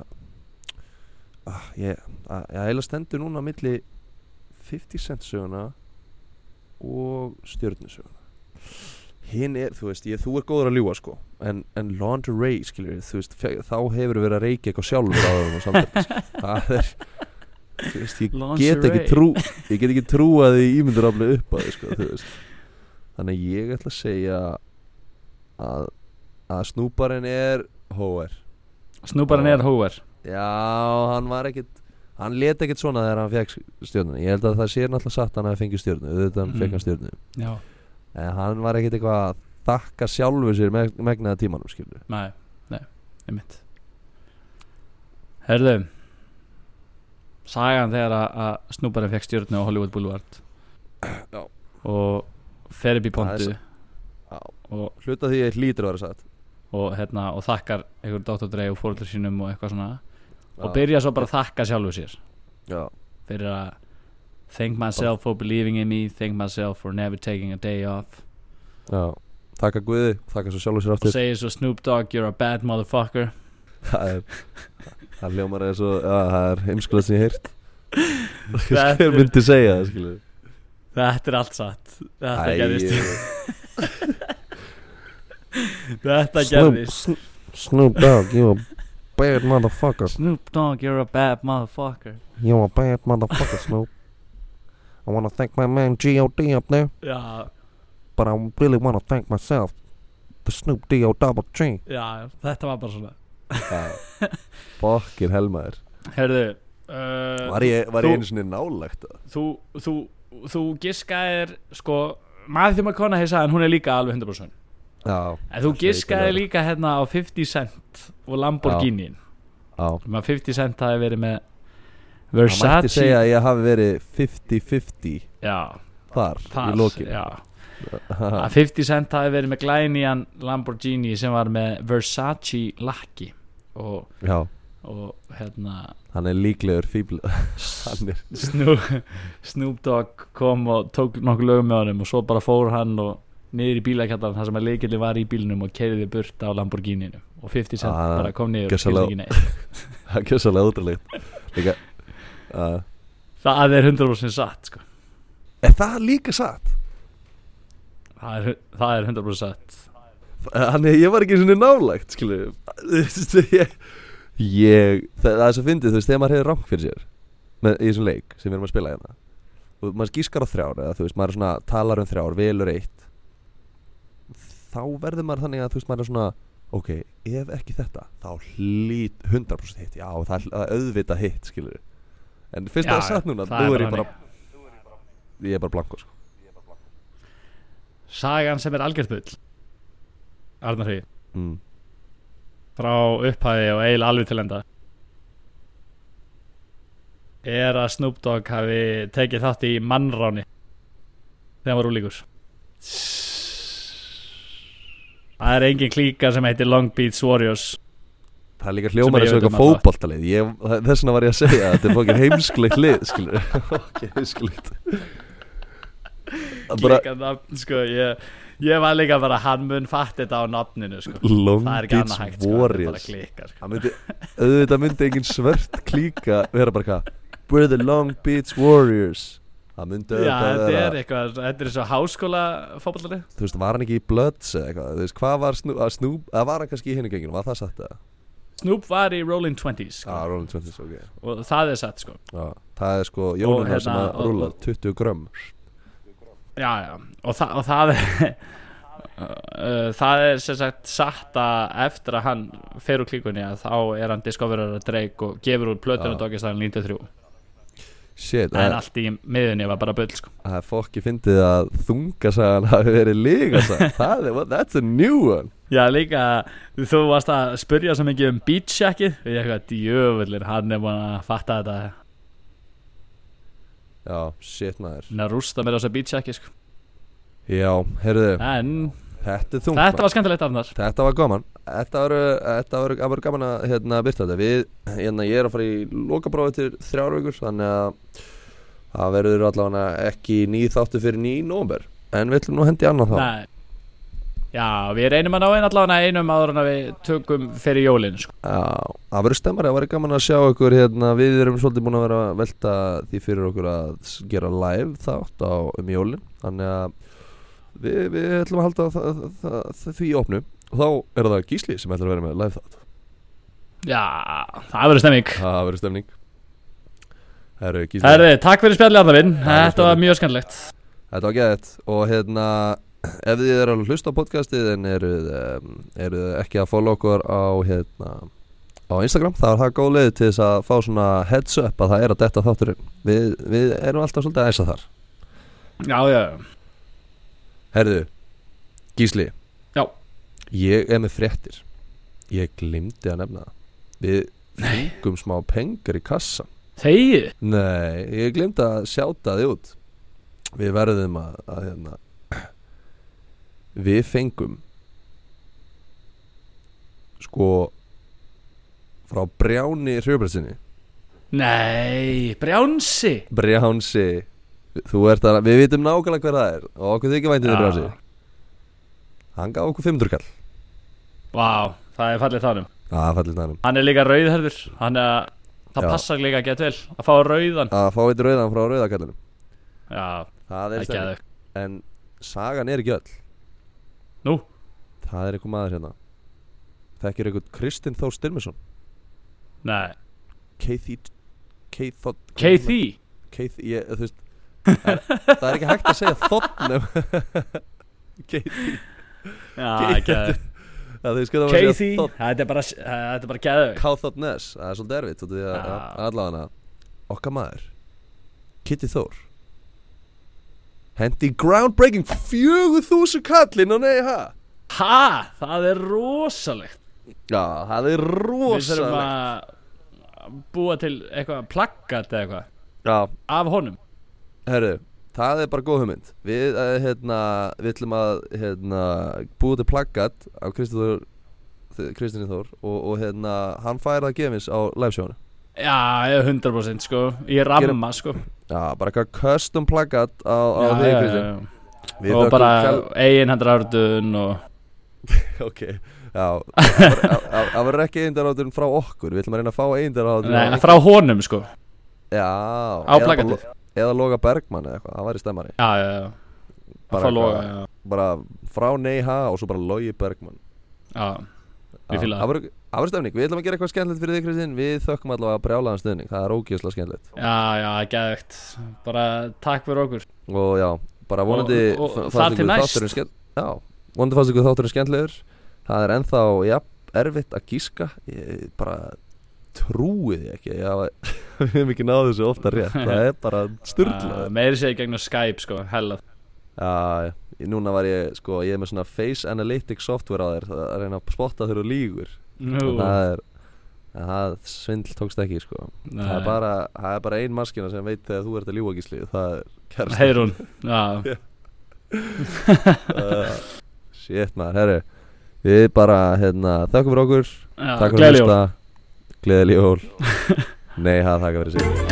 Speaker 2: ah, ég, að, ég ætla stendur núna á milli 50 cent söguna og stjörnusöguna hinn er, þú veist, ég, þú er góður að ljúa sko en, en lingerie, skilur við þú veist, fe- þá hefur verið að reykja eitthvað sjálfur á þeim og samtætt það er þú veist, ég get ekki
Speaker 1: Lingerie.
Speaker 2: trú
Speaker 1: *laughs*
Speaker 2: ég get ekki trú að því ímyndur aflega upp að því sko, þú veist þannig að ég ætla að segja að, að snúparinn er hóer
Speaker 1: snúbaran er hóver
Speaker 2: já, hann var ekkit hann let ekkit svona þegar hann fekk stjórnuna ég held að það sé náttúrulega satt að hann hafi fengið stjórnu auðvitað hann
Speaker 1: Mm.
Speaker 2: fekk hann stjórnu
Speaker 1: já,
Speaker 2: en hann var ekkit eitthvað að þakka sjálfu sér meg, megnaða tímanum skilur
Speaker 1: nei, nei, einmitt herðu sagan þegar að, að snúbaran fekk stjórnu á Hollywood Boulevard
Speaker 2: Já.
Speaker 1: og fer upp í pontu
Speaker 2: Það já.
Speaker 1: og
Speaker 2: hluta því að ég hlýtur að vera satt
Speaker 1: og, hérna, og þakkar einhver dóttardrei og fóröldur sínum og eitthvað svona og
Speaker 2: Já.
Speaker 1: byrja svo bara að þakka sjálfu sér
Speaker 2: já,
Speaker 1: fyrir að thank myself for believing in me thank myself for never taking a day off
Speaker 2: já þakka Guði, þakka svo sjálfu sér
Speaker 1: og
Speaker 2: aftur
Speaker 1: segir svo Snoop Dogg you're a bad motherfucker
Speaker 2: það er það hljómar eða svo, já, það er heimskulegt sem ég heirt
Speaker 1: Þetta
Speaker 2: hver
Speaker 1: er-
Speaker 2: myndi segja það skilur
Speaker 1: þetta er allt satt þetta
Speaker 2: Æ,
Speaker 1: gerðist
Speaker 2: ég-
Speaker 1: þetta
Speaker 2: Snoop-
Speaker 1: gerðist
Speaker 2: Snoop- Snoop Dogg, you a bad motherfucker
Speaker 1: Snoop Dogg you're a bad motherfucker
Speaker 2: You a bad motherfucker Snoop I wanna thank my man G.O.D. up there
Speaker 1: já,
Speaker 2: But I really wanna thank myself The Snoop D.O. Double G
Speaker 1: já, þetta var bara svona
Speaker 2: Fokkin helmaður
Speaker 1: herðu uh,
Speaker 2: Var ég, var
Speaker 1: Þú-
Speaker 2: ég einu sinni nálægt það?
Speaker 1: þú, þú, þú giskaðir sko, maður því maður kona heisa en hún er líka alveg 100%
Speaker 2: Já,
Speaker 1: En þú
Speaker 2: Það er
Speaker 1: giskaði
Speaker 2: sveikalegt.
Speaker 1: líka hérna á 50 Cent og Lamborghini
Speaker 2: já
Speaker 1: um að 50 Cent hafi verið með
Speaker 2: Það mætti
Speaker 1: Versace
Speaker 2: segja að ég hafi verið 50-50
Speaker 1: Já,
Speaker 2: þar
Speaker 1: pass
Speaker 2: í lokinu *laughs*
Speaker 1: já. að 50 Cent hafi verið með glænían Lamborghini sem var með Versace lakki og,
Speaker 2: já,
Speaker 1: og hérna
Speaker 2: hann er líklegur fíbl *laughs* hann er,
Speaker 1: Snoop, Snoop Dogg kom og tók nokkuð lögum með honum og svo bara fór hann og niður í bílakjallan þar sem að leikilli var í bílnum og keiriði burt á Lamborghininu og 50 Cent
Speaker 2: Ah,
Speaker 1: bara kom niður og skildi
Speaker 2: gjörsamlega.
Speaker 1: ekki neitt.
Speaker 2: hann er svolítið ótrúlegt líka uh,
Speaker 1: það er 100% satt sko.
Speaker 2: er það líka satt?
Speaker 1: það, er, hu- það er 100% satt
Speaker 2: Eh, hann er, ég var ekki svona nálægt skilur ég, ég það, það er svo fyndið þú veist þegar maður hefur rang fyrir sér með, í þessum leik sem við erum að spila hérna og maður skískar á þrjár eða þú veist maður er svona talar um þrjár, velur eitt þá verður maður þannig að þú veist maður er svona ok, ef ekki þetta þá hlýt 100% hitt já, það er hl- auðvitað hitt skilur en fyrst
Speaker 1: Já,
Speaker 2: það er satt núna
Speaker 1: það er
Speaker 2: nú er
Speaker 1: bara
Speaker 2: ég bara ég er bara blanko sko.
Speaker 1: sagan sem er algjörð bull Arnar Hví
Speaker 2: mm.
Speaker 1: frá upphæði og eiginlega alveg til enda er að Snoop Dogg hafi tekið þátt í mannráni þegar hann var úlíkur Það er engin klíka sem heitir Long Beach Warriors
Speaker 2: Það er líka
Speaker 1: Sem
Speaker 2: hljómar
Speaker 1: ég
Speaker 2: eins og
Speaker 1: veit um að
Speaker 2: eitthvað
Speaker 1: það-
Speaker 2: fótboltalið Ég- það- Þess vegna var ég að segja að þetta er fokin heimsklegt lið Skilur
Speaker 1: *laughs*
Speaker 2: *laughs* Ok, heimsklegt Það er Bara
Speaker 1: Klíka nafn, sko ég, ég var líka bara, hann mun fatt þetta á nafninu, sko
Speaker 2: Long
Speaker 1: Það er ekki annað hægt, sko, það
Speaker 2: Beach
Speaker 1: er bara
Speaker 2: Warriors
Speaker 1: klíka, sko
Speaker 2: Það myndi, auðvitað myndi engin svört klíka vera bara hvað We're the Long Beach Warriors Það myndi
Speaker 1: Já,
Speaker 2: auðvitað
Speaker 1: þetta er
Speaker 2: vera
Speaker 1: eitthvað, þetta er eins og háskóla fótballari
Speaker 2: Þú veist, var hann ekki í Bloods eða eitthvað Þú veist, hvað var Snoop, að Snoop, að var hann kannski í henni genginu, var það satt eða?
Speaker 1: Snoop var í Rolling Twenties, sko
Speaker 2: Já, Rolling Twenties, ok Já,
Speaker 1: Og það er satt, sko
Speaker 2: það er sko Jónina sem
Speaker 1: hérna,
Speaker 2: að
Speaker 1: og-
Speaker 2: rúla
Speaker 1: og-
Speaker 2: 20 grömm
Speaker 1: já, já. Og, þa og það er *laughs* Uh, það er sem sagt satt að eftir að hann fer úr klíkunni að þá er hann discoverar að dreik og gefur úr plötunum
Speaker 2: Já.
Speaker 1: dogistæðan 93
Speaker 2: Shit,
Speaker 1: en allt í miðunni var bara bull sko.
Speaker 2: Það er fokki fyndið að þungasagan hafi verið *laughs* lígasagan Það er, well, that's a new one
Speaker 1: já líka þú varst að spurja svo mikið um beatjackið og ég eitthvað djöfullin hann er búin að fatta þetta
Speaker 2: Já, shit maður
Speaker 1: hann er að rústa mér á þessu beatjacki sko.
Speaker 2: Já, heyrðu,
Speaker 1: en
Speaker 2: þetta er þungt
Speaker 1: þetta
Speaker 2: maður.
Speaker 1: var skemmtilegt af þar
Speaker 2: þetta var gaman Þetta var, þetta var, þetta var gaman að hérna, byrta þetta Við, hérna, ég er að fara í lokaprófi til þrjár vikur Þannig að það verður allavega ekki nýð þáttu fyrir nýj nómber En við ætlum nú að hendi annað þá
Speaker 1: Nei. já við reynum að ná einn allavega einum áður en að við tökum fyrir jólin sko.
Speaker 2: Já, það verður stemmari, það verður gaman að sjá ykkur hérna, við erum svolítið búin að vera að velta því fyrir okkur að s- gera live þátt á um jólin þannig að við, við ætlum að halda það, það, það, því opnu og þá er það Gísli sem ætlar að vera með live þátt
Speaker 1: já það verður stemming
Speaker 2: Það verður stemning Herru, Gísli
Speaker 1: Herri, takk fyrir spjallið Arnarvinn,
Speaker 2: fyrir
Speaker 1: þetta var
Speaker 2: spjallið.
Speaker 1: mjög skemmtilegt
Speaker 2: Þetta var gæðið og hérna *clears throat* ef þið eru að hlusta á podcastið en eruð um, eru ekki að follow okkur á hérna á Instagram, þá er það góð leið til þess að fá svona heads up að það er að detta þátturinn við, við erum alltaf svolítið að æsa þar
Speaker 1: Já, já,
Speaker 2: Herðu, Gísli
Speaker 1: Já.
Speaker 2: Ég er með fréttir Ég glimti að nefna það Við fengum smá pengar í kassa
Speaker 1: þegið
Speaker 2: Nei, ég glimti að sjáta þið út Við verðum að, að hérna. *clears throat* Við fengum Sko Frá Brjáni Hrjöbrætsinni
Speaker 1: Nei, brjánsi
Speaker 2: Brjánsi Þú ert að, við vitum nákvæmlega hver það er Og okkur þykir væntið
Speaker 1: Já.
Speaker 2: þið Brjánsi Hann gaf okkur 500 kall
Speaker 1: Vá, það er fallið þannum
Speaker 2: Það fallið nænum
Speaker 1: Hann er líka rauðherður Þannig að það
Speaker 2: Já.
Speaker 1: passar líka að geta vel Að fá rauðan
Speaker 2: Að fá eitt rauðan frá rauðakallinum
Speaker 1: Já,
Speaker 2: Það er
Speaker 1: ekki að
Speaker 2: stærri En sagan er ekki öll
Speaker 1: Nú,
Speaker 2: Það er eitthvað maður hérna Þekkir eitthvað Kristinn Þór Styrmisson
Speaker 1: nei,
Speaker 2: Keithy Keithot
Speaker 1: KT
Speaker 2: Keith, ég, þú veist það er- Það er ekki hægt að segja þotnum Keithy
Speaker 1: Já, ekki að
Speaker 2: Það er skoðum *laughs* að
Speaker 1: KT,
Speaker 2: segja
Speaker 1: þetta er bara eh, Þetta er bara geðvig
Speaker 2: Káþotnes Það er svolítið erfitt þú veist,
Speaker 1: Já.
Speaker 2: að- Allavega Okkar maður Kitty Þór Hendi groundbreaking 4000 kallinn og nei ha
Speaker 1: Ha, það er rosalegt
Speaker 2: Já, það
Speaker 1: Við
Speaker 2: er
Speaker 1: þurfum
Speaker 2: rosalegt
Speaker 1: að búa til eitthvað Plaggat eða eitthvað
Speaker 2: Já,
Speaker 1: Af honum
Speaker 2: herru það er bara góð hugmynd við, uh, hérna, við ætlum að hérna, búið til plaggat á Kristinn Þór Kristinn Þór og, og hérna, hann fær það gefins á livesjónu
Speaker 1: Já, ég er 100% sko Í ramma sko
Speaker 2: Já, bara eitthvað custom plaggat á, á
Speaker 1: já,
Speaker 2: þig
Speaker 1: já, já,
Speaker 2: Kristinn
Speaker 1: já.
Speaker 2: Við
Speaker 1: Og
Speaker 2: þökkum
Speaker 1: bara
Speaker 2: kærl-
Speaker 1: eiginhendrarördun og...
Speaker 2: *laughs* Ok, já það var- það- Það verður ekki eindaráturinn frá okkur Við ætlum að reyna að fá eindaráturinn
Speaker 1: Nei, frá honum sko
Speaker 2: Já
Speaker 1: Á
Speaker 2: eða bara
Speaker 1: plakatið.
Speaker 2: Lo- Eða Loga Bergmann eða eitthvað, það væri stemmari
Speaker 1: Já, já, já Frá loga, já,
Speaker 2: bara frá Neyha og svo bara Logi Bergmann
Speaker 1: já Ég fíla það.
Speaker 2: það verður- Það verður stemning, við ætlum að gera eitthvað skemmtilegt fyrir þig Kristinn Við þökkum allavega brjálaðan stöðning, það er ógeðslega skemmtilegt
Speaker 1: Já, já, geðvegt Bara takk fyrir okkur
Speaker 2: Og já, bara vonandi
Speaker 1: Og- og
Speaker 2: f-
Speaker 1: þar
Speaker 2: fannst
Speaker 1: til
Speaker 2: ykkur
Speaker 1: næst.
Speaker 2: þátturinn skemmt- Já, vonandi fannst ykkur þátturinn skemmtilegur Það er ennþá, já, erfitt að gíska Ég bara trúi því ekki Ég hafa, *laughs* við hefum ekki náðu þessu ofta rétt Það er bara
Speaker 1: Já, *laughs*
Speaker 2: styrlað
Speaker 1: Meiri segja gegnum Skype sko, hella
Speaker 2: Já, já, Ég- núna var ég, sko, ég er með svona face analytics software á þér Það er að reyna að spotta þeirra lígur
Speaker 1: Nú,
Speaker 2: Það er, það svindl tókst ekki, sko Það er
Speaker 1: nei.
Speaker 2: bara, það er bara ein maskina sem veit þegar þú ert að ljúga gísli Það er kærst *laughs*
Speaker 1: Heyrún, já *laughs*
Speaker 2: uh, Shit maður, herru Við bara, hérna, þakkum fyrir okkur
Speaker 1: Já,
Speaker 2: Takk fyrir
Speaker 1: gleðileg
Speaker 2: að
Speaker 1: jól.
Speaker 2: hlusta Gleðileg jól Nei, það þakka fyrir sig